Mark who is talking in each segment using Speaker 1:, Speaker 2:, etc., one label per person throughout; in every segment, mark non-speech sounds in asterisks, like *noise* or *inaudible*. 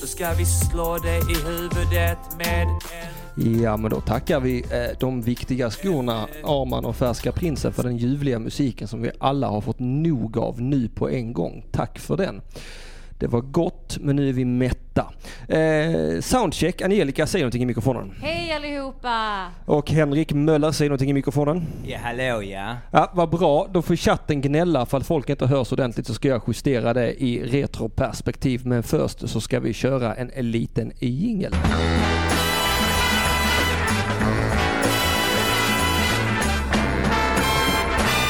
Speaker 1: så ska vi slå dig i huvudet med en...
Speaker 2: Ja, men då tackar vi eh, de viktiga skorna Arman och Färska Prinsen för den ljuvliga musiken som vi alla har fått nog av nu på en gång. Tack för den. Det var gott, men nu är vi mätta. Eh, soundcheck, Angelica säger någonting i mikrofonen.
Speaker 3: Hej allihopa!
Speaker 2: Och Henrik Möller säger någonting i mikrofonen.
Speaker 1: Ja, hallå ja.
Speaker 2: Ja, vad bra, då får chatten gnälla för att folk inte hörs ordentligt så ska jag justera det i retroperspektiv. Men först så ska vi köra en liten jingel.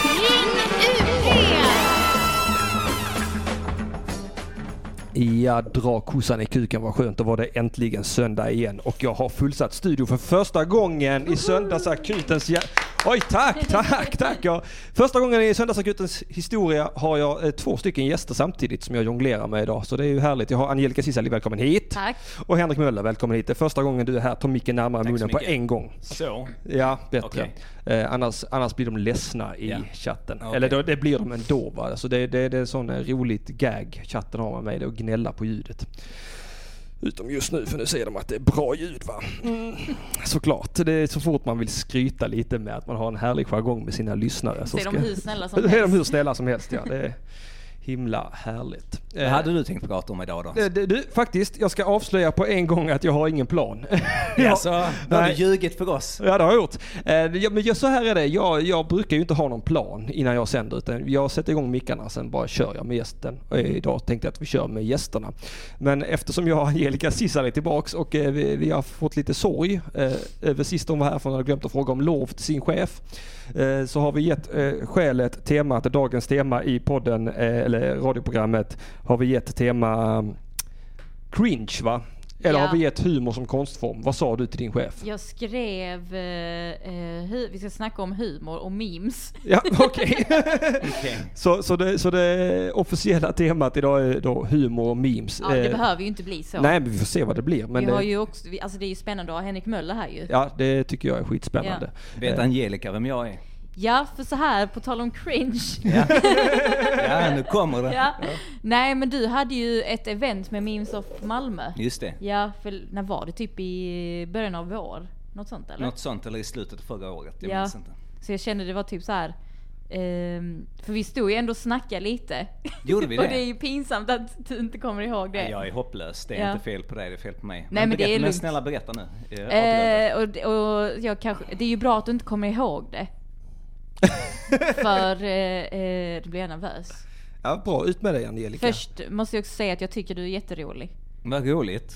Speaker 3: Ring UP!
Speaker 2: Ja, dra kossan i kuken vad skönt. Då var det äntligen söndag igen och jag har fullsatt studio för första gången i söndagsakutens... jä- Oj, tack, tack, tack! Ja. Första gången i söndagsakutens historia har jag eh, två stycken gäster samtidigt som jag jonglerar med idag. Så det är ju härligt. Jag har Angelica Cissali, välkommen hit!
Speaker 3: Tack.
Speaker 2: Och Henrik Möller, välkommen hit. Det är första gången du är här. Ta micken närmare
Speaker 1: så
Speaker 2: munnen på
Speaker 1: mycket.
Speaker 2: en gång.
Speaker 1: Så.
Speaker 2: Ja, bättre.
Speaker 1: Okej.
Speaker 2: Eh, annars, annars blir de ledsna i
Speaker 1: Ja.
Speaker 2: chatten.
Speaker 1: Okej.
Speaker 2: Eller då, det blir de ändå. Va? Alltså det, det, det är sån eh, roligt gag chatten har med mig, det är att gnälla på ljudet. Utom just nu, för nu säger de att det är bra ljud va? Mm. Såklart, det är så fort man vill skryta lite med att man har en härlig jargong med sina lyssnare.
Speaker 3: Så är de hur
Speaker 2: *laughs*
Speaker 3: snälla som
Speaker 2: helst. är de
Speaker 3: helst.
Speaker 2: hur snälla som helst ja. Det är himla härligt.
Speaker 1: Vad
Speaker 2: Eh,
Speaker 1: hade du tänkt prata om idag då?
Speaker 2: eh, du, du, faktiskt, jag ska avslöja på en gång att jag har ingen plan. *laughs* Jag-
Speaker 1: Alltså, har du
Speaker 2: Nej.
Speaker 1: ljugit för oss?
Speaker 2: Ja det har jag gjort. Eh, ja, men jag, så här är det, jag, jag brukar ju inte ha någon plan innan jag sänder utan jag sätter igång mickarna sen bara kör jag med gästen. Och idag tänkte jag att vi kör med gästerna. Men eftersom jag och Angelica Cissali är tillbaks och eh, vi, vi har fått lite sorg eh, över sist hon var här för hon hade glömt att fråga om lov till sin chef. Eh, så har vi gett eh, skälet, temat, dagens tema i podden eh, eller radioprogrammet har vi gett tema eh, cringe va? Eller
Speaker 3: Ja.
Speaker 2: har vi gett humor som konstform? Vad sa du till din chef?
Speaker 3: Jag skrev, eh, eh, hu- vi ska snacka om humor och memes.
Speaker 2: Ja, *laughs* okej. Så, så, det, så det officiella temat idag är då humor och memes.
Speaker 3: Ja, det
Speaker 2: Eh,
Speaker 3: behöver ju inte bli så.
Speaker 2: Nej, men vi får se vad det blir. Men
Speaker 3: vi har
Speaker 2: det,
Speaker 3: ju också, vi, alltså det är ju spännande att ha Henrik Möller här ju.
Speaker 2: ja, det tycker jag är skitspännande. Eh,
Speaker 4: Vet Angelica vem jag är?
Speaker 3: Ja, för så här på tal om cringe. *laughs*
Speaker 4: Ja, nu kommer det.
Speaker 3: Ja. Nej, men du hade ju ett event med Memes of Malmö.
Speaker 4: Just det.
Speaker 3: Ja, för när var det? Typ i början av vår? Något sånt eller?
Speaker 4: Något sånt, eller i slutet av förra året. Jag
Speaker 3: Ja.
Speaker 4: minns inte.
Speaker 3: Så jag kände det var typ så här. ehm, för vi stod ju ändå och snackade lite.
Speaker 4: Gjorde
Speaker 3: *laughs*
Speaker 4: vi
Speaker 3: och
Speaker 4: det?
Speaker 3: det är ju pinsamt att du inte kommer ihåg det.
Speaker 4: Jag är hopplös. Det är
Speaker 3: Ja.
Speaker 4: inte fel på dig, det är fel på mig.
Speaker 3: men det
Speaker 4: berätta,
Speaker 3: är
Speaker 4: men
Speaker 3: lugnt.
Speaker 4: snälla berätta nu. Jag avblöder.
Speaker 3: Eh, och, och jag kanske, det är ju bra att du inte kommer ihåg
Speaker 4: *laughs*
Speaker 3: det. För eh, eh, då blir jag nervös.
Speaker 2: Ja, bra, ut med dig Angelica.
Speaker 3: Först måste jag också säga att jag tycker du är jätterolig.
Speaker 4: Vad roligt.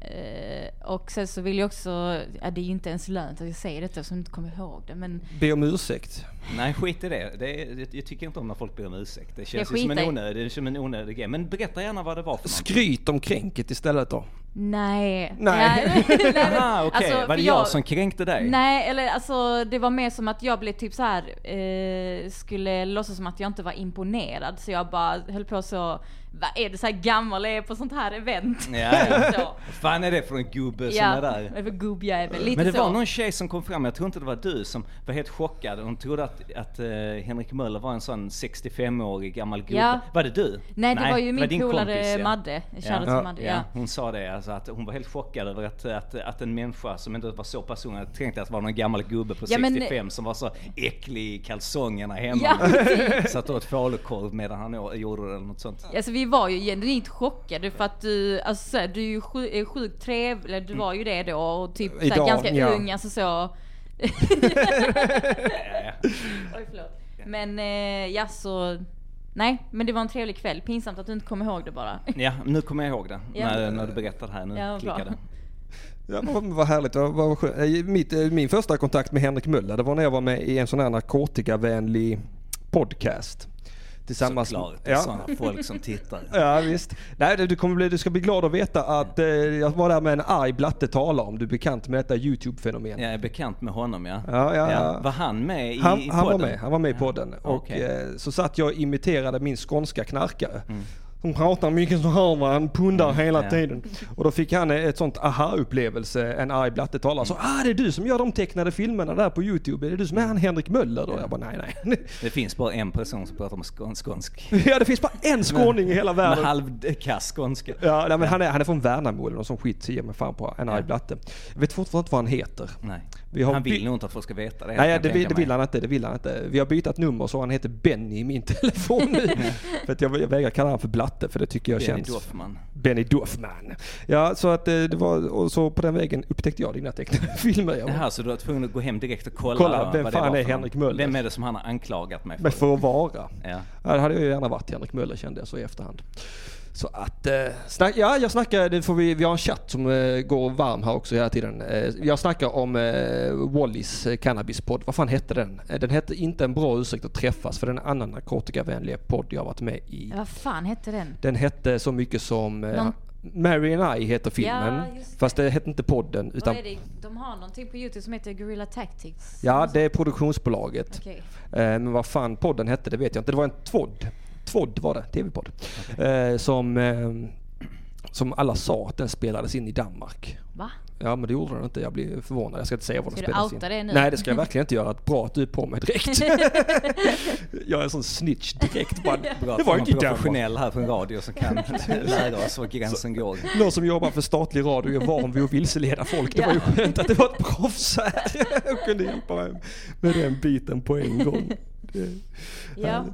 Speaker 3: Eh, och sen så vill jag också, ja, det är ju inte ens lönt att jag säger detta eftersom du inte kommer ihåg det. Men
Speaker 2: Be om ursäkt.
Speaker 4: Nej, skit i det. det är, jag, jag tycker inte om när folk ber om ursäkt. Det känns ju som
Speaker 3: skiter
Speaker 4: en,
Speaker 3: i-
Speaker 4: onödig, det är som en onödig grej. Men berätta gärna vad det var för någonting.
Speaker 2: Skryt om kränket istället då.
Speaker 3: nej.
Speaker 2: Nej.
Speaker 4: *laughs*
Speaker 3: nej, *laughs* men-
Speaker 4: Aha, okej.
Speaker 3: alltså,
Speaker 4: var
Speaker 3: för
Speaker 4: det jag, som kränkte dig?
Speaker 3: Nej, eller alltså det var mer som att jag blev typ så här eh, skulle låtsas som att jag inte var imponerad. Så jag bara höll på så, vad är det så här gammal jag är på sånt här event?
Speaker 4: Ja,
Speaker 3: *laughs*
Speaker 4: ja.
Speaker 3: så.
Speaker 4: Vad fan är det för en gubbe som
Speaker 3: Ja,
Speaker 4: är där?
Speaker 3: vad är för gubbjävel. Lite
Speaker 4: Men det
Speaker 3: så.
Speaker 4: var någon tjej som kom fram, jag tror inte det var du, som var helt chockad. Hon trodde att, att eh, Henrik Möller var en sån 65-årig gammal gubbe.
Speaker 3: Ja.
Speaker 4: Var det du?
Speaker 3: Nej, det var ju min
Speaker 4: din
Speaker 3: polare
Speaker 4: kompis, ja.
Speaker 3: Madde. Shoutout
Speaker 2: Ja.
Speaker 3: till Madde. Ja.
Speaker 4: Hon sa det, alltså, att hon var helt chockad över att, att, att en människa som inte var så pass ung, jag tänkte att det var någon gammal gubbe på
Speaker 3: Ja, men-
Speaker 4: 65 som var så äcklig i kalsongerna hemma.
Speaker 3: Ja,
Speaker 4: Satt åt falukorv medan han å- gjorde det eller något sånt.
Speaker 3: Alltså vi var ju genuint chockade för att du, alltså, så här, du är ju sju- är sjukt trevlig, du var ju det då och typ så
Speaker 2: Idag,
Speaker 3: här, ganska
Speaker 2: ja.
Speaker 3: ung, alltså så. Oj förlåt. Men eh, ja så, nej men det var en trevlig kväll, pinsamt att du inte kom ihåg det bara. *laughs*
Speaker 4: Ja, nu kommer jag ihåg det.
Speaker 3: Ja.
Speaker 4: När, när du berättade här, nu
Speaker 3: Ja,
Speaker 4: ja,
Speaker 3: bra.
Speaker 4: klickade det.
Speaker 2: Ja, men vad- vad härligt. Vad, vad skönt. Eh, Mitt, eh, min första kontakt med Henrik Möller det var när jag var med i en sån här narkotikavänlig podcast. Tillsammans
Speaker 4: Såklart,
Speaker 2: Ja.
Speaker 4: sådana folk
Speaker 2: *laughs*
Speaker 4: som tittar.
Speaker 2: Ja visst. Nej, du, du kommer bli, du ska bli glad att veta att eh, jag var där med en arg blatte tala om. Du är bekant med detta YouTube-fenomen.
Speaker 4: Jag är bekant med honom ja.
Speaker 2: Ja, ja, ja.
Speaker 4: Var han med i, i
Speaker 2: Han,
Speaker 4: podden?
Speaker 2: han, var med, han var med i podden. Och
Speaker 4: okej. Mm.
Speaker 2: eh, så satt jag och imiterade min skånska knarkare. Hon pratar mycket så här va, han pundar hela
Speaker 4: ja.
Speaker 2: tiden. Och då fick han ett sånt aha-upplevelse, en arg blattetalare. Så ah det är du som gör de tecknade filmerna där på YouTube, är det du som är han Henrik Möller då? Jag bara nej nej. *laughs*
Speaker 4: Det finns bara en person som pratar om skån, skånsk.
Speaker 2: ja det finns bara en skåning i hela
Speaker 4: Med
Speaker 2: världen.
Speaker 4: halvkass skånska.
Speaker 2: Ja, nej, men han, är, han är från Värnamo eller någon sån skit, ge mig fan på. En arg blatte. Jag vet fortfarande inte vad han heter.
Speaker 4: Nej.
Speaker 2: Vi har
Speaker 4: han vill
Speaker 2: by-
Speaker 4: nog inte att folk ska veta det. kan
Speaker 2: Nej, det,
Speaker 4: jag tänka
Speaker 2: vill- det
Speaker 4: mig.
Speaker 2: vill han inte. Det vill han inte. Vi har bytt nummer så han heter Benny i min *laughs* telefon
Speaker 4: *laughs*
Speaker 2: nu. för att jag, jag vägrar kalla honom för Blatte för det tycker jag
Speaker 4: Benny
Speaker 2: känns...
Speaker 4: Doffman.
Speaker 2: Benny Doffman. Ja, så att eh, det var... Och så på den vägen upptäckte jag dina tecknade *laughs* filmer. Jag bara,
Speaker 4: Jaha, så du var tvungen att gå hem direkt och kolla?
Speaker 2: Kolla,
Speaker 4: då,
Speaker 2: vem
Speaker 4: vad
Speaker 2: fan
Speaker 4: var
Speaker 2: är
Speaker 4: för någon?
Speaker 2: Henrik Möller?
Speaker 4: Vem är det som han har anklagat mig för?
Speaker 2: men för att vara.
Speaker 4: Ja.
Speaker 2: Ja, det hade jag ju gärna varit Henrik Möller kände jag så i efterhand. Så att, eh, snack, ja jag snackar, det får vi, vi har en chatt som eh, går varm här också hela tiden. Eh, jag snackar om eh, Wallys eh, cannabispodd, vad fan hette den? Eh, den hette inte en bra ursäkt att träffas för den är en annan narkotikavänliga podd jag har varit med i.
Speaker 3: Vad fan hette den?
Speaker 2: Den hette så mycket som eh,
Speaker 3: Någon-
Speaker 2: Mary and I heter filmen.
Speaker 3: Ja, just det.
Speaker 2: fast det hette inte podden utan
Speaker 3: Vad är det? De har någonting på Youtube som heter Guerrilla Tactics.
Speaker 2: Ja, det är produktionsbolaget.
Speaker 3: Okej.
Speaker 2: Eh, Men vad fan podden hette, det vet jag inte. Det var en tvodd. Tvodd var det, tv-podd. Eh, Som, eh, som alla sa att den spelades in i Danmark. *laughs*
Speaker 3: Va?
Speaker 2: Ja men det gjorde den inte, jag blir förvånad. Jag ska inte säga var den
Speaker 3: Ska du
Speaker 2: spelades in.
Speaker 3: outa det nu?
Speaker 2: Nej det ska jag verkligen inte göra. Bra att du är på mig
Speaker 3: *laughs*
Speaker 2: direkt. jag är en sån snitch direkt. Bara,
Speaker 4: Bra,
Speaker 2: det var inte i Danmark.
Speaker 4: professionell här från radio
Speaker 2: *laughs*
Speaker 4: som kan lära oss var gränsen går.
Speaker 2: Någon som jobbar för statlig radio är van vid att vilseleda folk. Det var ju
Speaker 3: Ja.
Speaker 2: skönt att det var ett proffs här. Jag kunde hjälpa mig med den biten på en gång. Det-
Speaker 3: Ja.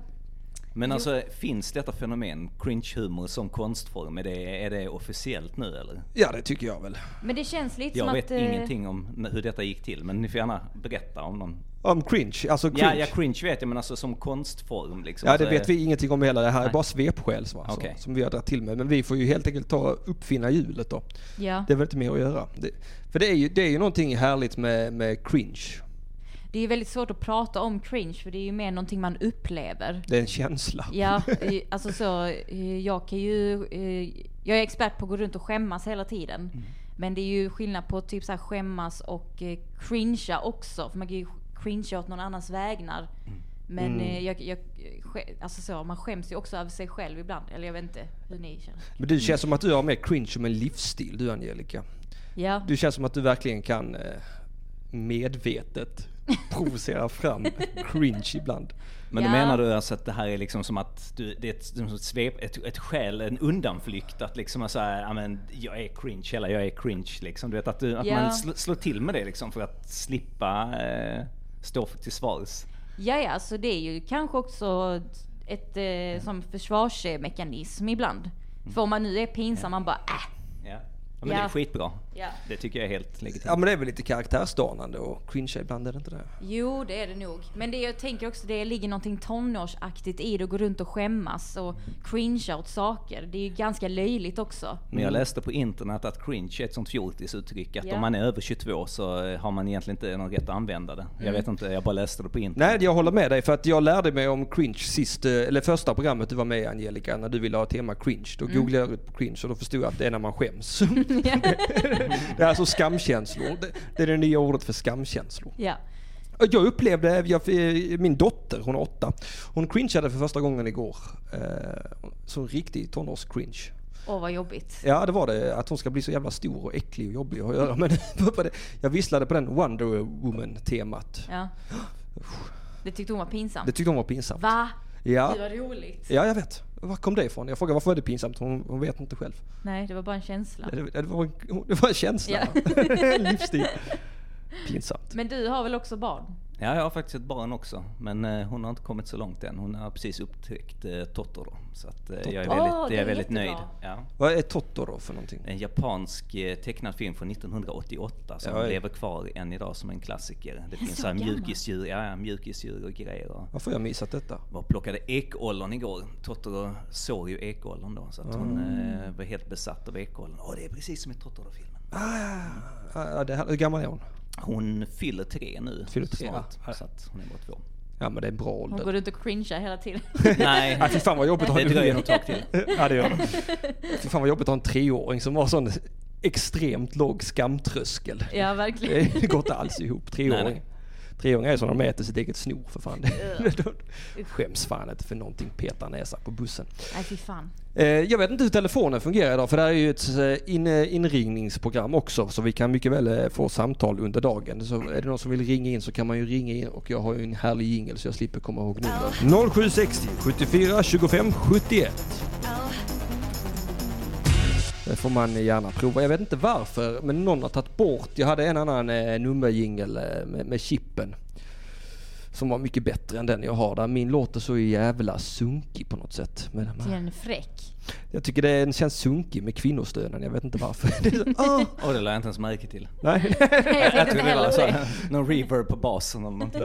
Speaker 4: Men alltså, finns detta fenomen, cringe-humor som konstform, är det, är det officiellt nu eller?
Speaker 2: Ja det tycker jag väl.
Speaker 3: Men det känns lite
Speaker 4: Jag
Speaker 3: som
Speaker 4: vet
Speaker 3: att... eh,
Speaker 4: ingenting om hur detta gick till, men ni får gärna berätta om någon.
Speaker 2: Om cringe, alltså cringe.
Speaker 4: Ja, ja, cringe vet jag, men alltså som konstform liksom.
Speaker 2: Ja, det
Speaker 4: Alltså,
Speaker 2: vet vi ingenting om hela. Det här är
Speaker 4: Nej.
Speaker 2: bara svepskäl som, alltså,
Speaker 4: Okej.
Speaker 2: som vi har dragit till med. Men vi får ju helt enkelt ta och uppfinna hjulet då.
Speaker 3: Ja.
Speaker 2: Det är väl inte mer att göra. Det, för det är, ju, det är ju någonting härligt med, med cringe.
Speaker 3: Det är väldigt svårt att prata om cringe för det är ju mer någonting man upplever.
Speaker 2: Det är en känsla. *laughs*
Speaker 3: Ja, eh, alltså så, eh, jag kan ju, eh, jag är expert på att gå runt och skämmas hela tiden.
Speaker 2: Mm.
Speaker 3: Men det är ju skillnad på typ så här skämmas och eh, cringea också. För man kan ju cringea åt någon annans vägnar.
Speaker 2: Mm.
Speaker 3: Men eh, jag, jag, skä- alltså så, man skäms ju också över sig själv ibland. Eller jag vet inte hur ni känner.
Speaker 2: Men du känns som att du har mer cringe som en livsstil du Angelica.
Speaker 3: Ja,
Speaker 2: Du känns som att du verkligen kan eh, medvetet provocera fram *laughs* cringe ibland.
Speaker 4: Men
Speaker 3: Ja.
Speaker 4: då menar du alltså att det här är liksom som att du, det är ett, som ett, svep, ett, ett skäl, en undanflykt att liksom så här, ja men jag är cringe, eller jag är cringe liksom. Du vet att, du, att
Speaker 3: Ja.
Speaker 4: man sl, slår till med det liksom för att slippa eh, stå till svars.
Speaker 3: ja, ja så det är ju kanske också ett eh, som försvarsmekanism ibland.
Speaker 2: Mm.
Speaker 3: För om man nu är pinsam, man bara äh.
Speaker 4: Ja. Ja, men det
Speaker 3: Ja.
Speaker 4: är skitbra.
Speaker 3: Ja.
Speaker 4: Det tycker jag är helt legitimt.
Speaker 2: Ja men det är väl lite karaktärsdanande och cringe ibland är det inte det?
Speaker 3: Jo, det är det nog. Men det jag tänker också, det ligger någonting tonårsaktigt i det att gå runt och skämmas och cringea åt saker. Det är ju ganska
Speaker 2: *laughs*
Speaker 3: löjligt också.
Speaker 4: Men jag läste på internet att cringe är ett sånt fjortisuttryck, att
Speaker 3: Mm. Ja.
Speaker 4: om man är över 22 så eh, har man egentligen inte någon rätt att använda det.
Speaker 3: Mm.
Speaker 4: Jag vet inte, jag bara läste det på internet.
Speaker 2: Nej, jag håller med dig för att jag lärde mig om cringe sist, eh, eller första programmet du var med i Angelica, när du ville ha tema cringe. Då googlade jag ut på cringe och då förstod jag att det är när man skäms. *laughs* det är alltså skamkänslor. Det, det är det nya ordet för skamkänslor.
Speaker 3: Ja.
Speaker 2: Och Jag upplevde, jag, eh, min dotter, hon är åtta, hon cringeade för första gången igår. Eh, Så en riktig tonårs-cringe.
Speaker 3: Åh, vad jobbigt.
Speaker 2: Ja det var det, att hon ska bli så jävla stor och äcklig och jobbig att göra. *laughs* Men vad det- jag visslade på den Wonder Woman-temat.
Speaker 3: Ja. Det tyckte hon var
Speaker 2: Det
Speaker 3: pinsamt.
Speaker 2: tyckte hon var pinsamt.
Speaker 3: Va?
Speaker 2: Ja.
Speaker 3: Det var roligt.
Speaker 2: Ja, jag vet. Var kom det ifrån? Jag frågade varför är det pinsamt? Hon, hon vet inte själv.
Speaker 3: Nej, det var bara en känsla.
Speaker 2: Det, det, var, en, *laughs* det var en känsla. *laughs* en livsstil. Pinsamt.
Speaker 3: Men du har väl också barn?
Speaker 4: Ja, jag har faktiskt ett barn också. Men eh, hon har inte kommit så långt än. Hon har precis upptäckt eh, Totoro. Så att, eh, jag är
Speaker 2: Totoro.
Speaker 4: väldigt,
Speaker 3: Åh, det
Speaker 4: jag
Speaker 3: är
Speaker 4: är väldigt
Speaker 3: jättebra.
Speaker 4: nöjd. Ja.
Speaker 2: Vad är Totoro för någonting?
Speaker 4: En japansk eh, tecknad film från 1988 som
Speaker 2: Oj.
Speaker 4: lever kvar än idag som en klassiker. Det finns
Speaker 3: så
Speaker 4: så här
Speaker 3: Alltså, gammal.
Speaker 4: mjukisdjur, ja, ja, mjukisdjur och grejer. Och
Speaker 2: Varför har jag missat detta?
Speaker 4: var och plockade ekollon igår. Totoro såg ju ekollon då så att hon
Speaker 2: Mm.
Speaker 4: eh, var helt besatt av ekollon. Åh, det är precis som i Totoro-filmen.
Speaker 2: Ah, det här, hur gammal är hon?
Speaker 4: Hon fyller tre nu
Speaker 2: Fyller tre,
Speaker 4: snart.
Speaker 2: ja.
Speaker 4: Så att hon är bara
Speaker 2: *laughs*
Speaker 4: två.
Speaker 2: Ja men det är en bra
Speaker 3: Hon går
Speaker 2: ålder.
Speaker 3: runt och cringear hela tiden.
Speaker 4: Nej,
Speaker 2: Ah, fy fan vad jobbigt att ha
Speaker 4: det
Speaker 2: en unge.
Speaker 4: dröjer nog ett tag till.
Speaker 2: *laughs* Ja det gör det. Fy fan vad jobbigt att ha en treåring som har sån extremt låg skamtröskel.
Speaker 3: ja, verkligen.
Speaker 2: Det går inte alls ihop, treåring.
Speaker 4: Nej, nej.
Speaker 2: Treåringar är som de äter sitt eget snor för fan. *laughs* de skäms fan inte för någonting, petar näsa på bussen.
Speaker 3: Nej fy fan.
Speaker 2: Eh, Jag vet inte hur telefonen fungerar idag för det här är ju ett eh, in, eh, inringningsprogram också så vi kan mycket väl eh, få samtal under dagen. Så är det någon som vill ringa in så kan man ju ringa in och jag har ju en härlig jingel så jag slipper komma ihåg numret. 0760 74 25 71. Det får man gärna prova. Jag vet inte varför men någon har tagit bort. Jag hade en annan eh, nummerjingel eh, med, med chippen. Som var mycket bättre än den jag har där. Min låter så jävla sunkig på något sätt. Men de här-
Speaker 3: Till en fräck.
Speaker 2: jag tycker det är- den känns sunkig med kvinnostönen, jag vet inte varför. *laughs* Det är så, ah,
Speaker 4: Åh, det lade jag inte ens märke till.
Speaker 2: nej. *laughs*
Speaker 4: Jag, jag trodde det var *laughs* så, någon reverb på basen eller någonting.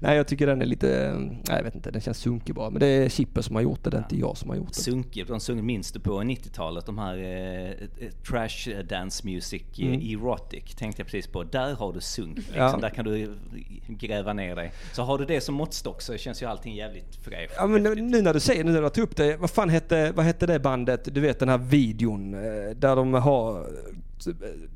Speaker 2: nej, jag tycker den är lite, eh, nej jag vet inte, den känns sunkig bara. Men det är Chippen som har gjort det, det är inte jag som har gjort det.
Speaker 4: Sunkigt, de sjöng minst på 90-talet, de här eh, eh, trash dance music eh, erotic, tänkte jag precis på. Där har du sunk, liksom.
Speaker 2: Mm. Ja.
Speaker 4: där kan du gräva ner dig. Så har du det som måttstock så känns ju allting jävligt fräscht.
Speaker 2: Ja, men nu när du säger, nu när du tog upp det, vad fan hette, vad hette det bandet, du vet den här videon eh, där de har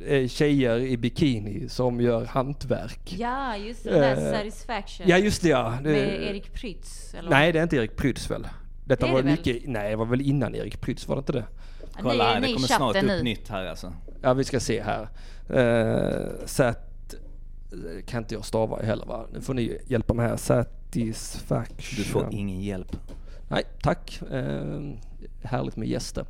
Speaker 2: eh, tjejer i bikini som gör hantverk.
Speaker 3: Ja just det, där
Speaker 2: Eh,
Speaker 3: Satisfaction.
Speaker 2: Ja just det ja. Det-
Speaker 3: Med Erik Prytz eller?
Speaker 2: Nej det är inte Erik Prytz väl? Detta
Speaker 3: Det är
Speaker 2: var
Speaker 3: det väl?
Speaker 2: mycket, nej det var väl innan Erik Prytz, var det inte det?
Speaker 3: Ja,
Speaker 4: Kolla här,
Speaker 3: ni
Speaker 4: det
Speaker 3: i
Speaker 4: kommer snart upp
Speaker 3: chatten nu.
Speaker 4: nytt här alltså.
Speaker 2: Ja, vi ska se här. Eh, sat... Kan inte jag stava heller va? Nu får ni hjälpa mig här. Satisfaction.
Speaker 4: Du får ingen hjälp.
Speaker 2: Nej, tack. Eh, härligt med gäster.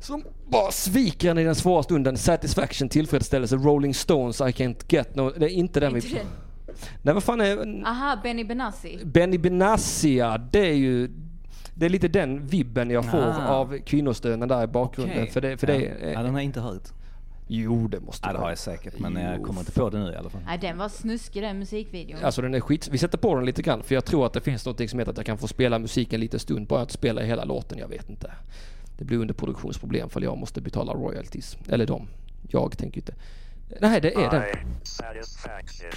Speaker 2: Som bara sviker en i den svåra stunden. Satisfaction, tillfredsställelse, Rolling Stones, I can't get no... Det är inte den
Speaker 3: Inte
Speaker 2: vi...
Speaker 3: den.
Speaker 2: Nej, vad fan är...
Speaker 3: Aha, Benny Benassi.
Speaker 2: Benny Benassia, det är ju... Det är lite den vibben jag får
Speaker 4: Ah.
Speaker 2: av kvinnostönen där i bakgrunden.
Speaker 4: Okej.
Speaker 2: För det, för
Speaker 4: ja.
Speaker 2: det är,
Speaker 4: ja, den har jag inte hört.
Speaker 2: Jo, det måste
Speaker 4: Ja, det
Speaker 2: vara.
Speaker 4: har jag säkert, men jag
Speaker 2: Jo,
Speaker 4: kommer inte på det nu i alla fall.
Speaker 3: Nej den var snuskig den musikvideon.
Speaker 2: Alltså den är skit. Vi sätter på den lite grann för jag tror att det finns något som heter att jag kan få spela musiken lite stund. Bara att spela hela låten, jag vet inte. Det blir underproduktionsproblem för jag måste betala royalties. Eller de. Jag tänker inte. Nej, det är den.
Speaker 5: I satisfaction.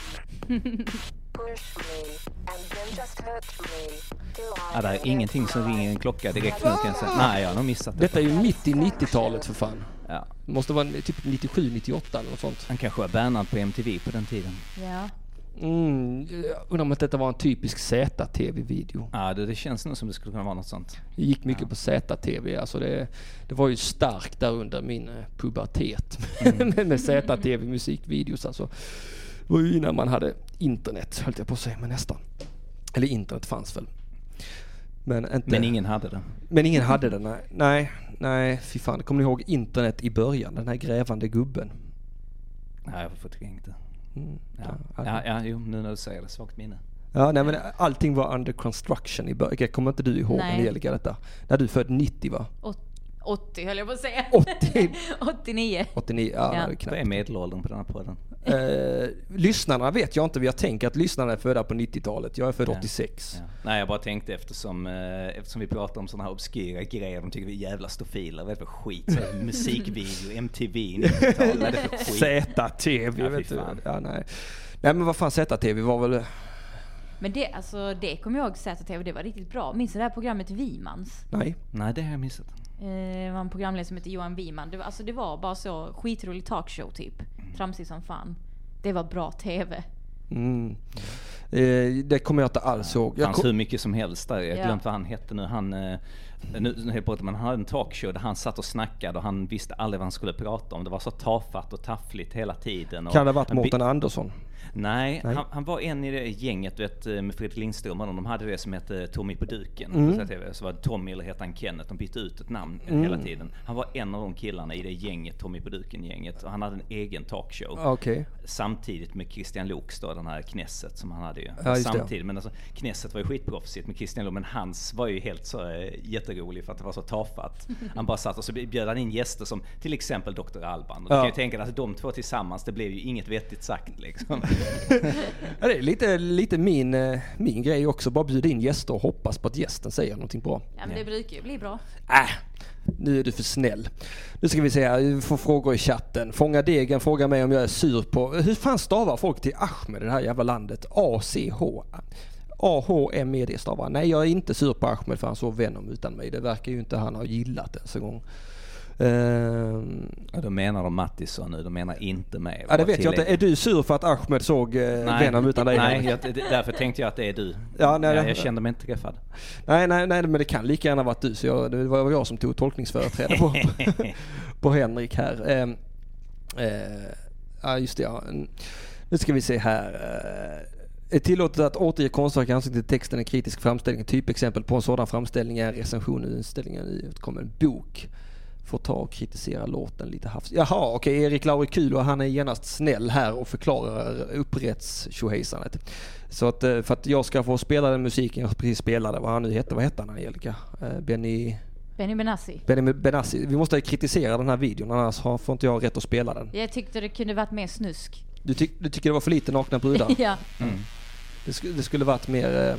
Speaker 6: Push me and then just hurt me till I
Speaker 4: Ja, det är ingenting som ringer en klocka direkt nu kan jag säga. Nej, jag har nog missat det.
Speaker 2: Detta är ju mitt i 90-talet för fan.
Speaker 4: Ja.
Speaker 2: Det måste vara typ 97, 98 eller något sånt.
Speaker 4: Han kanske var bannad på MTV på den tiden.
Speaker 3: Ja.
Speaker 2: Mm, jag undrar om inte detta var en typisk Z-TV-video.
Speaker 4: Ja, du, det känns nog som det skulle kunna vara något sånt.
Speaker 2: Det gick mycket på Z-TV. Alltså det, det var ju starkt där under min eh, pubertet *laughs*
Speaker 4: Mm.
Speaker 2: med, med Z-TV musikvideos. Alltså. Det var ju innan man hade internet höll jag på att säga, men nästan. Eller internet fanns väl. Men, inte,
Speaker 4: Men ingen hade det.
Speaker 2: men ingen hade det. Nej, nej, nej fy fan. Kommer ni ihåg internet i början? Den här grävande gubben.
Speaker 4: Nej, jag har förträngt det.
Speaker 2: Mm,
Speaker 4: Ja,
Speaker 2: ja.
Speaker 4: ja, ja jo, nu när du säger det. Svagt minne.
Speaker 2: Ja, nej, men allting var under construction i början. Kommer inte du ihåg
Speaker 3: Nej.
Speaker 2: Angelica detta? När du född 90 va?
Speaker 3: Åt- 80 höll jag på att säga.
Speaker 2: 80.
Speaker 3: *laughs* 89.
Speaker 2: 89? Ja,
Speaker 3: Ja.
Speaker 2: ja. knappt.
Speaker 4: Vad är medelåldern på den här podden?
Speaker 2: Eh, lyssnarna vet jag inte, men jag tänker att lyssnarna är födda på 90-talet. Jag är född
Speaker 4: Ja.
Speaker 2: 86.
Speaker 4: Ja. Nej, jag bara tänkte eftersom, eh, eftersom vi pratar om sådana här obskyra grejer. De tycker vi är jävla stofiler. Vad är det för skit? Så här, musikvideo, MTV, 90-tal. Vad är det för *laughs* skit?
Speaker 2: Z-TV,
Speaker 4: Ja, fy
Speaker 2: vet du.
Speaker 4: fan.
Speaker 2: Ja, nej. nej, men vad fan Z-TV var väl...
Speaker 3: Men det, alltså, det kommer jag ihåg ZTV, det var riktigt bra. Minns du det här programmet Vimans?
Speaker 2: Nej.
Speaker 4: Nej, det har jag missat.
Speaker 3: Eh, Det var en programledare som hette Johan Wiman. Det var, alltså, det var bara så skitrolig talkshow typ. Tramsig som fan. Det var bra TV.
Speaker 2: Mm. Eh, det kommer jag inte alls ihåg.
Speaker 4: Det
Speaker 2: Jag
Speaker 4: fanns hur
Speaker 2: kom...
Speaker 4: mycket som helst där. Jag har
Speaker 3: Ja.
Speaker 4: glömt vad han hette nu. Han, eh, nu nu höll jag på att- men han hade en talkshow där han satt och snackade och han visste aldrig vad han skulle prata om. Det var så tafatt och taffligt hela tiden. Och
Speaker 2: Kan det ha varit
Speaker 4: han bi- Oh.
Speaker 2: Mårten Andersson?
Speaker 4: Nej,
Speaker 2: Nej.
Speaker 4: Han, han var en i det gänget du vet, eh, med Fredrik Lindström och de de hade det som hette Tommy på duken.
Speaker 2: Mm.
Speaker 4: på ZTV. Så var det Tommy eller hette han Kenneth, de bytte ut ett namn hela tiden. Han var en av de killarna i det gänget, Tommy på duken-gänget. Och han hade en egen talkshow.
Speaker 2: Okej.
Speaker 4: Samtidigt med Christian Looks då, den här Knesset som han hade ju.
Speaker 2: Ja, just det.
Speaker 4: Samtidigt, men alltså, Knesset var ju skitproffsigt med Christian Looks, men hans var ju helt så eh, jätterolig för att det var så tafatt. Han bara satt och så bjöd han in gäster som till exempel Dr. Alban. Och Du
Speaker 2: Ja.
Speaker 4: kan ju tänka dig att alltså, de två tillsammans, det blev ju inget vettigt
Speaker 2: *laughs*
Speaker 4: sagt liksom.
Speaker 2: Ja, det är lite, lite min, eh, min grej också. Bara bjuda in gäster och hoppas på att gästen säger någonting bra.
Speaker 3: Ja, men det brukar ju bli bra.
Speaker 2: Äh, nu är du för snäll. Nu ska vi se här, vi får frågor i chatten. Fånga degen frågar mig om jag är sur på... Hur fan stavar folk till Ahmed i det här jävla landet? A-C-H. A-H-M-E-D stavar. Nej, jag är inte sur på Ahmed för han såg Venom utan mig. Det verkar ju inte han ha gillat ens en gång. Ehm,
Speaker 4: Ja, då menar de Mattisson nu, de menar inte mig.
Speaker 2: ja, det
Speaker 4: Bara
Speaker 2: vet jag inte.
Speaker 4: tillägga.
Speaker 2: Är du sur för att Ahmed såg eh, Venom utan dig?
Speaker 4: Nej, jag, det- därför tänkte jag att det är du.
Speaker 2: Ja, nej,
Speaker 4: jag,
Speaker 2: det-
Speaker 4: jag kände mig inte träffad.
Speaker 2: Nej, nej, nej, men det kan lika gärna varit du. Så jag, det var jag som tog tolkningsföreträde på, på Henrik här. Ehm, eh, ja, just det. Ja. Nu ska vi se här. Eh, Är tillåtet att återge konstverk i anslutning till texten en kritisk framställning? Ett typexempel på en sådan framställning är en recension i utställningen i utkommen bok. Får ta och kritisera låten lite havs. Jaha, okej. Erik Laurikulo han är genast snäll här och förklarar upprättstjohejsandet. Så att eh, för att jag ska få spela den musiken jag precis spelade, vad han nu hette, vad hette han Angelica? Eh, Benny...
Speaker 3: Benny Benassi.
Speaker 2: Benny Benassi. Vi måste kritisera den här videon annars har- får inte jag rätt att spela den.
Speaker 3: Jag tyckte det kunde varit mer snusk.
Speaker 2: Du, tyck, du tycker det var för lite nakna brudar?
Speaker 3: *laughs* ja.
Speaker 2: Det, sk- det skulle varit mer... Eh,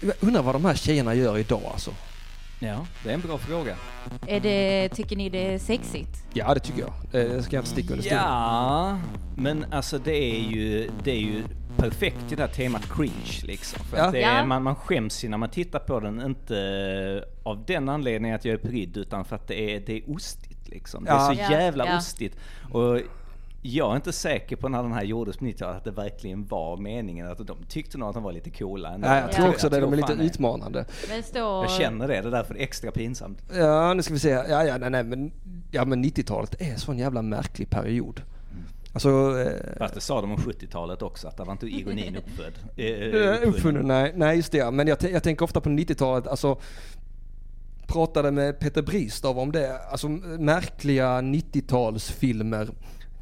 Speaker 2: jag undrar vad de här tjejerna gör idag alltså.
Speaker 4: Ja, det är en bra fråga.
Speaker 3: Är det, tycker ni det är sexigt?
Speaker 2: Ja det tycker jag. Eh, Det ska jag inte sticka under stolen.
Speaker 4: Ja, men alltså det är ju, det är ju perfekt i det här temat cringe liksom. För
Speaker 2: Ja.
Speaker 4: att det är,
Speaker 3: Ja.
Speaker 4: man, man skäms ju när man tittar på den, inte eh, av den anledningen att jag är prydd, utan för att det är, det är ostigt liksom. Det
Speaker 2: Ja.
Speaker 4: är så
Speaker 3: Ja,
Speaker 4: jävla
Speaker 3: ja.
Speaker 4: ostigt. Och jag är inte säker på när den här gjordes på 90-talet att det verkligen var meningen. Att de tyckte nog att de var lite coola ändå.
Speaker 2: Nej, jag tror
Speaker 3: Ja.
Speaker 2: också det. De är
Speaker 4: tror
Speaker 2: lite
Speaker 4: fan det.
Speaker 2: utmanande.
Speaker 3: Men står...
Speaker 4: Jag känner det, det är därför det är extra pinsamt.
Speaker 2: Ja, nu ska vi se. Ja, ja, nej, nej, men, ja, men 90-talet är en sån jävla märklig period. Alltså... Eh,
Speaker 4: Fast det sa de om 70-talet också, att där
Speaker 3: *laughs*
Speaker 4: var inte ironin uppfödd. Eh,
Speaker 2: eh, uppfunnen? Nej, nej, just det. ja. Men jag, tän- jag tänker ofta på 90-talet. Alltså, pratade med Peter Bristav om det. Alltså märkliga 90-talsfilmer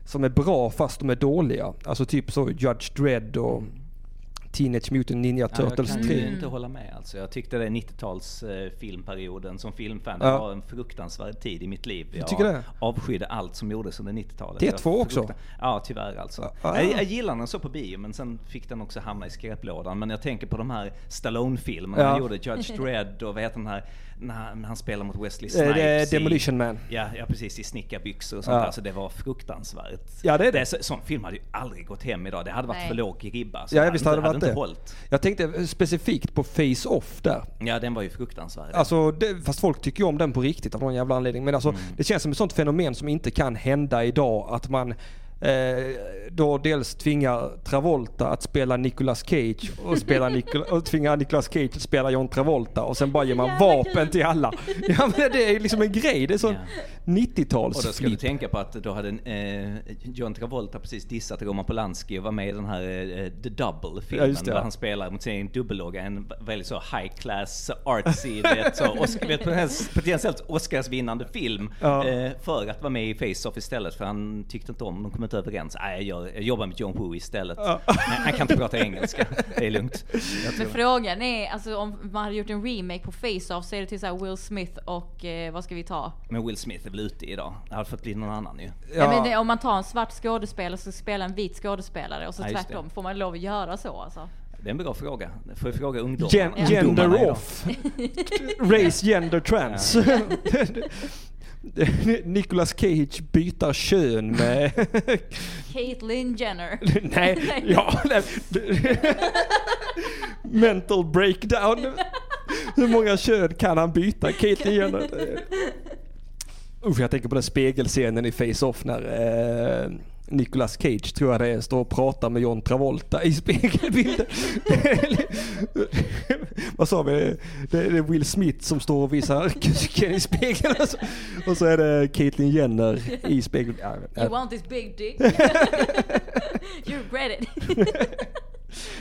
Speaker 2: som är bra fast de är dåliga. Alltså typ så Judge Dredd och Teenage Mutant Ninja
Speaker 4: Mm. Ja, jag
Speaker 2: Turtles
Speaker 4: kan
Speaker 2: 3.
Speaker 4: ju inte hålla med alltså. Jag tyckte det 90-tals eh, filmperioden som filmfan
Speaker 2: Ja.
Speaker 4: var en fruktansvärd tid i mitt liv.
Speaker 2: tycker det?
Speaker 4: avskydde allt som gjordes under 90-talet.
Speaker 2: Det är
Speaker 4: Jag
Speaker 2: två också.
Speaker 4: fruktar- Ja, tyvärr alltså.
Speaker 2: Ja.
Speaker 4: Jag, jag gillar den så på bio, men sen fick den också hamna i skräplådan. Men jag tänker på de här Stallone-filmerna.
Speaker 2: Ja.
Speaker 4: Han gjorde
Speaker 2: *laughs*
Speaker 4: Judge Dredd och vad heter den här, när han, när han spelar mot Wesley
Speaker 2: Eh, det är
Speaker 4: Snipes. i-
Speaker 2: Demolition Man.
Speaker 4: Ja, ja, precis. I snickarbyxor och sånt
Speaker 2: Ja.
Speaker 4: där. Så det var fruktansvärt.
Speaker 2: Ja, det är det.
Speaker 4: så, sån film hade ju aldrig gått hem idag. Det hade varit
Speaker 3: Nej.
Speaker 4: för låg ribba. så
Speaker 2: Ja,
Speaker 4: det
Speaker 2: visst
Speaker 4: inte-
Speaker 2: hade det varit
Speaker 4: inte
Speaker 2: det.
Speaker 4: hållit.
Speaker 2: Jag tänkte specifikt på Face Off där.
Speaker 4: Ja, den var ju fruktansvärd.
Speaker 2: Alltså, det, fast folk tycker ju om den på riktigt av någon jävla anledning. Men
Speaker 4: Mm.
Speaker 2: alltså, det känns som ett sånt fenomen som inte kan hända idag. Att man eh, då dels tvingar Travolta att spela Nicolas Cage och, spela Nicol-
Speaker 4: *laughs*
Speaker 2: och tvingar Nicolas Cage att spela John Travolta och sen bara ger man
Speaker 3: Jävla
Speaker 2: vapen
Speaker 3: kul.
Speaker 2: till alla. Ja men det är liksom en grej. Det är sån
Speaker 4: Ja. Och då ska du
Speaker 2: 90-talsflipp.
Speaker 4: tänka på att då hade eh, John Travolta precis dissat Roman Polanski och var med i den här eh, The
Speaker 2: Ja,
Speaker 4: Double-filmen.
Speaker 2: just det, ja.
Speaker 4: där han spelar mot sin egen dubbellogga. En väldigt så high class, artsy, vet, så, Oscar, vet, potens- potentiellt Oscarsvinnande film.
Speaker 2: Ja.
Speaker 4: Eh, för att vara med i Face-Off istället. För han tyckte inte om, de kom inte överens. Nej, jag, gör- jag jobbar med John Woo istället.
Speaker 2: Ja.
Speaker 4: Nej, han kan inte
Speaker 2: *laughs*
Speaker 4: prata engelska. Det är lugnt. Jag tror-
Speaker 3: Men frågan är, alltså om man hade gjort en remake på Face-Off så är det till så här Will Smith och eh, vad ska vi ta?
Speaker 4: Men Will Smith är väl ute idag? Det hade fått bli någon annan ju.
Speaker 3: Ja. men det, om man tar en svart skådespelare så spelar en vit skådespelare och så
Speaker 4: Ja, just det.
Speaker 3: tvärtom. Får man lov att göra så
Speaker 4: *laughs*
Speaker 3: alltså?
Speaker 4: Det är en bra fråga. Får jag fråga ungdomarna?
Speaker 2: Gen-
Speaker 4: ungdomarna
Speaker 2: gender
Speaker 4: idag?
Speaker 2: off. Race gender trans. *laughs* Nicolas Cage byter kön med
Speaker 3: Caitlyn Jenner.
Speaker 2: *laughs* Nej, ja. Nej. Mental breakdown. Hur många kön kan han byta? Kate igen. Usch, jag tänker på den spegelscenen i Face-Off när eh, Nicolas Cage, tror jag det är, står och pratar med John Travolta i spegelbilden. Vad sa vi? Det är Will Smith som står och visar kuken i spegeln. Och så, och så är det Caitlyn Jenner i spegeln. Ja,
Speaker 3: You
Speaker 2: ja.
Speaker 3: want this big
Speaker 2: *laughs*
Speaker 3: dick? you regret it.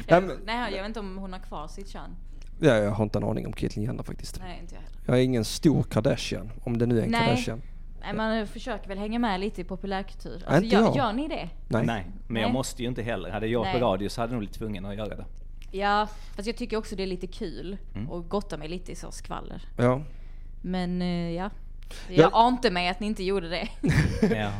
Speaker 2: Nej, men-
Speaker 3: Nej, jag vet inte om hon har kvar sitt kön.
Speaker 2: Ja, jag har inte en aning om Caitlyn Jenner faktiskt.
Speaker 3: Nej, inte jag heller.
Speaker 2: Jag är ingen stor Kardashian, om det nu är en
Speaker 3: Nej.
Speaker 2: Kardashian.
Speaker 3: Nej, man försöker väl hänga med lite i populärkultur. Alltså,
Speaker 2: Äh, inte
Speaker 3: gör,
Speaker 2: jag.
Speaker 3: gör ni det?
Speaker 2: Nej.
Speaker 4: Nej, men jag
Speaker 3: Nej.
Speaker 4: måste ju inte heller. Hade jag
Speaker 3: Nej.
Speaker 4: på radio så hade jag nog blivit tvungen att
Speaker 2: *laughs*
Speaker 4: göra det.
Speaker 3: Ja, fast jag tycker också det är lite kul
Speaker 2: Mm.
Speaker 3: och gotta mig lite i så skvaller.
Speaker 2: Ja.
Speaker 3: Men eh, ja. Jag,
Speaker 2: Jag-
Speaker 3: ante mig att ni inte gjorde det. *laughs*
Speaker 4: Ja.
Speaker 2: *laughs*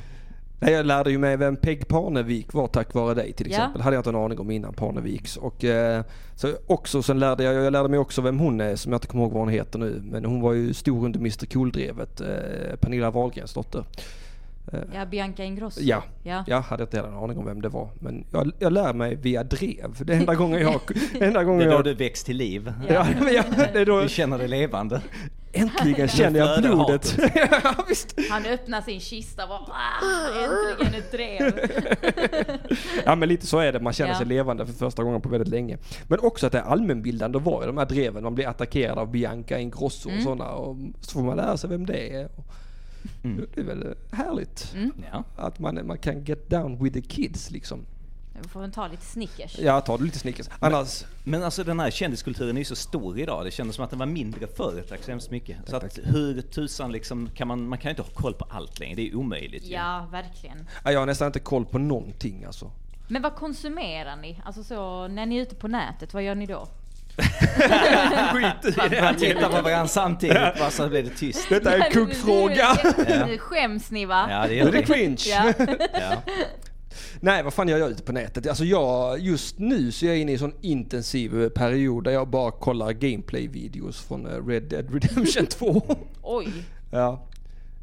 Speaker 2: Nej, jag lärde ju mig vem Peg Parnevik var tack vare dig till
Speaker 3: Ja.
Speaker 2: exempel. Det hade jag inte en aning om innan Parneviks. Och eh, så också, sen lärde jag, jag lärde mig också vem hon är som jag inte kommer ihåg vad hon heter nu. Men hon var ju stor under Mr Cool-drevet. Eh, Pernilla Wahlgrens dotter. Eh,
Speaker 3: Ja, Bianca Ingrosso.
Speaker 2: Ja.
Speaker 3: ja.
Speaker 2: Jag hade inte heller en aning om vem det var. Men jag, jag lär mig via drev. Det är enda gången jag...
Speaker 3: *laughs*
Speaker 2: Enda gången
Speaker 4: Det är då
Speaker 2: jag
Speaker 4: du väcks till liv.
Speaker 2: ja, men jag, det är då
Speaker 4: Du känner dig levande.
Speaker 2: äntligen känner jag
Speaker 4: flödar
Speaker 2: blodet. *laughs* ja, visst.
Speaker 3: Han öppnar sin kista och bara "Ah, äntligen ett drev.
Speaker 2: *laughs* Ja men lite så är det, man känner
Speaker 3: Ja.
Speaker 2: sig levande för första gången på väldigt länge. Men också att det är allmänbildande att vara i de här dreven, man blir attackerad av Bianca Ingrosso och sådana. Och så får man lära sig vem det är. Och Det är väl härligt.
Speaker 4: Mm. Ja.
Speaker 2: Att man, man kan get down with the kids liksom.
Speaker 3: Nu får man ta lite Snickers.
Speaker 2: Ja, tar du lite Snickers. Annars,
Speaker 4: Men alltså den här kändiskulturen är ju så stor idag. Det kändes som att den var mindre förr. Tack så hemskt mycket. Så att hur tusan liksom kan man, man kan ju inte ha koll på allt längre. Det är ju omöjligt ju.
Speaker 3: Ja, verkligen.
Speaker 2: ja, jag har nästan inte koll på någonting *laughs* alltså.
Speaker 3: Men vad konsumerar ni? Alltså så, när ni är ute på nätet, vad gör ni då?
Speaker 4: Skit i Man tittar på varandra samtidigt bara så blir det tyst.
Speaker 2: Detta är en kuggfråga.
Speaker 3: Nu skäms ni va?
Speaker 4: Ja, det
Speaker 2: Nu
Speaker 4: gör
Speaker 2: är det
Speaker 4: vi.
Speaker 2: cringe.
Speaker 3: Ja.
Speaker 4: Ja.
Speaker 2: Nej, vad fan jag gör ute på nätet? Alltså jag, just nu så är jag inne i en sån intensiv eh, period där jag bara kollar gameplay-videos från eh, Red Dead Redemption 2.
Speaker 3: Oj.
Speaker 2: ja.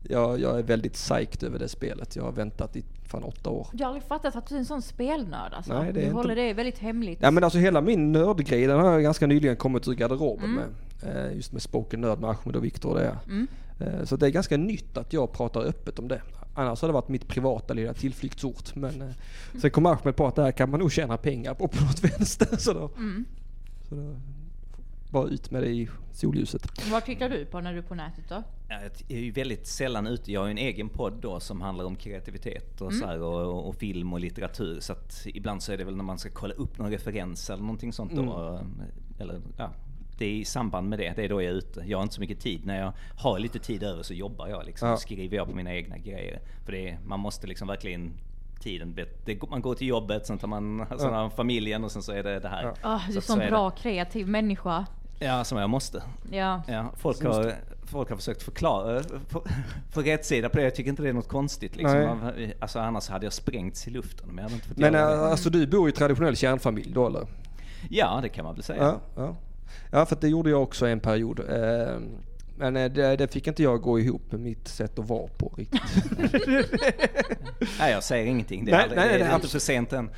Speaker 2: jag, jag är väldigt psyched över det spelet. Jag har väntat i fan åtta år.
Speaker 3: Jag har aldrig fattat att du är en sån spelnörd
Speaker 2: Nej,
Speaker 3: alltså.
Speaker 2: det är
Speaker 3: du
Speaker 2: inte-
Speaker 3: håller det väldigt hemligt.
Speaker 2: Ja men alltså hela min nördgrej den har jag ganska nyligen kommit ur garderoben med. Eh, Just med Spoken Nörd med Ahmed och Viktor och det. Eh, Så det är ganska nytt att jag pratar öppet om det. Annars har det varit mitt privata lilla tillflyktsort. Men eh, sen kom Ahmed på att det här kan man nog tjäna pengar på på något *laughs* vänster. Så då,
Speaker 3: Mm.
Speaker 2: så då bara ut med det i solljuset.
Speaker 3: Vad tittar du på när du är på nätet då?
Speaker 4: Ja, Jag är ju väldigt sällan ute. Jag har ju en egen podd då som handlar om kreativitet och,
Speaker 2: Mm.
Speaker 4: så här, och, och film och litteratur. Så att ibland så är det väl när man ska kolla upp någon referens eller någonting sånt då.
Speaker 2: Mm.
Speaker 4: Eller, ja, det är i samband med det. Det är då jag är ute. Jag har inte så mycket tid. När jag har lite tid över så jobbar jag liksom.
Speaker 2: Ja.
Speaker 4: Då skriver jag på mina egna grejer. För det är, man måste liksom verkligen tiden. bet- Det, går- man går till jobbet, sen tar man sen har man familjen och sen så är det det här.
Speaker 2: Ja.
Speaker 3: Ah, du
Speaker 4: Så
Speaker 3: är
Speaker 4: att
Speaker 3: sån
Speaker 4: så är
Speaker 3: bra kreativ människa.
Speaker 4: det. Ja, som jag måste.
Speaker 3: Ja.
Speaker 4: Ja, folk, har, folk har försökt förklara, eh, få- få rätt sida på det. Jag tycker inte det är något konstigt. Liksom.
Speaker 2: Nej.
Speaker 4: Man- Alltså, annars hade jag sprängts i luften. Men, jag hade inte fått
Speaker 2: Men
Speaker 4: göra det.
Speaker 2: eh, alltså du bor i traditionell kärnfamilj då eller?
Speaker 4: Ja, det kan man väl säga.
Speaker 2: Ja, ja. ja för att det gjorde jag också en period. Eh, Men eh, det, det fick inte jag gå ihop med mitt sätt att vara på riktigt.
Speaker 4: *laughs* Nej, jag säger ingenting. Det är,
Speaker 2: Nej,
Speaker 4: aldrig,
Speaker 2: nej,
Speaker 4: det är
Speaker 2: nej.
Speaker 4: inte för sent än.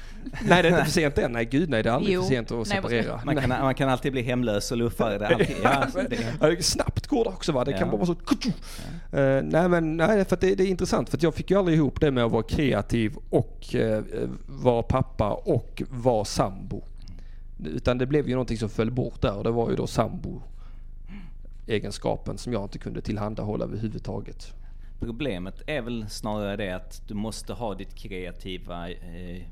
Speaker 2: Nej det är
Speaker 4: *laughs*
Speaker 2: inte för sent än. Nej gud nej det är aldrig
Speaker 3: Jo.
Speaker 2: för sent att
Speaker 3: Nej, vad-
Speaker 2: separera.
Speaker 4: Man kan, man kan alltid bli hemlös och luffare. Det
Speaker 2: *laughs*
Speaker 4: är alltid, ja, alltså, det,
Speaker 2: Ja, det- Snabbt går det också va? Det kan
Speaker 4: Ja.
Speaker 2: bara vara så... Eh, nej men nej, för att det, det är intressant för att jag fick ju aldrig ihop det med att vara kreativ och eh, vara pappa och vara sambo. Utan det blev ju någonting som föll bort där och det var ju då sambo egenskapen som jag inte kunde tillhandahålla överhuvudtaget.
Speaker 4: Mm. problemet är väl snarare det att du måste ha ditt kreativa eh,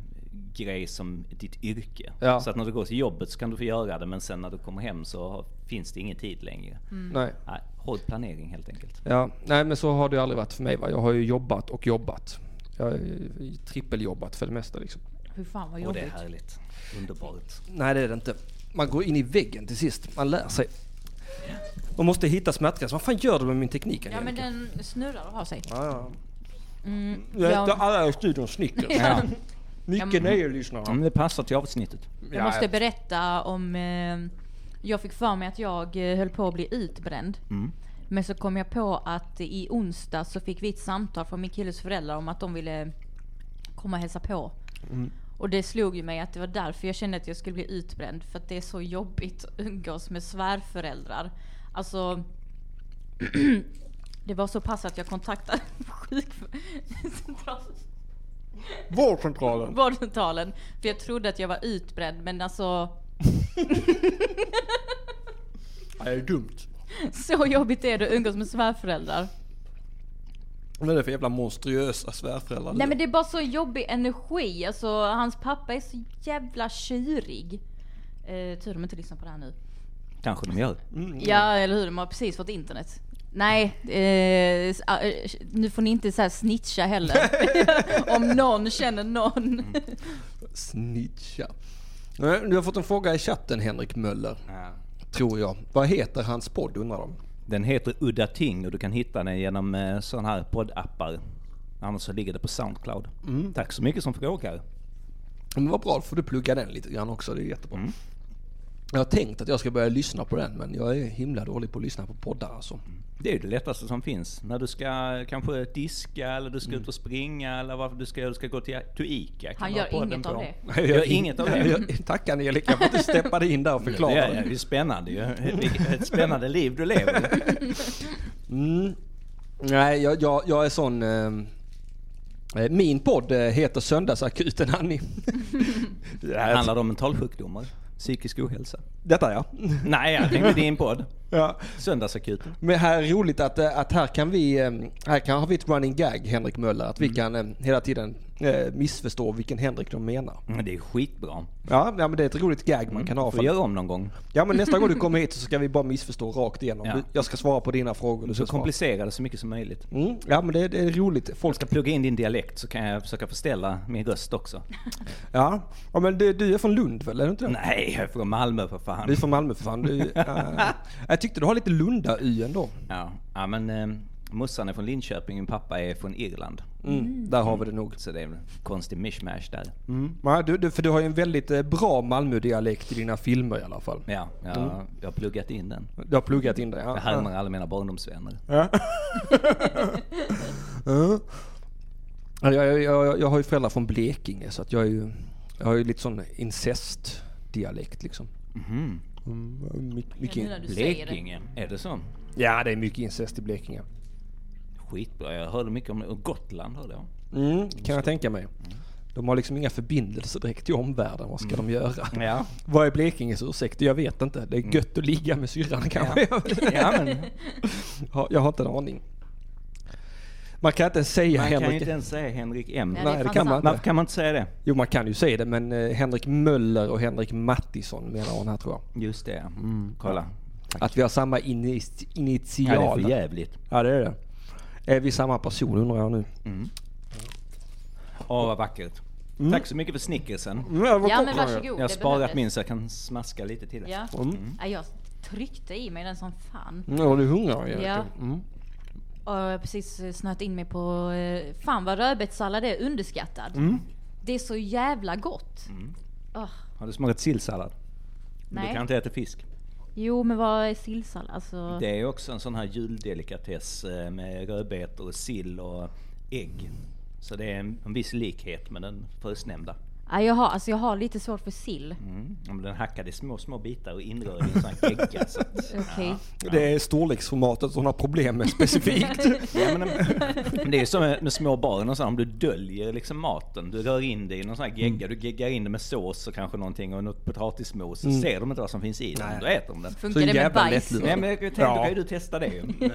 Speaker 4: grej som ditt yrke.
Speaker 2: Ja.
Speaker 4: Så att när du går till jobbet så kan du få göra det, men sen när du kommer hem så finns det ingen tid längre.
Speaker 2: Nej.
Speaker 4: Nej, hård planering helt enkelt.
Speaker 2: Ja, nej men så har det ju aldrig varit för mig va. Jag har ju jobbat och jobbat. Jag har ju trippeljobbat för det mesta liksom.
Speaker 3: Hur fan vad
Speaker 4: Och det är
Speaker 3: jobbigt.
Speaker 4: härligt. Underbart.
Speaker 2: Nej det är det inte. Man går in i väggen till sist. Man lär sig. Man måste hitta smärtgränsen. Vad fan gör du med min teknik
Speaker 3: Ja men
Speaker 2: Angelica?
Speaker 3: den snurrar och har sig.
Speaker 2: Ja,
Speaker 3: Mm,
Speaker 2: ja. Jag
Speaker 3: jag,
Speaker 2: heter alla i studion Snickers.
Speaker 4: Ja.
Speaker 2: Mycket nöje lyssnare.
Speaker 4: det passar till avsnittet.
Speaker 2: Ja,
Speaker 3: jag måste
Speaker 2: jag-
Speaker 3: berätta om... Eh, jag fick för mig att jag eh, höll på att bli utbränd.
Speaker 2: Mm.
Speaker 3: Men så kom jag på att i onsdag så fick vi ett samtal från min killes föräldrar om att de ville komma och hälsa på.
Speaker 2: Mm.
Speaker 3: Och det slog ju mig att det var därför jag kände att jag skulle bli utbränd. För att det är så jobbigt att umgås med svärföräldrar. Alltså... *clears throat* det var så pass att jag kontaktade *laughs* sjukcentralen
Speaker 2: Vårdcentralen.
Speaker 3: vårdcentralen. För jag trodde att jag var utbränd men *laughs* alltså
Speaker 2: Ja, det är dumt.
Speaker 3: så jobbigt är det att umgås med svärföräldrar.
Speaker 2: Vad är det för jävla monstruösa svärföräldrar?
Speaker 3: Nej men det är bara så jobbig energi. Alltså hans pappa är så jävla tjurig. Eh, tur de inte lyssnar på det här nu.
Speaker 4: Kanske de gör.
Speaker 3: Mm. Ja eller hur, de har precis fått internet. Nej, eh, s- ah, eh, nu får ni inte så här snitcha *laughs* heller. Om någon känner någon.
Speaker 2: Snitcha. Nej, Du har fått en fråga i chatten Henrik Möller. Tror jag. Vad heter hans podd undrar de?
Speaker 4: Den heter Udda Ting och du kan hitta den genom eh, sådana här poddappar. Annars så ligger det på Soundcloud. Tack så mycket som frågar. Mm.
Speaker 2: Men vad bra, då får du plugga den lite grann också. Det är jättebra.
Speaker 1: Jag har tänkt att jag ska börja lyssna på den, men jag är himla dålig på att lyssna på poddar alltså.
Speaker 4: Det är ju det lättaste som finns. När du ska kanske diska eller du ska ut och springa eller varför du ska, du ska gå till, till ICA.
Speaker 3: Han gör inget av det.
Speaker 4: Jag gör inget av det.
Speaker 1: *laughs* Jag- Tack Angelica för att du steppade in där och
Speaker 4: Det
Speaker 1: förklarade.
Speaker 4: är, det är spännande ju. Ett spännande liv du lever.
Speaker 1: Mm. Nej, jag, jag, jag är sån... Eh, min podd eh, heter Söndagsakuten Annie.
Speaker 4: Det handlar om mentalsjukdomar, psykisk ohälsa.
Speaker 1: Detta ja. *laughs*
Speaker 4: Nej, jag tänkte din podd.
Speaker 1: ja.
Speaker 4: Söndagsakuten.
Speaker 1: Men här är roligt att, eh, att här kan vi, eh, här kan, har vi ett running gag Henrik Möller. Att vi
Speaker 4: Mm.
Speaker 1: kan eh, hela tiden eh, missförstå vilken Henrik de menar.
Speaker 4: Men Mm, Det är skitbra.
Speaker 1: Ja, ja men det är ett roligt gag man kan ha.
Speaker 4: Mm. Får vi göra om någon gång.
Speaker 1: Ja men nästa gång
Speaker 4: *laughs*
Speaker 1: du kommer hit så ska vi bara missförstå rakt igenom.
Speaker 4: Ja.
Speaker 1: Du- Jag ska svara på dina frågor. Du ska
Speaker 4: Så
Speaker 1: svara.
Speaker 4: komplicera det så mycket som möjligt.
Speaker 1: Mm, ja men det, det är roligt.
Speaker 4: Folk
Speaker 1: Folk,
Speaker 4: ska plugga in din dialekt så kan jag försöka förställa min röst också.
Speaker 1: ja. ja men du, du är från Lund väl? Är du inte det?
Speaker 4: Nej, jag är från Malmö för fan.
Speaker 1: Du är från Malmö för fan. Du,
Speaker 4: *laughs*
Speaker 1: eh, jag tyckte du har lite Lunda-y ändå.
Speaker 4: Ja, ja men eh, morsan är från Linköping, min pappa är från Irland.
Speaker 1: Mm, Där har vi det nog.
Speaker 4: Så det är en konstig mishmash där.
Speaker 1: Ja, du, du, för du har ju en väldigt eh, bra Malmö-dialekt i dina filmer i alla fall.
Speaker 4: Ja, jag, jag har pluggat in den.
Speaker 1: Du har pluggat in det. Ja.
Speaker 4: Jag härmar alla mina barndomsvänner.
Speaker 1: Ja, Jag, jag, jag, jag har ju föräldrar från Blekinge så att jag, är ju, jag har ju lite sån incest-dialekt liksom.
Speaker 4: Mhm.
Speaker 1: Mm, my-
Speaker 3: nu när
Speaker 1: mycket,
Speaker 3: du säger det.
Speaker 4: Blekinge, är det så?
Speaker 1: ja, det är mycket incest i Blekinge.
Speaker 4: Skitbra, jag hörde mycket om det. Och Gotland hörde jag.
Speaker 1: Mm, kan jag tänka mig. De har liksom inga förbindelser direkt till omvärlden. Vad
Speaker 4: Mm.
Speaker 1: ska de göra?
Speaker 4: Ja,
Speaker 1: *laughs* Vad är Blekinges ursäkt? Jag vet inte. Det är gött att ligga med syrran kanske.
Speaker 4: Mm. ja men
Speaker 1: Ja, jag har inte en aning. Man kan inte säga
Speaker 4: man kan
Speaker 1: Henrik...
Speaker 4: ju inte ens säga Henrik M.
Speaker 3: Ja, det är
Speaker 1: Nej, det
Speaker 3: fan
Speaker 1: kan man
Speaker 3: sant.
Speaker 1: inte.
Speaker 4: Varför kan man inte säga det?
Speaker 1: Jo, man kan ju säga det, men eh, Henrik Möller och Henrik Mattisson menar hon här tror jag.
Speaker 4: Just det, ja. kolla.
Speaker 1: Att vi har samma ini-
Speaker 4: Ja, det är
Speaker 1: initial.
Speaker 4: för jävligt.
Speaker 1: Ja, det är det. Är vi samma person undrar jag nu.
Speaker 4: Åh, vad vackert. Tack så mycket för snickersen.
Speaker 1: Mm,
Speaker 3: Ja men varsågod.
Speaker 4: Jag har
Speaker 3: det
Speaker 4: sparat
Speaker 3: behövdes.
Speaker 4: min så jag kan smaska lite till.
Speaker 3: Ja. ja. Jag tryckte i mig den som fan.
Speaker 1: Mm, Var Mm. du hungrig
Speaker 3: Ja.
Speaker 1: Erika? Mm.
Speaker 3: Och jag har precis eh, snöat in mig på, eh, fan vad rödbetssallad är underskattad.
Speaker 4: Mm.
Speaker 3: Det är så jävla gott. Åh,
Speaker 4: Har du smakat sillsallad?
Speaker 3: nej.
Speaker 4: Du kan inte äta fisk.
Speaker 3: Jo men vad är sillsallad? Alltså,
Speaker 4: Det är också en sån här juldelikatess eh, med rödbetor och sill och ägg. Så det är en, en viss likhet med den förstnämnda.
Speaker 3: nej, jag, har, alltså, jag har lite svårt för sill.
Speaker 4: Mm. Ja, men Den hackade i små, små bitar och inrörd i en sån här gegga. Så att,
Speaker 3: *laughs* Okej.
Speaker 1: Det är storleksformatet hon har problem med
Speaker 3: *laughs*
Speaker 1: specifikt.
Speaker 4: ja, men, *laughs* men det är som med med små barn, och så här, om du döljer liksom maten, du rör in det i någon sån här gegga, du geggar in det med sås och kanske någonting och något potatismos, så ser de inte vad som finns i den, då äter de den.
Speaker 3: Funkar det
Speaker 1: Så
Speaker 3: med *laughs*
Speaker 1: jävla
Speaker 3: bajs?
Speaker 1: lättlurad.
Speaker 4: Nej men jag tänkte, då kan ju du testa det ju.
Speaker 3: Ja,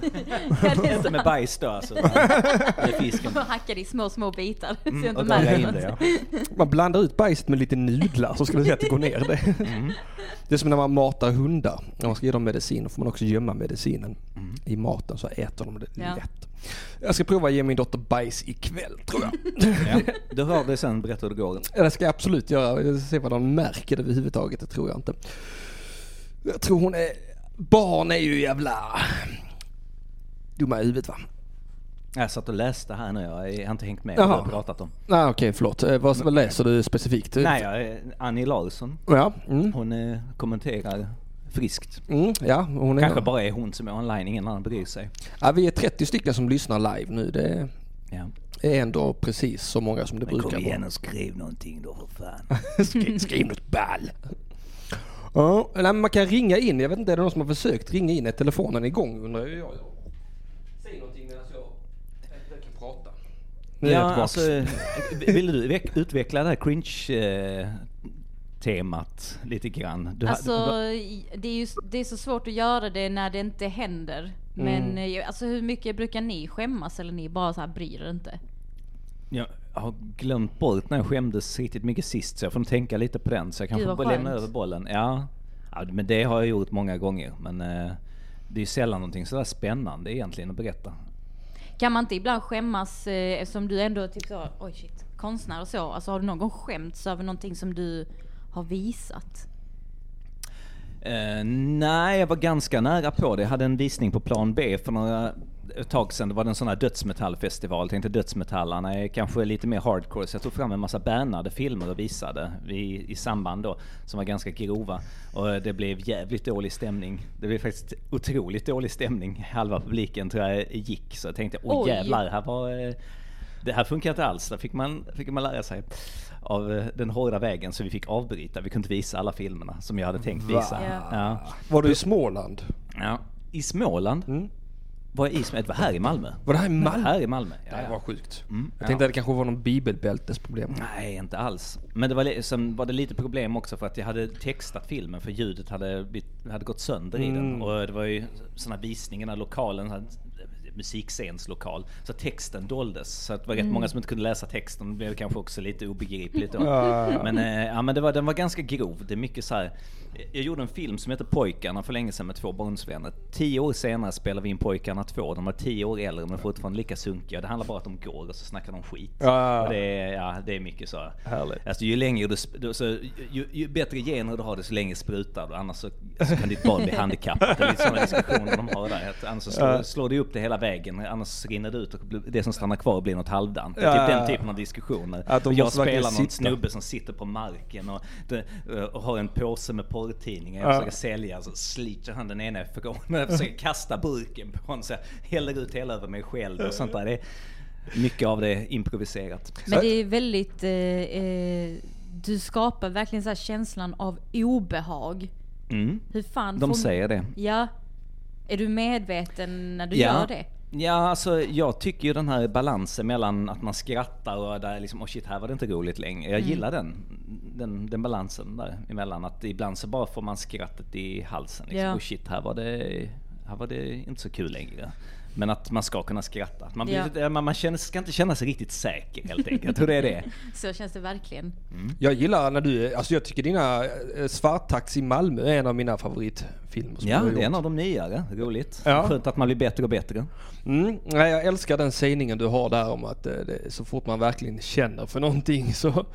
Speaker 3: det är
Speaker 4: Inte med
Speaker 3: sant.
Speaker 4: bajs då alltså. Med fisken.
Speaker 3: Och hacka det i små, små bitar. *laughs* Så jag inte
Speaker 4: Och dra
Speaker 3: märker
Speaker 4: in det
Speaker 3: något.
Speaker 4: ja.
Speaker 1: Man blandar ut bajset med lite nudlar så skulle jag säga att det går ner det.
Speaker 4: Mm.
Speaker 1: Det är som när man matar hundar. När man ska ge dem medicin då får man också gömma medicinen
Speaker 4: Mm.
Speaker 1: i maten så äter de det
Speaker 3: Ja.
Speaker 1: lätt. Jag ska prova att ge min dotter bajs ikväll tror jag.
Speaker 4: Ja, du hör det sen, berätta hur det går.
Speaker 1: Ja, Det ska jag absolut göra. Jag ska se vad de märker det överhuvudtaget. Det tror jag inte. Jag tror hon är... Barn är ju jävla... Dumma i huvudet va?
Speaker 4: Jag satt och läste här nu, jag har inte hängt med
Speaker 1: Jaha.
Speaker 4: vad du har pratat om.
Speaker 1: Nej ah, okej förlåt. Eh, Vad, vad läser du specifikt?
Speaker 4: Nej, jag, Annie Larsson,
Speaker 1: Ja, mm,
Speaker 4: hon eh, kommenterar friskt.
Speaker 1: mm, ja hon är...
Speaker 4: Kanske bara är hon som är online, ingen annan bryr sig.
Speaker 1: Ja, vi är 30 stycken som lyssnar live nu. Det
Speaker 4: Ja.
Speaker 1: är ändå precis så många som det brukar vara.
Speaker 4: och skriv någonting då för fan. *laughs*
Speaker 1: Skriv, skriv något ball. Ja, nej, men man kan ringa in. Jag vet inte, är det någon som har försökt ringa in? Är telefonen igång undrar ju jag. Säg någonting medan jag försöker prata. *laughs* Nu är
Speaker 4: Ja,
Speaker 1: jag tillbaks.
Speaker 4: alltså, vill du veck- utveckla det här cringe-temat lite grann? Du, ha-
Speaker 3: Alltså, i- det är, ju, s- det är så svårt att göra det när det inte händer. Men eh,
Speaker 4: Mm.
Speaker 3: jag- alltså, hur mycket brukar ni skämmas eller ni bara så här bryr er inte?
Speaker 4: Jag har glömt bort när jag skämdes riktigt mycket sist så jag får nog tänka lite på den. Så jag kanske
Speaker 3: vad
Speaker 4: bara lämnar
Speaker 3: skönt.
Speaker 4: över bollen. Ja. ja, men det har jag gjort många gånger. Men eh, det är ju sällan någonting sådär spännande egentligen att berätta.
Speaker 3: Kan man inte ibland skämmas eh, eftersom du ändå är typ så, oj shit, konstnär och så. Alltså har du någon gång skämts över någonting som du har visat?
Speaker 4: Eh, nej, jag var ganska nära på det. Jag hade en visning på plan B för några ett tag sedan, det var det en sån här dödsmetallfestival. Jag tänkte dödsmetallarna är kanske lite mer hardcore, så jag tog fram en massa bärnade filmer och visade i, i samband då, som var ganska grova. Och eh, det blev jävligt dålig stämning. Det blev faktiskt otroligt dålig stämning. Halva publiken tror jag gick, så jag tänkte åh
Speaker 3: Oj.
Speaker 4: jävlar, här var... eh, Det här funkar inte alls, där fick man, fick man lära sig av eh, den hårda vägen så vi fick avbryta, vi kunde inte visa alla filmerna som jag hade tänkt visa.
Speaker 3: Ja.
Speaker 4: Ja.
Speaker 1: Var du i Småland?
Speaker 4: Ja. I Småland? Var i Småland? Det var här i Malmö.
Speaker 1: Mm. Var det här i Malmö?
Speaker 4: Här i Malmö, ja.
Speaker 1: Det här
Speaker 4: ja.
Speaker 1: var sjukt.
Speaker 4: ja.
Speaker 1: jag tänkte att det kanske var någon bibelbältesproblem.
Speaker 4: Nej, inte alls. Men det var, li- sen var det lite problem också för att jag hade textat filmen för ljudet hade, blivit- hade gått sönder i den. Och det var ju sådana visningar, den här lokalen, den här musikscenslokal. Så texten doldes. Så att det var rätt många som inte kunde läsa texten. Det blev kanske också lite obegripligt då. men eh, ja, men det var, den var ganska grov. Det är mycket så här. Jag gjorde en film som heter Pojkarna för länge sedan med två barnsvänner. Tio år senare spelade vi in Pojkarna 2. De var tio år äldre men fortfarande lika sunkiga. Det handlar bara om att de går och så snackar de skit.
Speaker 1: Ja.
Speaker 4: Och det det är, ja, det är mycket så.
Speaker 1: Ah. Härligt.
Speaker 4: Alltså, ju, längre du, sp- du, så, ju, ju bättre gener du har desto längre sprutar du, annars så, så kan ditt
Speaker 1: *laughs*
Speaker 4: barn bli handikappat. Det är lite sådana diskussioner de har där. Att annars så slår, slår du upp det hela vägen, annars rinner det ut och blir- det som stannar kvar blir något halvdant.
Speaker 1: Ja.
Speaker 4: Typ den typen av diskussioner.
Speaker 1: Att de
Speaker 4: och jag
Speaker 1: måste verkligen
Speaker 4: spelar någon
Speaker 1: sitta.
Speaker 4: snubbe som sitter på marken och, det- och har en påse med porrtidningar jag
Speaker 1: Ja.
Speaker 4: försöker sälja, så sliter han den ena ifrån. Jag försöker kasta burken på honom, så jag häller ut hela över mig själv och sånt där. Det är, mycket av det är improviserat.
Speaker 3: Men det är väldigt... Eh, eh, du skapar verkligen så här känslan av obehag.
Speaker 4: Mm.
Speaker 3: Hur fan
Speaker 4: De
Speaker 3: får-
Speaker 4: säger det.
Speaker 3: Ja. Är du medveten när du gör det?
Speaker 4: Ja, alltså jag tycker ju den här balansen mellan att man skrattar och där liksom, oh shit, här var det inte roligt längre.
Speaker 3: Mm.
Speaker 4: Jag gillar den, den, den balansen där emellan. Att ibland så bara får man skrattet i halsen. Liksom.
Speaker 3: Ja.
Speaker 4: Oh shit, här var, det, här var det inte så kul längre. Men att man ska kunna skratta. Att Man, blir,
Speaker 3: Ja.
Speaker 4: lite- man, man känner, ska inte känna sig riktigt säker helt enkelt. Jag tror det är *laughs* det.
Speaker 3: Så känns det verkligen.
Speaker 1: Mm. Jag gillar när du, alltså jag tycker dina eh, Svarttax i Malmö är en av mina favoritfilmer som
Speaker 4: Ja,
Speaker 1: du har
Speaker 4: det är en
Speaker 1: gjort.
Speaker 4: av de nyare. Roligt.
Speaker 1: Ja.
Speaker 4: Skönt att man blir bättre och bättre.
Speaker 1: Mm. Nej, jag älskar den sägningen du har där om att eh, det, så fort man verkligen känner för någonting så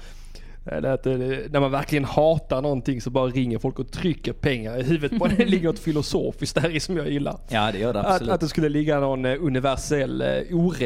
Speaker 1: eller att, eh, när man verkligen hatar någonting så bara ringer folk och trycker pengar i huvudet på en. Det ligger något filosofiskt där i som jag gillar.
Speaker 4: Ja, det gör det
Speaker 1: Att,
Speaker 4: absolut.
Speaker 1: att det skulle ligga någon eh, universell eh,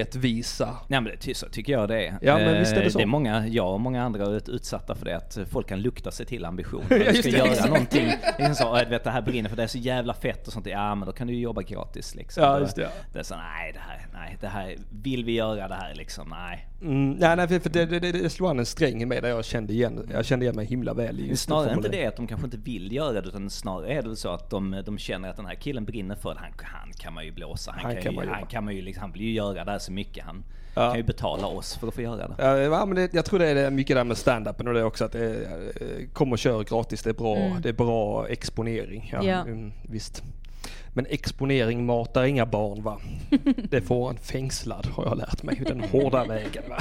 Speaker 1: orättvisa.
Speaker 4: Nej men det, ty- så tycker jag det är.
Speaker 1: Ja, men
Speaker 4: Eh,
Speaker 1: visst är det så.
Speaker 4: Det är många, jag och många andra är ut- utsatta för det, att folk kan lukta sig till
Speaker 1: *laughs*
Speaker 4: ambitionen. Du
Speaker 1: just
Speaker 4: ska
Speaker 1: det,
Speaker 4: göra
Speaker 1: exakt.
Speaker 4: någonting, liksom så, "Åh, du vet det här brinner för det är så jävla fett och sånt. Ja men då kan du ju jobba gratis liksom.
Speaker 1: Ja,
Speaker 4: Då-
Speaker 1: just det, ja.
Speaker 4: Det är så, nej det här, nej det här, vill vi göra det här liksom? Nej.
Speaker 1: Mm, nej, nej, för för det, det, det, det slog an en sträng i mig där jag kände igen, jag kände igen mig himla väl i just
Speaker 4: Snarare inte
Speaker 1: formuleringen.
Speaker 4: det att de kanske inte vill göra det, utan snarare är det väl så att de, de känner att den här killen brinner för det. Han, han kan man ju blåsa, han, kan, ju,
Speaker 1: man jobba.
Speaker 4: han kan man ju liksom, han vill ju göra det här så mycket. Han
Speaker 1: Ja.
Speaker 4: kan ju betala oss för att få göra det.
Speaker 1: Ja, ja, men det, jag tror det är mycket där med stand-upen och det också att det är, eh, kom och kör gratis, det är bra, det är bra exponering. Ja,
Speaker 3: Ja.
Speaker 1: Mm, visst. Men exponering matar inga barn va? Det får en fängslad har jag lärt mig, den hårda vägen va?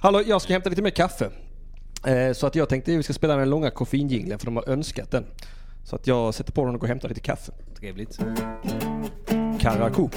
Speaker 1: Hallå, jag ska hämta lite mer kaffe. Eh, Så att jag tänkte att vi ska spela den långa koffeinjingeln för de har önskat den. Så att jag sätter på den och går och hämtar lite kaffe.
Speaker 4: Trevligt.
Speaker 1: Karakou.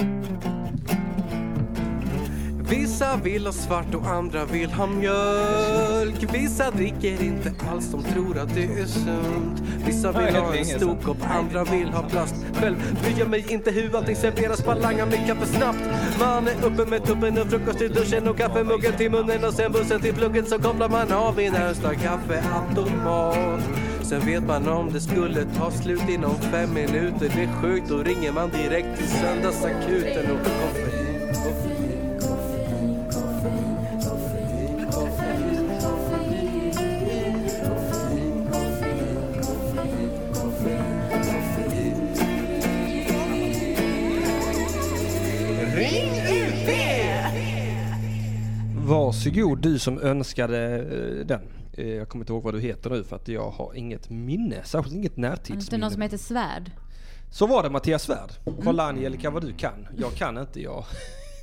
Speaker 7: Vissa vill ha svart och andra vill ha mjölk. Vissa dricker inte alls, de tror att det är sunt. Vissa vill ha en stor kopp, andra vill ha plast. Själv bryr jag mig inte hur allting serveras, bara langar mitt kaffe snabbt. Man är uppe med tuppen och frukost i duschen och kaffemuggen till munnen och sen bussen till plugget så kopplar man av i närmsta kaffeautomat. Sen vet man om det skulle ta slut inom fem minuter. Det är sjukt, då ringer man direkt till söndagsakuten och koffein.
Speaker 1: Varsågod du som önskade eh, den. Eh, Jag kommer inte ihåg vad du heter nu för att jag har inget minne, särskilt inget
Speaker 3: Finns det någon som
Speaker 1: närtidsminne.
Speaker 3: heter Mm. Svärd?
Speaker 1: Så var det Mattias Svärd. Kolla Angelica vad du kan. Jag kan inte jag.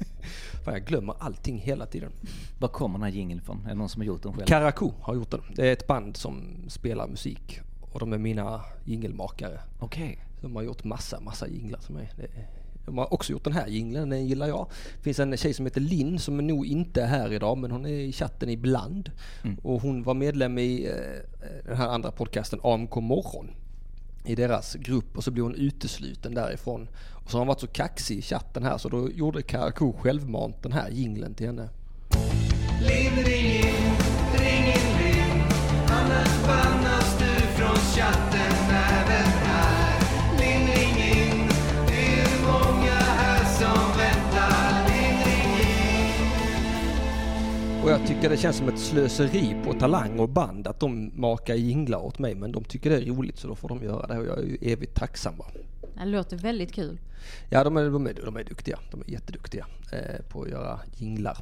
Speaker 1: *laughs* Fan, jag glömmer allting hela tiden.
Speaker 4: Var kommer den här jingeln ifrån? Är det någon som har gjort den själv?
Speaker 1: Karakou har gjort den. Det är ett band som spelar musik och de är mina jingelmakare.
Speaker 4: Okej.
Speaker 1: De har gjort massa, massa jinglar till mig. Det är- De har också gjort den här jingeln, den gillar jag. Det finns en tjej som heter Linn som nog inte är här idag men hon är i chatten ibland. Och hon var medlem i eh, den här andra podcasten AMK morgon.
Speaker 2: i deras grupp och så blev hon utesluten därifrån. Och så har hon varit så kaxig i chatten här så då gjorde Karakou självmant den här jinglen till henne. Och jag tycker det känns som ett slöseri på talang och band att de makar jinglar åt mig men de tycker det är roligt så då får de göra det och jag är ju evigt tacksam. Va?
Speaker 3: Det låter väldigt kul.
Speaker 2: Ja, de är, de, är, de är duktiga. De är jätteduktiga eh, på att göra jinglar.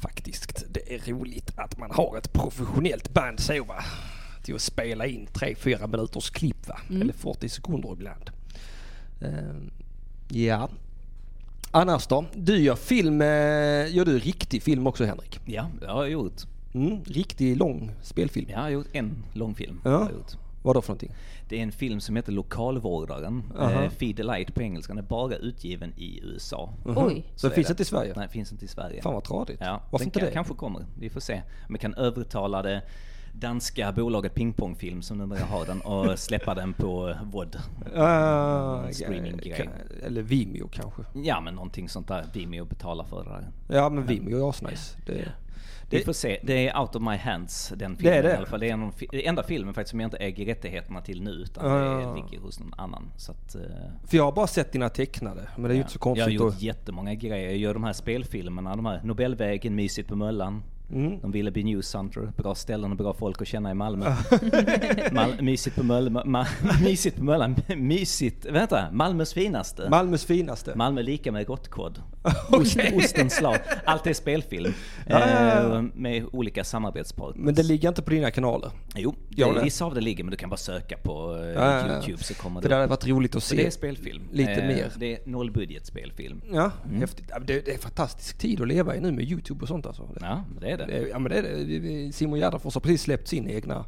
Speaker 2: Faktiskt. Det är roligt att man har ett professionellt band så va. Till att spela in 3-4 minuters klipp va.
Speaker 4: Mm.
Speaker 2: Eller 40 sekunder ibland. Eh, ja. Annars då? Du gör film, eh, gör du riktig film också Henrik?
Speaker 4: Ja, det har jag gjort.
Speaker 2: Mm, riktig lång spelfilm.
Speaker 4: Jag har gjort en långfilm.
Speaker 2: Ja.
Speaker 4: Har jag gjort.
Speaker 2: Vad då för någonting?
Speaker 4: Det är en film som heter Lokalvårdaren.
Speaker 2: Aha.
Speaker 4: Eh, Feed the Light på engelska. Den är bara utgiven i USA.
Speaker 3: Oj.
Speaker 2: Så det
Speaker 4: är
Speaker 2: finns inte i Sverige?
Speaker 4: Nej, finns inte i Sverige.
Speaker 2: Fan vad tradigt.
Speaker 4: Ja,
Speaker 2: Varför
Speaker 4: den
Speaker 2: inte
Speaker 4: kan-
Speaker 2: det?
Speaker 4: kanske kommer. Vi får se. Om vi kan övertala det danska bolaget Pingpongfilm som numera har den och släppa den på VOD.
Speaker 2: Ah,
Speaker 4: streaminggrej.
Speaker 2: kan- Eller Vimeo kanske.
Speaker 4: Ja men någonting sånt där. Vimeo betalar för det där.
Speaker 2: Ja men Vimeo är asnice. Det,
Speaker 4: Vi
Speaker 2: det,
Speaker 4: får se. Det är out of my hands den
Speaker 2: Det
Speaker 4: filmen
Speaker 2: är det.
Speaker 4: i alla fall. Det är en, fi- den enda filmen faktiskt som jag inte äger rättigheterna till nu utan
Speaker 2: Ah.
Speaker 4: det ligger hos någon annan. Så att, eh,
Speaker 2: för jag har bara sett dina tecknade. Men det är ju inte så
Speaker 4: jag har
Speaker 2: konstigt.
Speaker 4: gjort
Speaker 2: att-
Speaker 4: jättemånga grejer. Jag gör de här spelfilmerna, de här Nobelvägen, Mysigt på Möllan.
Speaker 2: Mm.
Speaker 4: De ville bli Newshunter, bra ställen och bra folk att känna i Malmö. *laughs* Mal- mysigt på Möllan, ma- *laughs* mysigt på Möllan, mysigt, vänta, Malmös finaste.
Speaker 2: Malmös finaste.
Speaker 4: Malmö lika med gottkod.
Speaker 2: *laughs*
Speaker 4: Ost, ostens slag. Allt är spelfilm. Eh, med olika samarbetspartners.
Speaker 2: men det ligger inte på dina kanaler.
Speaker 4: Jo,
Speaker 2: Gör
Speaker 4: det,
Speaker 2: det?
Speaker 4: vissa av det ligger men du kan bara söka på eh,
Speaker 2: Ja, ja, ja.
Speaker 4: YouTube så kommer
Speaker 2: För
Speaker 4: det,
Speaker 2: det hade
Speaker 4: upp.
Speaker 2: varit roligt att
Speaker 4: Så
Speaker 2: se.
Speaker 4: det är spelfilm.
Speaker 2: lite
Speaker 4: Eh,
Speaker 2: mer.
Speaker 4: Det är nollbudgetspelfilm.
Speaker 2: Ja,
Speaker 4: Mm.
Speaker 2: häftigt. Ja, men Det, det är en fantastisk tid att leva i nu med YouTube och sånt alltså. Det,
Speaker 4: Ja, det är det.
Speaker 2: det- ja men det är det. Vi- vi- Simon Gärdenfors har precis släppt sin egna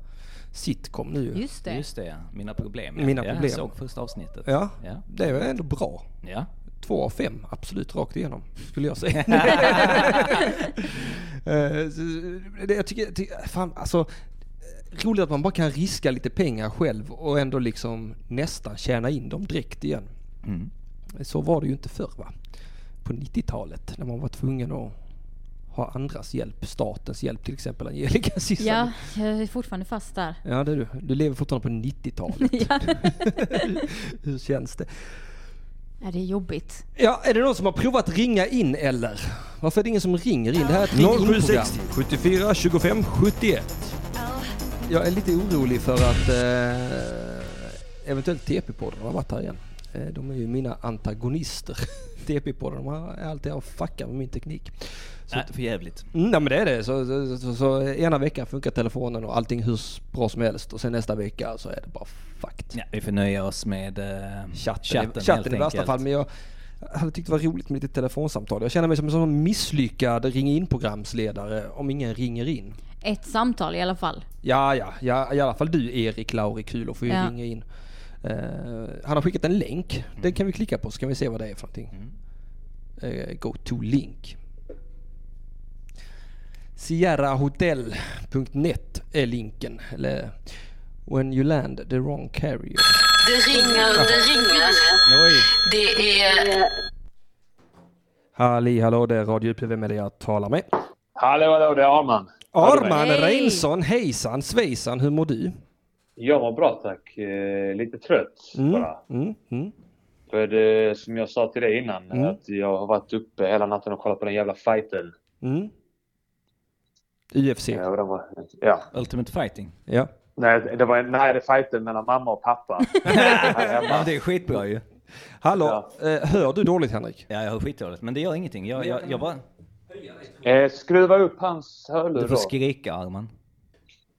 Speaker 2: sitcom nu.
Speaker 3: Just det.
Speaker 4: Just det, Mina problem. ja.
Speaker 2: Mina
Speaker 4: ja,
Speaker 2: problem.
Speaker 4: Jag såg första avsnittet.
Speaker 2: Ja,
Speaker 4: Ja.
Speaker 2: det är väl ändå bra.
Speaker 4: ja.
Speaker 2: Två av fem, absolut rakt igenom, skulle jag
Speaker 4: *laughs*
Speaker 2: säga. Eh, så, det- jag tycker, jag tycker fan, alltså, eh, roligt att man bara kan riska lite pengar själv och ändå liksom nästan tjäna in dem direkt igen.
Speaker 4: Mm.
Speaker 2: Så var det ju inte förr va? På 90-talet när man var tvungen att ha andras hjälp, statens hjälp till exempel Angelica *laughs* Sissan.
Speaker 3: Ja, jag är fortfarande fast där.
Speaker 2: Ja, det är du. Du lever fortfarande på 90-talet.
Speaker 3: *laughs* Ja.
Speaker 2: *laughs* Hur känns det?
Speaker 3: Ja, det är jobbigt.
Speaker 2: Ja, är det någon som har provat ringa in eller? Varför är det ingen som ringer in? Det här är ett ring-in-program.
Speaker 5: 0760 74 25 71.
Speaker 2: Jag är lite orolig för att eh, eventuellt TP-podden har varit här igen. Eh, de är ju mina antagonister. *laughs* TP-podden de har- är alltid här och fuckar med min teknik. Så,
Speaker 4: Nej, för jävligt.
Speaker 2: Mm, nej men det är det. Så, så, så, så ena veckan funkar telefonen och allting hur bra som helst och sen nästa vecka så är det bara fucked.
Speaker 4: Ja, vi får nöja oss med eh,
Speaker 2: chatten,
Speaker 4: chatten,
Speaker 2: i, chatten
Speaker 4: helt
Speaker 2: i värsta
Speaker 4: enkelt.
Speaker 2: fall. Men jag hade tyckt det var roligt med lite telefonsamtal. Jag känner mig som en sån misslyckad ring in programsledare om ingen ringer in.
Speaker 3: Ett samtal i alla fall.
Speaker 2: Ja, ja, ja i alla fall du Erik Lauri Kulo får ju
Speaker 3: Ja.
Speaker 2: ringa in. Eh, han har skickat en länk.
Speaker 4: Mm.
Speaker 2: Den kan vi klicka på så kan vi se vad det är för någonting. Eh, go to link. Sierrahotel.net är linken. Eller When you land
Speaker 4: Eh,
Speaker 2: the wrong carrier.
Speaker 8: Det ringer, det ringer. Det är...
Speaker 2: Halli hallå, det är Radio UP. Vem är det jag talar med?
Speaker 9: Hallå, hallå, det är Arman.
Speaker 2: Arman
Speaker 3: Hej!
Speaker 2: Reinsson, hejsan svejsan, hur mår du?
Speaker 9: Jag mår bra tack. Eh, lite trött bara.
Speaker 2: Mm, mm.
Speaker 9: För det, som jag sa till dig innan, att jag har varit uppe hela natten och kollat på den jävla fighten.
Speaker 2: Mm. UFC,
Speaker 9: Ja, och den var, ja.
Speaker 4: Ultimate fighting.
Speaker 2: ja.
Speaker 9: Nej, det var en nära fighten mellan mamma
Speaker 2: *laughs*
Speaker 9: och pappa. Här
Speaker 4: Ja,
Speaker 9: hemma.
Speaker 4: det är skitbra ju.
Speaker 2: Hallå, eh, hör du dåligt Henrik?
Speaker 4: Ja, jag har skitdåligt. Men det gör ingenting. Jag, jag, jag bara...
Speaker 9: eh, skruva upp hans
Speaker 4: Du får
Speaker 9: hörlurar.
Speaker 4: skrika Arman.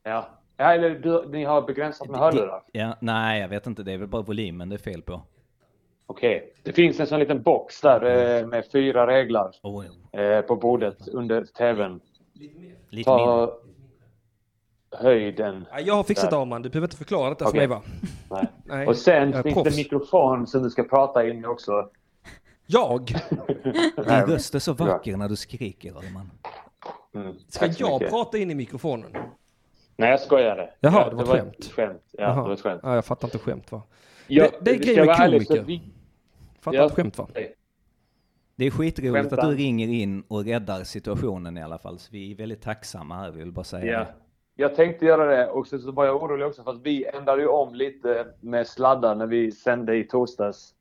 Speaker 9: Ja. ja, eller du, ni har begränsat med hörlurar.
Speaker 4: Ja, nej, jag vet inte. Det är väl bara volymen det är fel på.
Speaker 9: Okej. Det finns en sån liten box där eh,
Speaker 2: Mm.
Speaker 9: med fyra reglar
Speaker 4: Oh,
Speaker 9: eh, på bordet under tvn.
Speaker 4: lite mindre.
Speaker 9: Ta höjden.
Speaker 2: Ja, Jag har fixat
Speaker 9: Där.
Speaker 2: Arman, du behöver inte förklara detta för mig
Speaker 9: Okej.
Speaker 2: va?
Speaker 9: Nej.
Speaker 2: Nej,
Speaker 9: Och sen
Speaker 2: jag är
Speaker 9: finns det
Speaker 2: proffs.
Speaker 9: en mikrofon som du ska prata in i också.
Speaker 2: Jag?
Speaker 9: Nej,
Speaker 4: Din röst är så vacker när du skriker Arman.
Speaker 9: mm,
Speaker 2: Ska
Speaker 9: tack så
Speaker 2: jag
Speaker 9: mycket.
Speaker 2: prata in i mikrofonen?
Speaker 9: Nej, jag skojade.
Speaker 2: Jaha,
Speaker 9: Ja,
Speaker 2: det var ett skämt.
Speaker 9: Ett skämt. Ja,
Speaker 2: Jaha.
Speaker 9: det var ett skämt.
Speaker 2: Ja, jag fattar inte skämt va?
Speaker 9: Jag-
Speaker 2: det är
Speaker 9: ska
Speaker 2: grejen
Speaker 9: jag
Speaker 2: med
Speaker 9: vara ärlig så
Speaker 2: komiker.
Speaker 9: vi-
Speaker 2: Fattar
Speaker 9: Ja.
Speaker 2: inte skämt va?
Speaker 4: Det är skitroligt
Speaker 9: Skämtar.
Speaker 4: att du ringer in och räddar situationen i alla fall. Så vi är väldigt tacksamma här, vi vill bara säga
Speaker 9: Ja.
Speaker 4: det.
Speaker 9: Jag tänkte göra det och sen så var jag orolig också för att vi ändrade ju om lite med sladdar när vi sände i torsdags.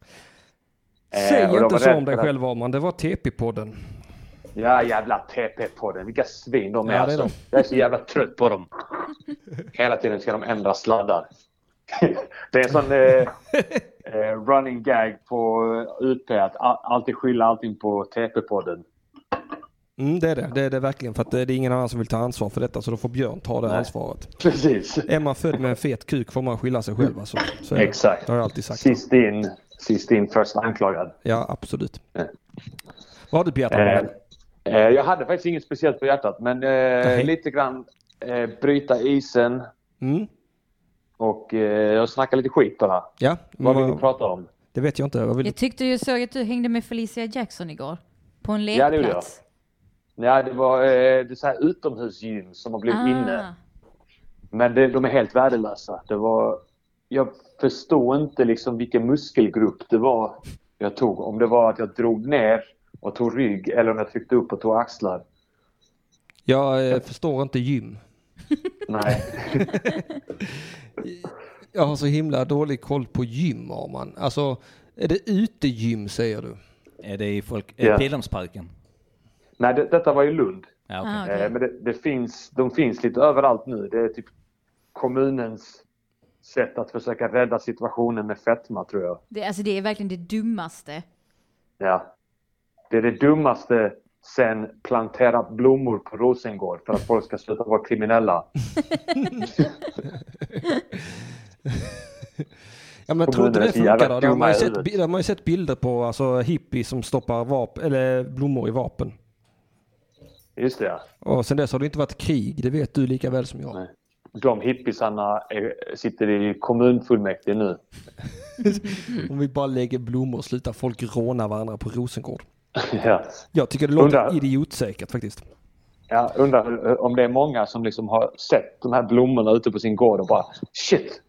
Speaker 9: Eh,
Speaker 2: Säg
Speaker 9: och jag
Speaker 2: inte
Speaker 9: var
Speaker 2: så
Speaker 9: rädd
Speaker 2: om dig
Speaker 9: för att-
Speaker 2: själv Arman, det var TP-podden.
Speaker 9: Ja, jävla PP-podden. Vilka svin de är,
Speaker 2: Ja, det är
Speaker 9: alltså. Jag är så jävla trött
Speaker 2: *laughs*
Speaker 9: på dem. Hela tiden ska de ändra sladdar. *laughs* det är en
Speaker 2: *laughs*
Speaker 9: sån eh, eh, running gag på eh, UP att a- alltid skylla allting på TP-podden.
Speaker 2: Mm, det är det. Det är det verkligen. För att eh, det är ingen annan som vill ta ansvar för detta så då får Björn ta det ansvaret.
Speaker 9: *laughs* Precis.
Speaker 2: Är man född med en fet kuk får man skylla sig själv alltså. Så är det.
Speaker 9: Exakt.
Speaker 2: Det har jag alltid sagt.
Speaker 9: Sist in, sist in först anklagad.
Speaker 2: Ja, absolut.
Speaker 9: Ja.
Speaker 2: Vad har du på hjärtat
Speaker 9: Eh,
Speaker 2: Arman?
Speaker 9: eh, jag hade faktiskt inget speciellt på hjärtat, men eh, lite grann eh, bryta isen
Speaker 2: Mm.
Speaker 9: och eh, jag snackar lite skit bara.
Speaker 2: Ja,
Speaker 9: Vad vill
Speaker 2: vad-
Speaker 9: vi prata om?
Speaker 2: det vet jag inte. Vad
Speaker 1: Mm.
Speaker 2: vill...
Speaker 3: Jag tyckte ju såg att du hängde med Felicia Jackson igår. På en
Speaker 9: Ja, det gjorde jag.
Speaker 3: lekplats.
Speaker 9: Nej, det var eh, det är så här utomhusgym som
Speaker 3: Ah.
Speaker 9: har blivit inne. Men det, de är helt värdelösa. Det var, jag förstod inte liksom vilken muskelgrupp det var jag tog. Om det var att jag drog ner och tog rygg eller om jag tryckte upp och tog axlar.
Speaker 2: Jag eh, förstår inte gym.
Speaker 9: Nej.
Speaker 2: Jag har så himla dålig koll på gym Arman. Alltså, är det utegym säger du? *clears throat*
Speaker 4: Är det i folk... eh,
Speaker 9: Ja.
Speaker 4: yeah. Pildammsparken?
Speaker 9: Nej, det, detta var i Lund.
Speaker 4: Ja, okej.
Speaker 3: Ah, okej.
Speaker 9: Eh, men det, det finns, de finns lite överallt nu. Det är typ kommunens sätt att försöka rädda situationen med fetma, tror jag.
Speaker 3: det, alltså det är verkligen det dummaste.
Speaker 9: Ja. Det är det dummaste sen plantera blommor på Rosengård för att folk ska sluta vara kriminella.
Speaker 2: Ja men tror inte
Speaker 9: Kommuner
Speaker 2: det
Speaker 9: är så
Speaker 2: funkar då?
Speaker 9: jävla
Speaker 2: Det har man ju
Speaker 9: dumma i
Speaker 2: sett,
Speaker 9: huvudet.
Speaker 2: bi- det har man ju sett bilder på alltså, hippies som stoppar vap- eller blommor i vapen.
Speaker 9: Just det, ja.
Speaker 2: Och sen dess har det inte varit krig, det vet du lika väl som jag.
Speaker 9: Nej. De hippisarna är, sitter i kommunfullmäktige nu. *laughs*
Speaker 2: Om vi bara lägger blommor och slutar folk råna varandra på Rosengård.
Speaker 9: ja.
Speaker 2: Jag tycker det låter
Speaker 9: Undrar-
Speaker 2: idiotsäkert faktiskt.
Speaker 9: Ja, undrar hur- om det är många som liksom har sett de här blommorna ute på sin gård och bara shit,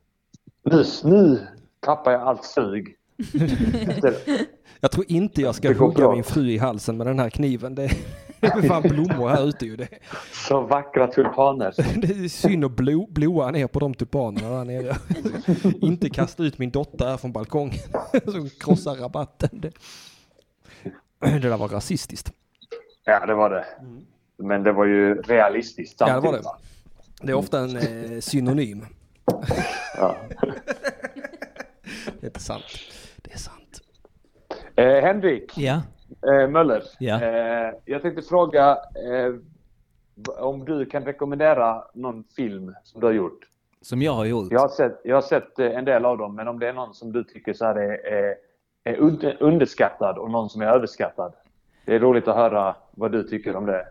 Speaker 9: nu, nu tappar jag allt sug.
Speaker 2: Jag tror inte jag ska
Speaker 9: Det går
Speaker 2: hugga
Speaker 9: bra.
Speaker 2: min fru i halsen med den här kniven. Det är *laughs* det är fan blommor här ute ju. Det,
Speaker 9: Så vackra tulpaner.
Speaker 2: *laughs* det är synd att blo, blåa ner på de tulpanerna där nere. *laughs* inte kasta ut min dotter här från balkongen *laughs* som krossar rabatten. Det, det där var rasistiskt.
Speaker 9: Ja, det var det. Men det var ju realistiskt
Speaker 2: det var
Speaker 9: samtidigt.
Speaker 2: det.
Speaker 9: va?
Speaker 2: Det är ofta en eh, synonym. *laughs* Det är inte sant. Det är sant.
Speaker 9: Eh, Henrik
Speaker 4: Ja.
Speaker 9: eh, Möller.
Speaker 4: Ja.
Speaker 9: Eh, jag tänkte fråga eh, v- om du kan rekommendera någon film som du har gjort.
Speaker 4: Som jag har gjort.
Speaker 9: Jag har sett, jag har sett eh, en del av dem, men om det är någon som du tycker så här är, är, är un- underskattad och någon som är överskattad. Det är roligt att höra vad du tycker om det.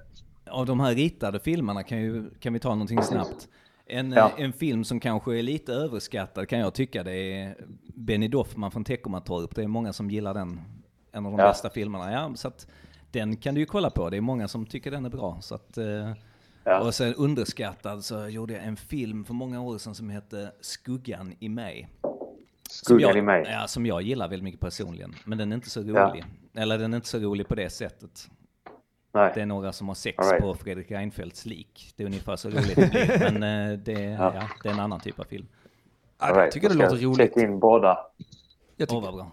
Speaker 4: Av de här ritade filmerna kan, ju, kan vi ta någonting snabbt. En, eh,
Speaker 9: Ja.
Speaker 4: en film som kanske är lite överskattad kan jag tycka det är Benny Doffman från Teckomatorp. Det är många som gillar den. En av de
Speaker 9: Ja.
Speaker 4: bästa filmerna. Ja, så att, den kan du ju kolla på. Det är många som tycker den är bra. Så att, eh,
Speaker 9: Ja.
Speaker 4: Och sen underskattad så gjorde jag en film för många år sedan som hette Skuggan i mig. Som
Speaker 9: Skuggan
Speaker 4: jag-
Speaker 9: i mig.
Speaker 4: Ja, som jag gillar väldigt mycket personligen. Men den är inte så
Speaker 9: Ja.
Speaker 4: rolig. Eller den är inte så rolig på det sättet. Det är
Speaker 9: Nej.
Speaker 4: några som har sex
Speaker 9: All right.
Speaker 4: på Fredrik Reinfeldts lik. Det är ungefär så roligt det blir. Men eh, det, ja. det är en annan typ av film.
Speaker 2: Ja,
Speaker 9: All
Speaker 2: Jag
Speaker 9: right.
Speaker 2: tycker det
Speaker 9: Jag ska
Speaker 2: låter roligt.
Speaker 9: Checka in båda.
Speaker 2: Jag
Speaker 4: Åh,
Speaker 2: tycker,
Speaker 4: vad bra.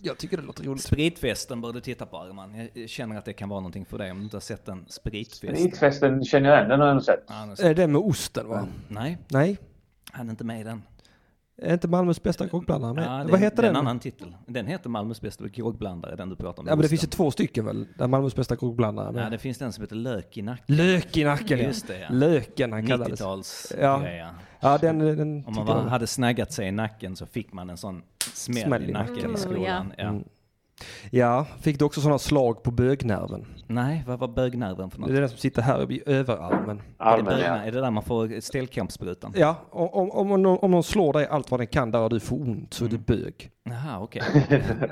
Speaker 2: jag tycker det låter roligt.
Speaker 4: Spritfesten bör du titta på, Arman. Jag känner att det kan vara någonting för dig om du inte har sett den. Spritfesten.
Speaker 9: Spritfesten känner jag igen, den har jag nog sett.
Speaker 4: Ja, nu-
Speaker 2: Är det med osten va?
Speaker 4: Nej,
Speaker 2: Nej.
Speaker 4: han är inte med i den.
Speaker 2: Är inte Malmös bästa kockblandare med?
Speaker 4: Ja, det-
Speaker 2: Vad heter
Speaker 4: det är
Speaker 2: den?
Speaker 4: en annan titel. Den heter Malmös bästa groggblandare, den du pratar om.
Speaker 2: Ja men det
Speaker 4: Just
Speaker 2: finns ju
Speaker 4: den.
Speaker 2: två stycken väl? Där Malmös bästa kockblandare är
Speaker 4: Ja,
Speaker 2: med.
Speaker 4: det finns den som heter Lök i nacken.
Speaker 2: Lök i nacken
Speaker 4: Just det, ja.
Speaker 2: Löken
Speaker 9: Mm.
Speaker 2: han kallades.
Speaker 4: 90-tals
Speaker 2: Ja.
Speaker 4: greja.
Speaker 2: Ja den, eh, den
Speaker 4: Om man
Speaker 2: tyckte
Speaker 4: var,
Speaker 2: jag-
Speaker 4: hade snaggat sig i nacken så fick man en sån smäll,
Speaker 2: Smäll i Mm.
Speaker 4: i nacken
Speaker 3: nacken.
Speaker 4: i skolan. Ja.
Speaker 2: Ja, fick du också sådana slag på bögnerven?
Speaker 4: Nej, vad var bögnerven för något?
Speaker 2: Det är den som sitter här vid överarmen.
Speaker 9: Armen,
Speaker 4: Bögna,
Speaker 9: ja.
Speaker 4: Är det där man får stelkrampssprutan?
Speaker 2: Ja, om, om, om, någon, om någon slår dig allt vad den kan där och du får ont så är du bög.
Speaker 4: Jaha, okej.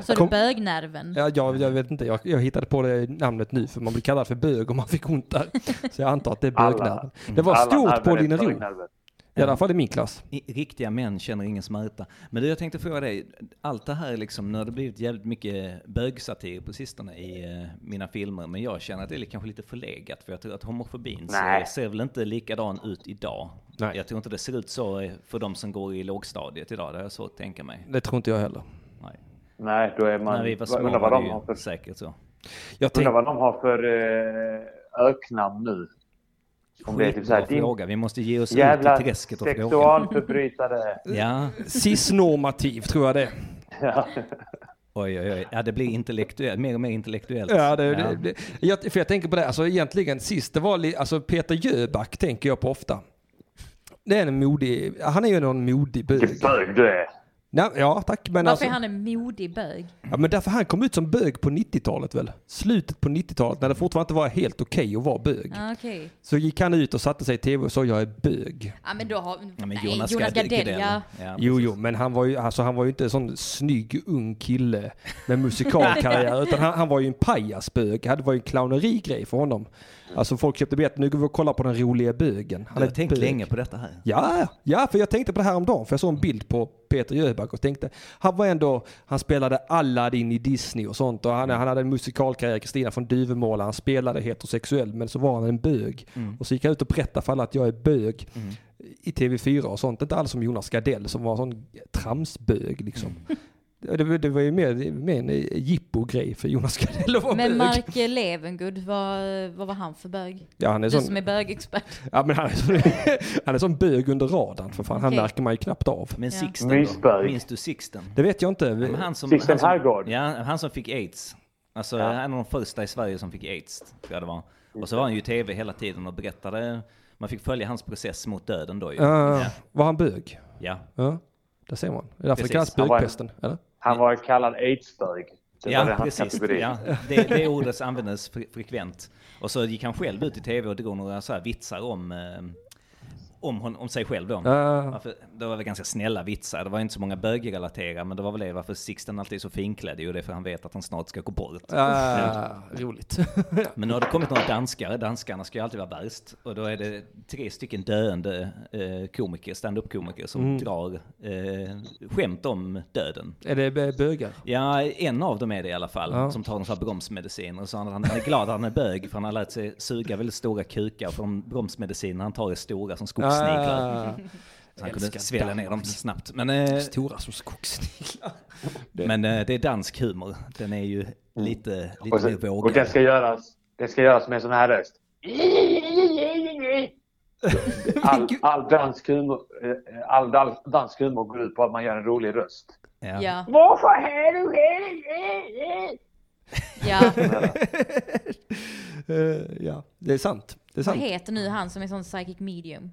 Speaker 3: Så
Speaker 2: Kom-
Speaker 3: du bögnerven.
Speaker 2: Ja, jag, jag vet inte, jag, jag hittade på det namnet nu för man blir kallad för bög om man fick ont där. Så jag antar att det är
Speaker 9: Alla- mm,
Speaker 2: bögnerven. Det var
Speaker 9: Alla
Speaker 2: stort på
Speaker 9: nerver är
Speaker 2: Linnero.
Speaker 9: bögnerver.
Speaker 2: I alla fall i min klass.
Speaker 4: I, riktiga män känner ingen smärta. Men du, jag tänkte fråga dig. Allt det här liksom, nu har det blivit jävligt mycket bögsatir på sistone i eh, mina filmer. Men jag känner att det är kanske lite förlegat. För jag tror att homofobin ser,
Speaker 9: Nej.
Speaker 4: ser väl inte likadan ut idag.
Speaker 2: Nej.
Speaker 4: Jag tror inte det ser ut så eh, för de som går i lågstadiet idag. Det har jag svårt att tänka mig.
Speaker 2: Det tror inte jag heller.
Speaker 4: Nej.
Speaker 9: Nej, då är man...
Speaker 4: När vi var små
Speaker 9: undrar
Speaker 4: var
Speaker 9: vad
Speaker 4: det
Speaker 9: de har
Speaker 4: ju
Speaker 9: för,
Speaker 4: säkert så.
Speaker 2: Jag
Speaker 9: undrar
Speaker 2: tänk,
Speaker 9: vad de har för eh, öknamn nu. Om det är typ såhär,
Speaker 4: Skitbra
Speaker 9: din
Speaker 4: fråga. Vi måste ge oss
Speaker 9: jävla
Speaker 4: ut i träsket och fråga.
Speaker 9: sexualförbrytare. *laughs*
Speaker 4: Ja,
Speaker 2: *laughs* cisnormativ tror jag det är.
Speaker 9: ja.
Speaker 4: oj, oj, oj. Ja, det blir intellektuellt. Mer och mer intellektuellt.
Speaker 2: Ja, det, det, det. Jag, för jag tänker på det, alltså egentligen sist det var, li- alltså Peter Jöback tänker jag på ofta. Det är en modig, han är ju någon modig bög.
Speaker 9: Vilken bög du är.
Speaker 2: Nej, ja tack, men
Speaker 3: Varför
Speaker 2: alltså,
Speaker 3: är han en modig bög?
Speaker 2: ja, men därför han kom ut som bög på 90-talet väl? Slutet på 90-talet när det fortfarande inte var helt okej att vara bög.
Speaker 3: Ah, Okej.
Speaker 2: Så gick han ut och satte sig i tv och sa jag är bög.
Speaker 3: Ja men då har...
Speaker 4: Ja, men
Speaker 3: nej,
Speaker 4: Jonas,
Speaker 3: Jonas
Speaker 4: Gardell.
Speaker 3: Gardell ja.
Speaker 4: Ja,
Speaker 2: Jo, jo, men han var ju, alltså, han var ju inte en sån snygg ung kille med musikalkarriär, utan han, han var ju en pajasbög. Det var ju en clownerigrej för honom. Alltså folk köpte biljetter, nu går vi och kollar på den roliga bögen. Han
Speaker 4: Jag
Speaker 2: är
Speaker 4: har tänkt
Speaker 2: bög.
Speaker 4: länge på detta här.
Speaker 2: Ja, ja, för jag tänkte på det här om dagen för jag såg en bild på Peter Jöback och tänkte, han var ändå, han spelade Aladdin i Disney och sånt och han, han hade en musikalkarriär, Kristina från Duvemåla, han spelade heterosexuell men så var han en bög. Och så gick han ut och berättade för alla att jag är bög i TV4 och sånt, inte alls som Jonas Gardell som var en sån tramsbög liksom. Det, var- det var ju mer, mer en jippo-grej för Jonas Gardell att vara
Speaker 3: Men
Speaker 2: bög.
Speaker 3: Mark Levengood, vad, vad var han för bög?
Speaker 2: ja, han är
Speaker 3: Du
Speaker 2: sån,
Speaker 3: som är bögexpert.
Speaker 2: ja, men han är sån, *laughs* han är sån bög under radarn för fan, han
Speaker 3: Okej.
Speaker 2: märker man ju knappt av.
Speaker 3: Ja.
Speaker 4: Men Sixten då?
Speaker 9: Mysberg.
Speaker 4: Minns du Sixten?
Speaker 2: Det vet jag inte.
Speaker 4: Men han som,
Speaker 9: Sixten
Speaker 4: han som,
Speaker 9: Herrgård.
Speaker 4: Alltså, Ja, han som fick aids. Alltså en av de första i Sverige som fick aids, tror jag det var. Och så var han ju i tv hela tiden och berättade, man fick följa hans process mot döden då ju.
Speaker 2: Ja,
Speaker 4: Ja.
Speaker 2: Var han bög?
Speaker 4: ja.
Speaker 2: Ja, där ser man. Det är därför det
Speaker 4: Precis.
Speaker 2: kallas
Speaker 9: Han var-
Speaker 2: bögpesten. Eller?
Speaker 9: Han var kallad aidsbög. Det var
Speaker 4: Ja,
Speaker 9: det hans
Speaker 4: precis.
Speaker 9: kategori.
Speaker 4: Ja, det, det ordet användes fre frekvent. Och så gick han själv ut i tv och drog några så här vitsar om, eh, om, hon, om sig själv då.
Speaker 2: Ja.
Speaker 4: Varför, det var väl ganska snälla vitsar, det var inte så många bögrelaterade, men det var väl det varför Sixten alltid är så finklädd, jo det är för han vet att han snart ska gå bort.
Speaker 2: Ah, roligt. *laughs*
Speaker 4: Men nu har det kommit några danskare, danskarna ska ju alltid vara värst. Och då är det tre stycken döende eh, komiker, stand-up-komiker som
Speaker 9: Mm.
Speaker 4: drar eh, skämt om döden.
Speaker 2: är det bö- bögar?
Speaker 4: Ja, en av dem är det i alla fall,
Speaker 2: Ja.
Speaker 4: som tar en sån här bromsmedicin. Och så han, han är glad att han är bög, för han har lärt sig suga väldigt stora kukar, för de bromsmediciner han tar är stora som skogssniglar.
Speaker 2: Ah,
Speaker 4: Så han kunde
Speaker 2: älskar
Speaker 4: svälja ner dem snabbt. Men, eh,
Speaker 2: stora som skogssniglar.
Speaker 4: men eh, det Mm. är dansk humor. Den är ju lite, lite
Speaker 9: Och,
Speaker 4: mer
Speaker 9: så, och den
Speaker 4: vågad.
Speaker 9: ska göras, den ska göras med en sån här röst. All, all, dansk, humor, eh, all dans- dansk humor går ut på att man gör en rolig röst.
Speaker 4: Ja.
Speaker 3: Ja. ja.
Speaker 6: Varför är du här?
Speaker 2: Eh, ja, det är sant. Det är
Speaker 3: Vad
Speaker 2: sant.
Speaker 3: heter nu han som är sån psychic medium?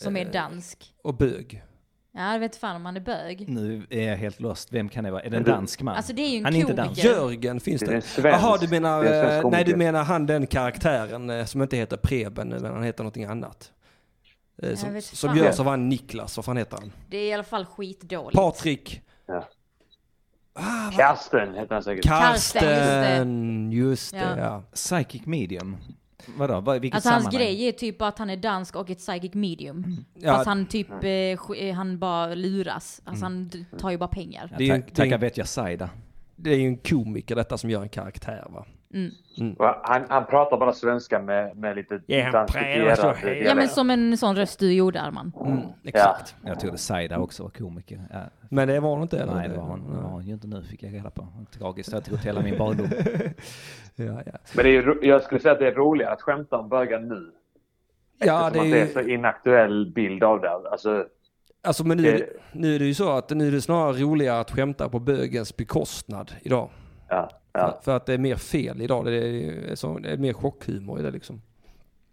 Speaker 3: Som är dansk.
Speaker 2: Och bög.
Speaker 3: Ja, jag vet fan om han är bög.
Speaker 4: Nu är jag helt lost. Vem kan det vara? Är det en dansk man?
Speaker 3: Alltså det är ju en
Speaker 4: Han är inte
Speaker 3: komiker.
Speaker 4: dansk.
Speaker 2: Jörgen finns
Speaker 9: Det är en
Speaker 2: det.
Speaker 9: svensk-
Speaker 2: Jaha, du menar,
Speaker 9: det är en svensk
Speaker 2: eh, nej du
Speaker 9: komiker.
Speaker 2: menar han den karaktären eh, som inte heter Preben, eh, men han heter någonting annat. Eh, Som,
Speaker 3: vet
Speaker 2: som
Speaker 3: fan.
Speaker 2: görs av han Niklas, vad fan heter han?
Speaker 3: Det är i alla fall skitdåligt.
Speaker 2: Patrik
Speaker 9: Ja. Karsten heter han säkert.
Speaker 3: Karsten, just det.
Speaker 2: Karsten, just det.
Speaker 3: Ja.
Speaker 2: Ja.
Speaker 4: Psychic medium? Vadå? Vad- Vilket
Speaker 3: Alltså hans
Speaker 4: sammanhang? Mm.
Speaker 3: grej är typ bara att han är dansk och ett psychic medium.
Speaker 2: Ja.
Speaker 3: Fast han typ, eh, sk- eh, han bara luras. Alltså han d- tar ju bara pengar.
Speaker 4: Mm. Ja,
Speaker 2: Det är ju-
Speaker 4: tack,
Speaker 2: det är ju-
Speaker 4: tackar vet jag Saida.
Speaker 2: Det är ju en komiker detta som gör en karaktär va?
Speaker 9: Va, Han, han pratar bara svenska med, med lite
Speaker 2: Ja, han
Speaker 9: dansifierad
Speaker 2: pratar så här.
Speaker 3: Ja men som en sån röst du gjorde Arman.
Speaker 2: Exakt.
Speaker 4: Jag trodde Saida också var komiker. Ja,
Speaker 2: Men det var hon inte eller?
Speaker 4: nej, det var hon, det var hon ju inte nu, fick jag reda på. Tragiskt, jag har trott hela min barndom.
Speaker 2: Ja, ja.
Speaker 9: Men det är, ju ro- jag skulle säga att det är roligare att skämta om bögar nu.
Speaker 2: ja det
Speaker 9: Eftersom
Speaker 2: är
Speaker 9: att det är så
Speaker 2: ju,
Speaker 9: inaktuell bild av det. Alltså,
Speaker 2: alltså men nu, är det- nu är det ju så att nu är det snarare roligare att skämta på bögens bekostnad idag.
Speaker 9: ja, ja.
Speaker 2: För att det är mer fel idag, det är, så, det är mer chockhumor i det liksom.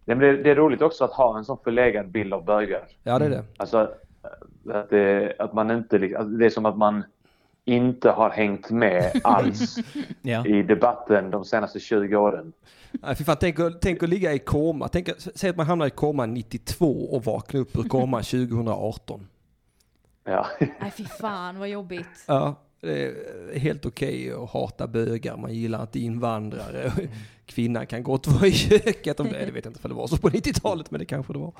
Speaker 9: Nej, men det, det är roligt också att ha en sån förlegad bild av bögar.
Speaker 2: Ja det är det.
Speaker 9: Alltså, att, det, att man inte... liksom- Alltså, det är som att man inte har hängt med
Speaker 2: *laughs*
Speaker 9: alls
Speaker 4: Ja.
Speaker 9: i debatten de senaste 20 åren.
Speaker 2: Nej, fy fan, tänk, att- tänk att ligga i koma, tänk, att- säg att man hamnar i koma 92 och vaknar upp ur koma 2018.
Speaker 9: Ja. *laughs*
Speaker 3: Nej fy fan vad jobbigt.
Speaker 2: Ja, det är helt okej att hata bögar, man gillar inte invandrare. Kvinnan *laughs* kan gott vara i köket om det, det vet jag inte för det var så på 90-talet, men det kanske det var.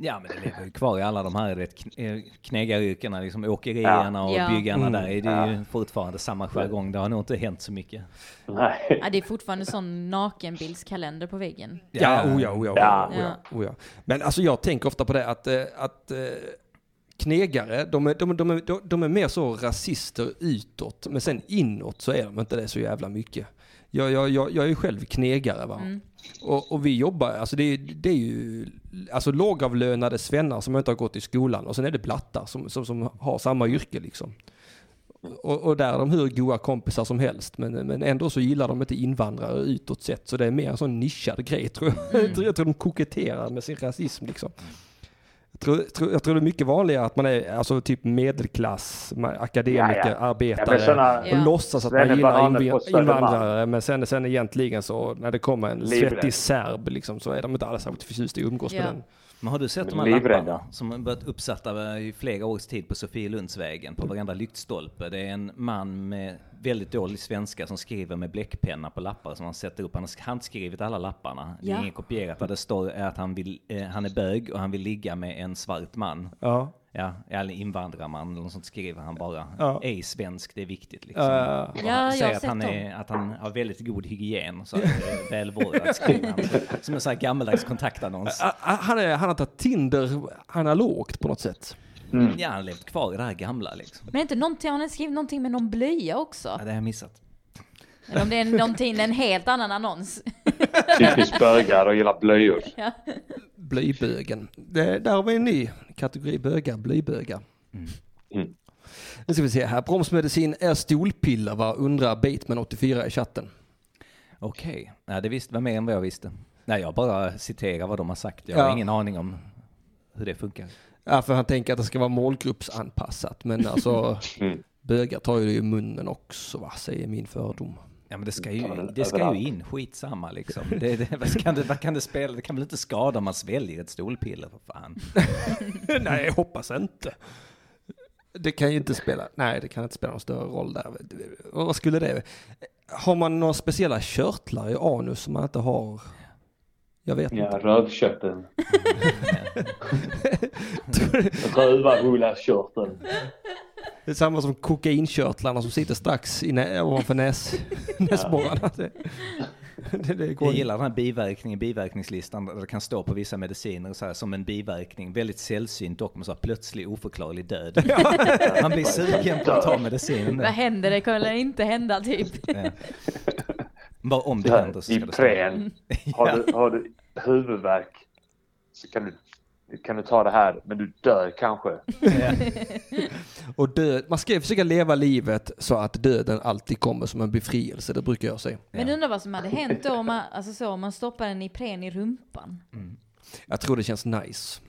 Speaker 4: Ja, men det lever ju kvar i alla de här vet, kn- eh, knegaryrkena, liksom åkerierna och
Speaker 3: Ja.
Speaker 4: byggarna där. Det är ju
Speaker 9: Ja.
Speaker 4: fortfarande samma jargong. Det har nog inte hänt så mycket.
Speaker 9: Nej.
Speaker 3: Ja, det är fortfarande sån nakenbildskalender på väggen.
Speaker 2: Eh, Ja, oja, oja, oja,
Speaker 9: Ja.
Speaker 2: oja, oja. Men alltså jag tänker ofta på det att, eh, att eh, knegare, de är, de, är- de, är, de- de är mer så rasister utåt, men sen inåt så är de inte det så jävla mycket. Jag, jag, jag, jag är ju själv knegare va. Och, och vi jobbar, alltså det, är- det är ju alltså lågavlönade svennar som inte har gått i skolan och sen är det blattar som, som, som har samma yrke liksom. Och, och där är de hur goa kompisar som helst. Men, men ändå så gillar de inte invandrare utåt sett. Så det är mer en sån nischad grej tror jag.
Speaker 9: Mm.
Speaker 2: Jag tror- jag tror de koketterar med sin rasism liksom. Jag tror, tror, jag tror det är mycket vanligare att man är alltså, typ medelklass, man, akademiker,
Speaker 9: Ja, ja.
Speaker 2: arbetare.
Speaker 9: Ja, men såna-
Speaker 3: Ja.
Speaker 2: Och låtsas att man gillar
Speaker 9: Svennebananer på
Speaker 2: inv-
Speaker 9: Södermalm.
Speaker 2: invandrare. Men sen, sen egentligen så när det kommer en
Speaker 9: Livrädd.
Speaker 2: svettig serb liksom, så är de inte alls särskilt förtjusta i att umgås
Speaker 3: Ja.
Speaker 2: med den.
Speaker 4: Men har du sett de här
Speaker 9: Livrädda.
Speaker 4: lapparna som har varit uppsatta i flera års tid på Sofielundsvägen på varenda lyktstolpe? Det är en man med väldigt dålig svenska som skriver med bläckpenna på lappar som han sätter upp. Han har handskrivit alla lapparna. Det är
Speaker 3: Ja.
Speaker 4: inget kopierat. Där det står är att han, vill, eh, han är bög och han vill ligga med en svart man.
Speaker 2: Ja.
Speaker 4: Ja, eller invandrarman eller något sånt skriver han bara.
Speaker 2: Ja.
Speaker 4: Ej svensk, det är viktigt liksom.
Speaker 2: Ja.
Speaker 4: Och
Speaker 3: Ja,
Speaker 4: han
Speaker 3: jag
Speaker 4: säger
Speaker 3: har
Speaker 4: att han,
Speaker 3: sett
Speaker 4: är, att han har väldigt god hygien, så att det är välvårdad skriver han.
Speaker 2: *laughs*
Speaker 4: Som en sån här gammaldags kontaktannons.
Speaker 2: Ah, ah, Han, är, han har tagit Tinder analogt på något sätt.
Speaker 4: Ja, han har levt kvar i det här gamla liksom.
Speaker 3: Men inte någonting, har ni skrivit någonting med någon blöja också?
Speaker 4: Ja, det har jag missat.
Speaker 3: Eller om det är någonting, en helt annan annons.
Speaker 9: Typiskt bögar och gillar blöjor.
Speaker 2: Blöjbögen. Det, där har vi en ny kategori bögar, blöjbögar.
Speaker 9: Mm.
Speaker 2: Nu ska vi se här. Bromsmedicin är stolpiller va? Undrar Bateman84 i chatten.
Speaker 4: Okej, ja, det visste, var mer än vad jag visste. Nej, jag bara citerar vad de har sagt. Jag
Speaker 2: Ja.
Speaker 4: har ingen aning om hur det funkar.
Speaker 2: Ja, för han tänker att det ska vara målgruppsanpassat. Men
Speaker 9: *laughs*
Speaker 2: alltså,
Speaker 9: Mm.
Speaker 2: bögar tar ju det i munnen också va? Säger min fördom.
Speaker 4: Ja, men det ska ju, det ska ju in, skitsamma liksom. Det, det, vad, kan det, vad kan det spela? Det kan väl inte skada om man sväljer ett stolpiller för *laughs* fan.
Speaker 2: *laughs* Nej, jag hoppas inte. Det kan ju inte spela, nej det kan inte spela någon större roll där. Och Vad skulle det, har man några speciella körtlar i anus som man inte har? Jag vet
Speaker 9: Ja,
Speaker 2: inte.
Speaker 9: rövkötteln. Rövarhullakörteln.
Speaker 2: Det är samma som kokainkörtlarna som sitter strax i nä- ovanför näs, näsborrarna. Det, det, det går
Speaker 4: Jag
Speaker 2: inte.
Speaker 4: gillar den här biverkningen, biverkningslistan, där det kan stå på vissa mediciner så här, som en biverkning, väldigt sällsynt dock med så här, plötslig oförklarlig död. Man blir sugen på att ta medicinen.
Speaker 3: Vad händer? Det kommer inte hända typ.
Speaker 4: Bara om det händer så ska det stå.
Speaker 9: Ipren. Har du, har du huvudvärk så kan du, kan du ta det här, men du dör kanske.
Speaker 2: Och död, man ska ju försöka leva livet så att döden alltid kommer som en befrielse, det brukar jag säga.
Speaker 3: Men undrar vad som hade hänt då om man, alltså så, om man stoppar en Ipren i rumpan.
Speaker 2: Jag tror det känns nice.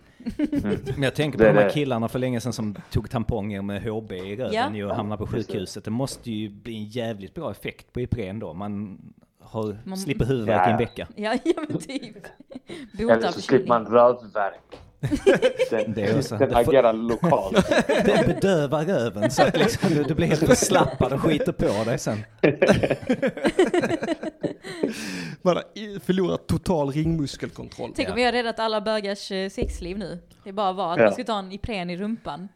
Speaker 4: Men jag tänker på
Speaker 9: Det är
Speaker 4: de här
Speaker 9: det.
Speaker 4: killarna för länge sedan som tog tamponger med HB i
Speaker 3: Ja.
Speaker 4: röven ju och hamnade på sjukhuset. Det måste ju bli en jävligt bra effekt på Ipren då. Man har,
Speaker 3: Man-
Speaker 4: slipper huvudvärk i
Speaker 9: Ja.
Speaker 4: en vecka.
Speaker 3: Ja, *laughs* ja men typ.
Speaker 9: Eller
Speaker 3: Botar
Speaker 9: så slipper
Speaker 3: *laughs*
Speaker 9: man
Speaker 3: förkylning.
Speaker 9: rövvärk. Den,
Speaker 4: Det är också-
Speaker 9: den
Speaker 4: det får-
Speaker 9: agerar lokalt.
Speaker 4: Den bedövar röven så att liksom, du, du blir helt förslappad och skiter på dig sen.
Speaker 2: Man har i- förlorat total ringmuskelkontroll.
Speaker 3: *laughs* Tänk om vi har räddat alla bögars eh, sexliv nu. Det bara var att
Speaker 9: Ja.
Speaker 3: man skulle ta en Ipren i rumpan.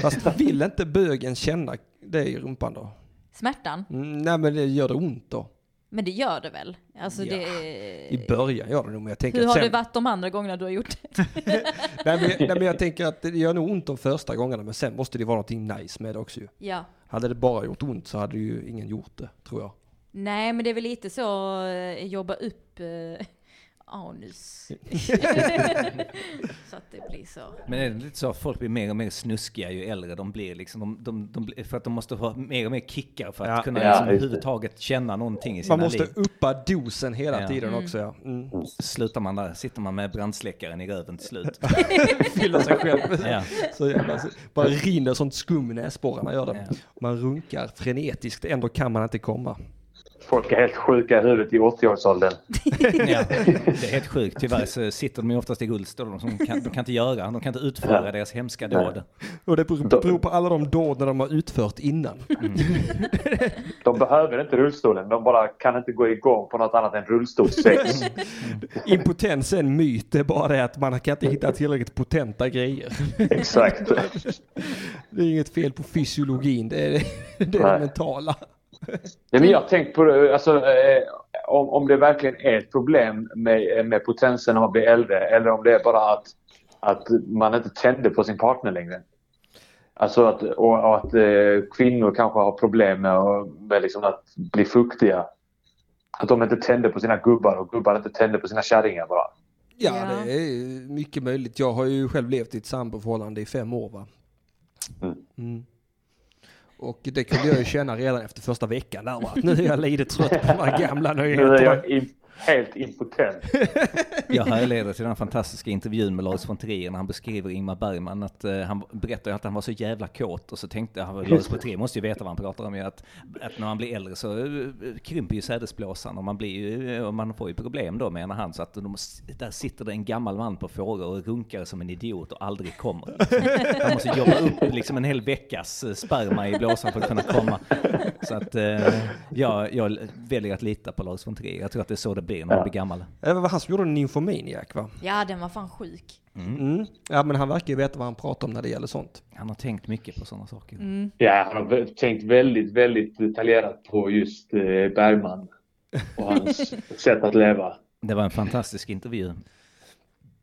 Speaker 2: Fast vill inte bögen känna det i rumpan då?
Speaker 3: Smärtan?
Speaker 2: Mm, nej men det gör det ont då.
Speaker 3: Men det gör det väl? Alltså
Speaker 2: Ja. I
Speaker 3: det...
Speaker 2: början gör det nog men jag tänker
Speaker 3: Eh. Hur
Speaker 2: att
Speaker 3: har
Speaker 2: sen...
Speaker 3: det varit de andra gångerna du har gjort det? *laughs*
Speaker 2: nej, men, jag- nej men jag tänker att det gör nog ont de första gångerna men sen måste det vara någonting nice med det också ju.
Speaker 3: Ja.
Speaker 2: Hade det bara gjort ont så hade ju ingen gjort det tror jag.
Speaker 3: Nej, men det är väl lite så eh, jobba upp eh,
Speaker 2: *laughs*
Speaker 3: anus. så att det blir så.
Speaker 4: Men är det lite så att folk blir mer och mer snuskiga ju äldre de blir liksom? De, de, de, blir- för att de måste ha mer och mer kickar för att
Speaker 2: Ja.
Speaker 4: kunna
Speaker 9: Ja,
Speaker 4: liksom,
Speaker 9: just det.
Speaker 4: överhuvudtaget känna någonting i sina
Speaker 2: Man måste
Speaker 4: liv.
Speaker 2: uppa dosen hela
Speaker 4: Ja.
Speaker 2: tiden också ja. Mm.
Speaker 4: Slutar man där, sitter man med brandsläckaren i röven till slut.
Speaker 2: Fylla sig
Speaker 3: *laughs*
Speaker 2: själv.
Speaker 4: Ja.
Speaker 2: Så jävla, så- bara rinner sånt skum i näsborrarna gör det.
Speaker 4: Ja.
Speaker 2: Man runkar frenetiskt, ändå kan man inte komma.
Speaker 9: Folk är helt sjuka i huvudet i 80-årsåldern.
Speaker 4: Ja, det är helt sjukt. Tyvärr så sitter de ju oftast i rullstol. De, som kan, de kan inte göra, de kan inte utföra deras hemska dåd.
Speaker 2: Och det beror beror på alla de dåden de har utfört innan.
Speaker 9: De behöver inte rullstolen. De bara kan inte gå igång på något annat än rullstolssex.
Speaker 2: Impotens är en myt, det är bara det att man kan inte hitta tillräckligt potenta grejer.
Speaker 9: Exakt.
Speaker 2: Det är inget fel på fysiologin, det är det, är det
Speaker 9: Nej.
Speaker 2: mentala.
Speaker 9: Nej, men jag har tänkt på det, alltså, eh, om, om det verkligen är ett problem med, med potensen när man blir äldre eller om det är bara att, att man inte tänder på sin partner längre. Alltså att, och, och att eh, kvinnor kanske har problem med, att- med liksom att bli fuktiga. Att de inte tänder på sina gubbar och gubbar inte tänder på sina kärringar bara.
Speaker 2: Ja,
Speaker 3: Ja.
Speaker 2: det är mycket möjligt. Jag har ju själv levt i ett samboförhållande i fem år. Va?
Speaker 9: Mm.
Speaker 2: Mm. Och det kunde jag ju känna redan efter första veckan. Där, va? Nu är jag lite trött på de här gamla
Speaker 9: Nu är
Speaker 2: nyheterna.
Speaker 9: jag im- helt impotent.
Speaker 4: Jag härleder till den fantastiska intervjun med Lars von Trier när han beskriver Ingmar Bergman. Att, eh, han berättar ju att han var så jävla kåt och så tänkte han, Lars von Trier måste ju veta vad han pratar om ju, att, att när man blir äldre så eh, krymper ju sädesblåsan och man, blir ju, eh, och man får ju problem då menar han. Så att de, där sitter det en gammal man på Fårö och runkar som en idiot och aldrig kommer. Liksom. Han måste jobba upp liksom en hel veckas eh, sperma i blåsan för att kunna komma. Så att eh, jag, jag väljer att lita på Lars von Trier. Jag tror att det är så det blir när man
Speaker 9: Ja.
Speaker 4: blir gammal.
Speaker 2: Det var han som gjorde Nymphomaniac va?
Speaker 3: Ja, den var fan sjuk.
Speaker 2: Mm. Ja men han verkar ju veta vad han pratar om när det gäller sånt.
Speaker 4: Han har tänkt mycket på sådana saker.
Speaker 9: *laughs*
Speaker 3: Mm.
Speaker 9: Ja, han har vä- tänkt väldigt, väldigt detaljerat på just eh, Bergman och *laughs* hans sätt att leva.
Speaker 4: Det var en fantastisk intervju.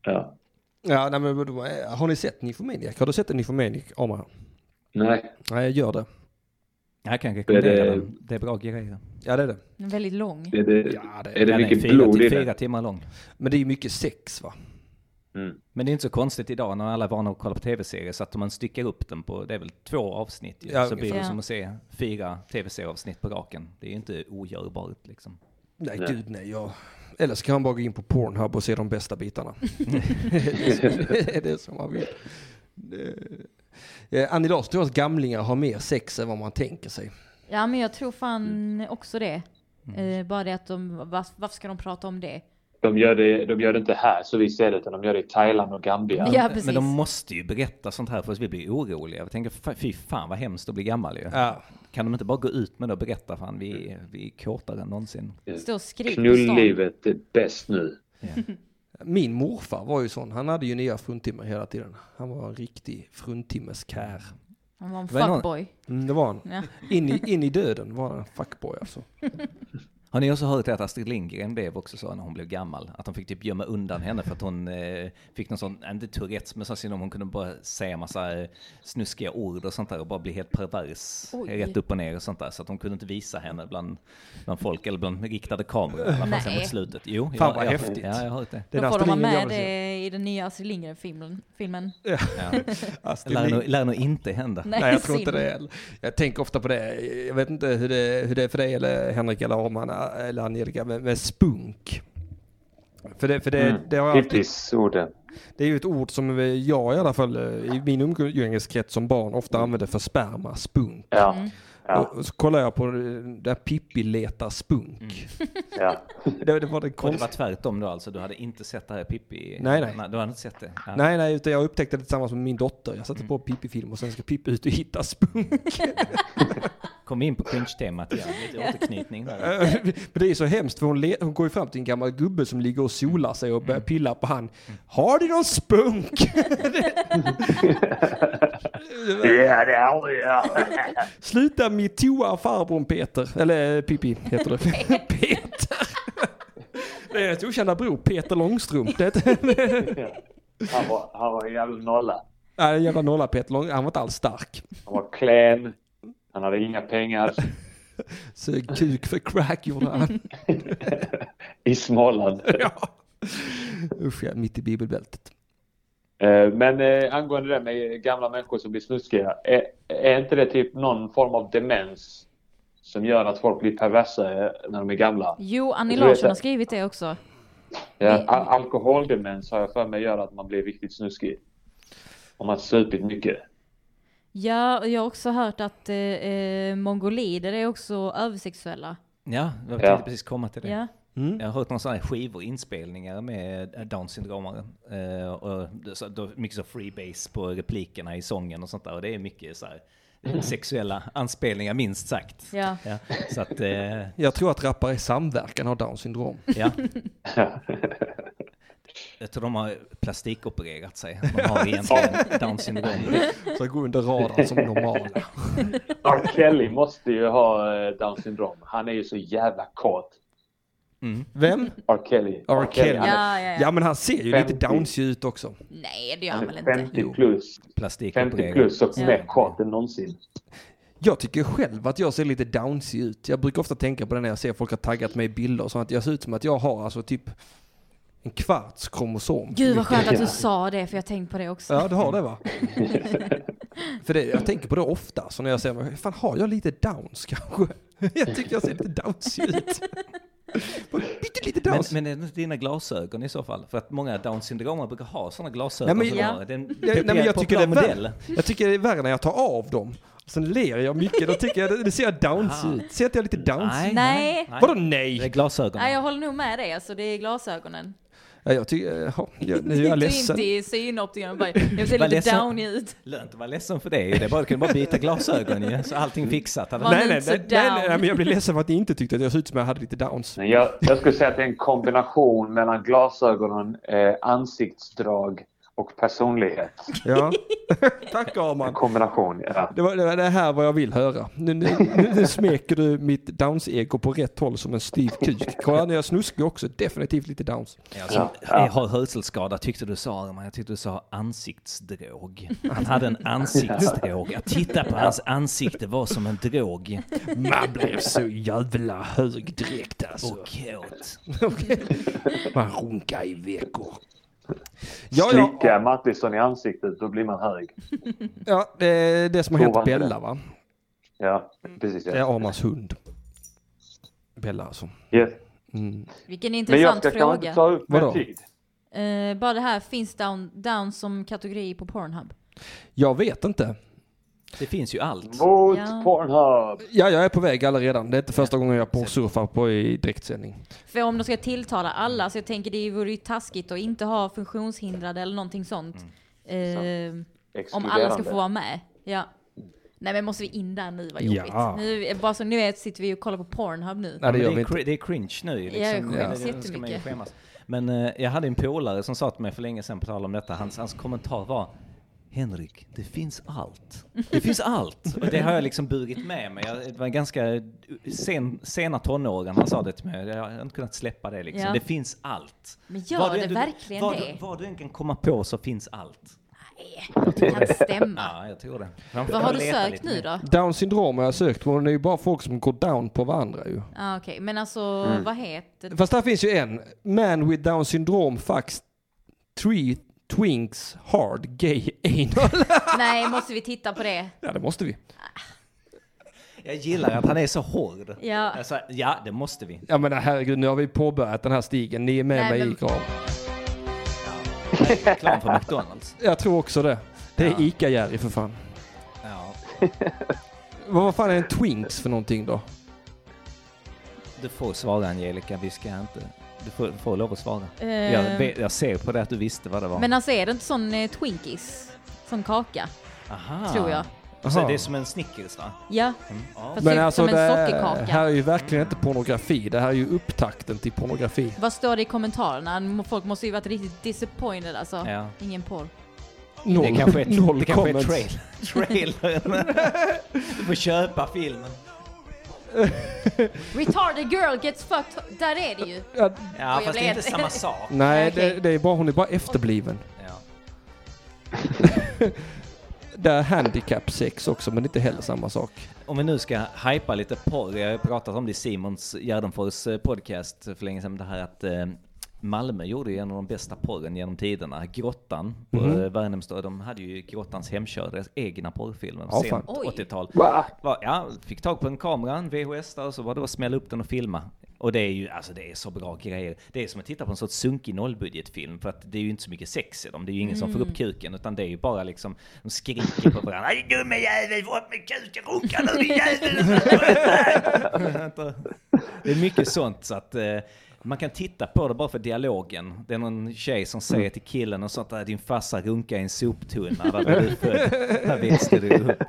Speaker 9: Ja.
Speaker 2: Ja, nej, men, vadå, eh, har ni sett Nymphomaniac? Har du sett en Nymphomaniac Omar?
Speaker 9: Nej.
Speaker 2: Nej, gör det.
Speaker 4: Jag kan rekommendera
Speaker 9: Är det-
Speaker 4: den. Det är bra grejer.
Speaker 2: Ja det är det.
Speaker 3: Den är väldigt lång.
Speaker 9: Är det,
Speaker 2: Ja, det-
Speaker 9: är det
Speaker 4: Den
Speaker 9: mycket
Speaker 4: fyra,
Speaker 9: blod i
Speaker 4: till,
Speaker 9: den?
Speaker 4: fyra timmar lång.
Speaker 2: Men det är ju mycket sex va?
Speaker 9: mm.
Speaker 4: Men det är inte så konstigt idag när alla är vana att kolla på tv-serier så att om man styckar upp den på, det är väl två avsnitt ju,
Speaker 2: Ja,
Speaker 4: så blir det
Speaker 3: ungefär.
Speaker 4: som att se fyra tv-serieavsnitt på raken. Det är ju inte ogörbart liksom.
Speaker 2: Nej, gud nej. Jag... Eller så kan man bara gå in på Pornhub och se de bästa
Speaker 4: *laughs*
Speaker 2: bitarna. *laughs* det är det som man vill. Det- Eh, Annie Larsson tror att gamlingar har mer sex än vad man tänker sig.
Speaker 3: Ja, men jag tror fan också det.
Speaker 2: Mm.
Speaker 3: Eh, bara det att de, var, varför ska de prata om det?
Speaker 9: De, gör det, de gör det inte här så vi ser det, utan de gör det i Thailand och Gambia.
Speaker 3: Ja, precis.
Speaker 4: Men de måste ju berätta sånt här för att vi blir oroliga. Jag tänker, fa- fy fan vad hemskt att bli gammal ju.
Speaker 2: Ja.
Speaker 4: Kan de inte bara gå ut med det och berätta, fan vi, är- vi är kåtare än någonsin.
Speaker 3: Stå och skrik på stan.
Speaker 9: Knullivet är bäst nu.
Speaker 2: Min morfar var ju sån. Han hade ju nya fruntimmer hela tiden. Han var en riktig fruntimmeskär.
Speaker 3: Han var en
Speaker 4: Vad är någon-
Speaker 3: fuckboy.
Speaker 2: Mm, det var han.
Speaker 3: Ja.
Speaker 2: In i, in i döden var han en fuckboy alltså.
Speaker 4: Har ni också hört att Astrid Lindgren blev också så när hon blev gammal? Att de fick typ gömma undan henne för att hon eh, fick någon sån, inte Tourettes, men sån syndrom. Hon kunde bara säga massa eh, snuskiga ord och sånt där och bara bli helt pervers.
Speaker 3: Oj.
Speaker 4: Rätt upp och ner och sånt där. Så att de kunde inte visa henne bland, bland folk eller bland riktade kameror. I alla fall sen
Speaker 3: Nej.
Speaker 4: mot slutet. Jo, Fan
Speaker 2: vad
Speaker 4: jag,
Speaker 2: häftigt.
Speaker 4: Ja, jag har hört det.
Speaker 2: Den
Speaker 3: Då får de
Speaker 2: Astrid
Speaker 3: ha
Speaker 2: Lindgren jag
Speaker 3: med
Speaker 2: vill se.
Speaker 3: det i den nya Astrid Lindgren-filmen. Filmen.
Speaker 2: Astrid
Speaker 4: Lär
Speaker 2: Lindgren.
Speaker 4: nog, lär nog inte hända.
Speaker 2: Nej, jag tror inte det heller. Jag tänker ofta på det. Jag vet inte hur det, hur det är för dig eller Henrik eller Arman eller Angelica med, med spunk. För det, för det,
Speaker 9: Mm.
Speaker 2: det, har jag alltid,
Speaker 9: Hippies-orden.
Speaker 2: det är ju ett ord som jag i alla fall eh, i min umgängeskrets som barn ofta använde för sperma, spunk.
Speaker 3: Mm.
Speaker 9: Ja.
Speaker 2: Och-
Speaker 9: Mm. Ja.
Speaker 2: Och så kollar jag på eh, där Pippi letar spunk.
Speaker 9: Mm.
Speaker 2: *laughs*
Speaker 9: ja.
Speaker 2: Det, det var den
Speaker 4: Och det var
Speaker 2: konstiga.
Speaker 4: tvärtom då alltså? Du hade inte sett det här Pippi?
Speaker 2: Nej, nej.
Speaker 4: Du hade inte sett det? Ja.
Speaker 2: Nej, nej, utan jag upptäckte det tillsammans med min dotter. Jag satte
Speaker 9: Mm.
Speaker 2: på Pippi-film och sen ska Pippi ut och hitta spunk.
Speaker 4: Kom in på cringe-temat igen. Lite återknytning där.
Speaker 2: Eh, Men *laughs* det är så hemskt för hon, le- hon går ju fram till en gammal gubbe som ligger och solar sig och börjar pilla på han. Har du någon spunk? *laughs*
Speaker 9: Ja, det är ja.
Speaker 2: Sluta med toa farbrorn Peter. Eller eh, Pippi heter det. Peter. *laughs* Det är ett okända bror, Peter Långstrump. Det är ett- *laughs*
Speaker 9: Han var, han var en jävla nolla.
Speaker 2: Nej, en jävla nolla Peter Långstrump. Han var inte alls stark.
Speaker 9: Han var klen. Han hade inga pengar.
Speaker 2: Sög kuk för crack gjorde han. *laughs*
Speaker 9: I Småland.
Speaker 2: Ja. Usch ja, mitt i bibelbältet.
Speaker 9: Eh, Men eh, angående det med gamla människor som blir snuskiga. Är, är inte det typ någon form av demens som gör att folk blir perversa eh, när de är gamla?
Speaker 3: Jo, Annie
Speaker 9: Du vet
Speaker 3: Larsson
Speaker 9: det.
Speaker 3: har skrivit det också.
Speaker 9: Ja, al- alkoholdemens har jag för mig gör att man blir riktigt snuskig. Om man supit mycket.
Speaker 3: Ja, och jag har också hört att eh, eh, mongolider är också översexuella.
Speaker 4: Ja, jag
Speaker 9: Ja.
Speaker 4: tänkte precis komma till det.
Speaker 3: Ja.
Speaker 2: Mm.
Speaker 4: Jag har hört några sådana här skivor, inspelningar med eh, Downs syndromare. Eh, och det- så, då, mycket så freebase på replikerna i sången och sånt där. Och det är mycket så här eh,
Speaker 2: Mm.
Speaker 4: sexuella anspelningar minst sagt.
Speaker 3: Ja.
Speaker 4: Ja, så
Speaker 2: *laughs*
Speaker 4: att, eh,
Speaker 2: Jag tror att rappare i samverkan har down syndrom.
Speaker 4: ja. Jag tror de har
Speaker 2: *laughs*
Speaker 4: plastikopererat sig. De har egentligen Downs syndrom.
Speaker 2: Så går under radarn som normala.
Speaker 9: R. Kelly måste ju ha eh, Down syndrom. Han är ju så jävla kåt.
Speaker 2: Vem?
Speaker 9: R. Kelly.
Speaker 2: R. Kelly.
Speaker 9: han är-
Speaker 3: Ja, ja, ja.
Speaker 2: Ja men han ser ju lite downsig ut också.
Speaker 3: Nej, det gör han
Speaker 9: han
Speaker 3: väl
Speaker 9: är
Speaker 3: inte?
Speaker 9: 50
Speaker 2: Jo.
Speaker 9: plus. 50
Speaker 4: Plastikopererat.
Speaker 9: plus och
Speaker 3: Ja.
Speaker 9: mer kåt än någonsin.
Speaker 2: Jag tycker själv att jag ser lite downsig ut. Jag brukar ofta tänka på det när jag ser folk har taggat mig i bilder och sånt. Jag ser ut som att jag har alltså typ en kvarts kromosom.
Speaker 3: Gud vad skönt att du sa det, för jag tänkte på det också.
Speaker 2: Ja, du har det va? *laughs* För det, jag tänker på det ofta, så när jag ser mig, fan har jag lite downs kanske? *laughs* Jag tycker jag ser lite downsig ut. *laughs* Bytte lite
Speaker 4: Men,
Speaker 2: downs.
Speaker 4: men är det inte dina glasögon i så fall? För att många Downs syndromer brukar ha sådana glasögon.
Speaker 2: Nej, men-
Speaker 4: som
Speaker 3: Ja.
Speaker 4: har- det är en
Speaker 2: Ja, nej, men jag, tycker det är
Speaker 4: populär
Speaker 2: värre, jag tycker det är värre när jag tar av dem. Sen ler jag mycket, då tycker jag, det- det ser jag downs ut. Ser inte jag lite downs ut?
Speaker 4: Nej.
Speaker 3: Nej.
Speaker 2: Vadå
Speaker 4: Det är
Speaker 2: nej?
Speaker 4: glasögonen.
Speaker 3: Nej, jag håller nog med dig. Alltså, det är glasögonen.
Speaker 2: Ja, jag tycker, jaha, *laughs* jag, nu är jag
Speaker 3: *laughs* Du
Speaker 2: ledsen.
Speaker 3: inte i
Speaker 2: *laughs*
Speaker 3: synoptikern bara, jag ser
Speaker 4: Vad
Speaker 3: lite
Speaker 4: ledsen.
Speaker 3: downy ut.
Speaker 4: Lönt att vara ledsen för det. Det är bara, du kunde bara byta glasögon ju, så allting fixat. Hade-
Speaker 3: Vad-
Speaker 2: Nej,
Speaker 3: nu
Speaker 2: nej,
Speaker 3: så
Speaker 2: nej, nej,
Speaker 3: down.
Speaker 2: nej, nej, men jag blir ledsen för att ni inte tyckte att jag såg ut som jag hade lite downs.
Speaker 9: Men jag, jag skulle säga att det är en kombination mellan glasögonen, eh, ansiktsdrag och personlighet.
Speaker 2: Ja. Tack Arman.
Speaker 9: Kombination, ja.
Speaker 2: Det, var, det, var det här var jag vill höra. Nu, nu, nu, nu smeker du mitt downs-ego på rätt håll som en stiv kuk. Kolla nu är jag snuskig också, definitivt lite downs.
Speaker 4: Ja, som- Alltså, Jag har hörselskada tyckte du sa, Arman. Jag tyckte du sa ansiktsdrog. Han hade en ansiktsdrog. Att titta på hans ansikte var som en drog.
Speaker 2: Man blev så jävla hög direkt alltså.
Speaker 4: Och kåt.
Speaker 2: Man runkar i veckor. Ja, ja,
Speaker 9: Slicka Mattisson i ansiktet, då blir man hög.
Speaker 2: ja det, är det som har hänt
Speaker 9: Prova inte
Speaker 2: Bella
Speaker 9: det.
Speaker 2: va?
Speaker 9: Ja, precis.
Speaker 2: Det
Speaker 9: Ja.
Speaker 2: är Armans hund. Bella alltså.
Speaker 9: Yes.
Speaker 3: Vilken
Speaker 9: Men jag
Speaker 3: intressant
Speaker 9: ska kanske
Speaker 3: fråga.
Speaker 9: inte ta upp mer
Speaker 2: Vadå?
Speaker 9: tid.
Speaker 3: Eh, bara det här, finns down, down som kategori på Pornhub?
Speaker 2: Jag vet inte.
Speaker 4: Det finns ju allt.
Speaker 9: Mot
Speaker 3: Ja.
Speaker 9: Pornhub!
Speaker 2: Ja, jag är på väg allaredan. Det är inte första gången jag porrsurfar på i direktsändning.
Speaker 3: För om de ska tilltala alla, så jag tänker det vore ju taskigt att inte ha funktionshindrade eller någonting sånt.
Speaker 4: Mm.
Speaker 3: Eh, om alla ska
Speaker 9: Exkluderande.
Speaker 3: få vara med. Ja. Nej men måste vi in där nu, vad
Speaker 2: Ja.
Speaker 3: jobbigt. Nu, är- bara som ni vet sitter vi och kollar på Pornhub nu.
Speaker 2: Nej, det gör
Speaker 4: Ja,
Speaker 2: vi
Speaker 4: men är,
Speaker 2: inte.
Speaker 4: cri- det är cringe nu. Liksom.
Speaker 3: Ja, jag skäms
Speaker 4: Det- det- det ska man ju
Speaker 3: jättemycket.
Speaker 4: skämmas. Men eh, jag hade en polare som sa till mig för länge sedan, på tal om detta, hans,
Speaker 3: Mm.
Speaker 4: hans kommentar var Henrik, det finns allt. Det finns allt! Och det har jag liksom burit med mig. Jag det var ganska eh, sen, sena tonåren han sa det till mig. Jag har inte kunnat släppa det liksom.
Speaker 3: Ja.
Speaker 4: Det finns allt.
Speaker 3: Men gör
Speaker 4: Vad du
Speaker 3: det
Speaker 4: än-
Speaker 3: verkligen
Speaker 4: vad
Speaker 3: det?
Speaker 4: Du, vad du än kan komma på så finns allt.
Speaker 3: Det kan stämma.
Speaker 4: Ja, jag tror det. Man får
Speaker 3: Ah. Vad har du
Speaker 4: leta
Speaker 3: sökt
Speaker 4: lite
Speaker 3: nu
Speaker 4: mer.
Speaker 3: då?
Speaker 2: Down syndrom har jag sökt på, men det är ju bara folk som går down på varandra ju.
Speaker 3: Ah, Okej, men alltså
Speaker 4: Mm.
Speaker 3: vad heter det?
Speaker 2: Fast där finns ju en. Man with down syndrom fucks three twinks hard gay anal. *laughs*
Speaker 3: Nej, måste vi titta på det?
Speaker 2: ja, det måste vi.
Speaker 4: Jag gillar att han är så hård.
Speaker 3: Ja.
Speaker 4: Alltså, ja, det måste vi.
Speaker 2: Jag menar herregud, nu har vi påbörjat den här stigen. Ni är med
Speaker 3: Nej,
Speaker 2: mig i
Speaker 3: men-
Speaker 2: graven.
Speaker 4: Reklam för McDonalds.
Speaker 2: Jag tror också det. Det är ICA-Jerry för fan.
Speaker 4: Ja.
Speaker 2: Vad fan är en twinks för någonting då?
Speaker 4: Du får svara Angelica, vi ska inte... Du får, du får lov att svara.
Speaker 3: Eh,
Speaker 4: Jag, vet- jag ser på det att du visste vad det var.
Speaker 3: Men alltså är det inte sån eh, Twinkies? Sån kaka,
Speaker 4: Aha.
Speaker 3: tror jag.
Speaker 4: Så
Speaker 2: Aha.
Speaker 4: det är som en Snickers va?
Speaker 3: Ja,
Speaker 4: Ja.
Speaker 3: fast typ som en
Speaker 2: alltså, det
Speaker 3: sockerkaka.
Speaker 2: här är ju verkligen inte pornografi. Det här är ju upptakten till pornografi.
Speaker 3: Vad står det i kommentarerna? Folk måste ju varit riktigt disappointed alltså.
Speaker 4: Ja.
Speaker 3: Ingen porr.
Speaker 2: Noll,
Speaker 4: Det kanske är,
Speaker 2: noll
Speaker 4: det kanske är
Speaker 2: comments.
Speaker 4: trail, trailern. du får köpa filmen.
Speaker 3: Retarded girl gets fucked. Där är det ju.
Speaker 2: Ja,
Speaker 4: Ja,
Speaker 3: Och jag
Speaker 4: fast det är
Speaker 3: blev-
Speaker 4: inte samma sak.
Speaker 2: nej,
Speaker 3: Okej.
Speaker 2: det, det är bara, hon är bara efterbliven.
Speaker 4: Ja.
Speaker 2: Det är handicap sex också, men inte heller samma sak.
Speaker 4: Om vi nu ska hypa lite porr, jag har ju pratat om det i Simons Gärdenfors eh, podcast för länge sedan, det här att eh, Malmö gjorde ju en av de bästa porren genom tiderna, Grottan på mm. Värnhemstorg. De hade ju Grottans Hemkör, deras egna porrfilmer,
Speaker 2: Ja, fan.
Speaker 4: sent
Speaker 3: Oj.
Speaker 4: 80-tal.
Speaker 9: Va?
Speaker 4: Va- Ja, fick tag på en kamera, en VHS där, och så var det bara att smälla upp den och filma. Och det är ju, alltså det är så bra grejer. Det är som att titta på en sorts sunkig nollbudgetfilm, för att det är ju inte så mycket sex i dem. Det är ju ingen som får upp kuken, utan det är ju bara liksom, de skriker på varandra. Aj *laughs* gummijävel, få upp med kuken, runka nu din jävel! Det är mycket sånt så att eh, man kan titta på det bara för dialogen. Det är någon tjej som säger till killen och sånt där, din farsa runkar i en soptunna där var du född. *laughs* Där växte du upp.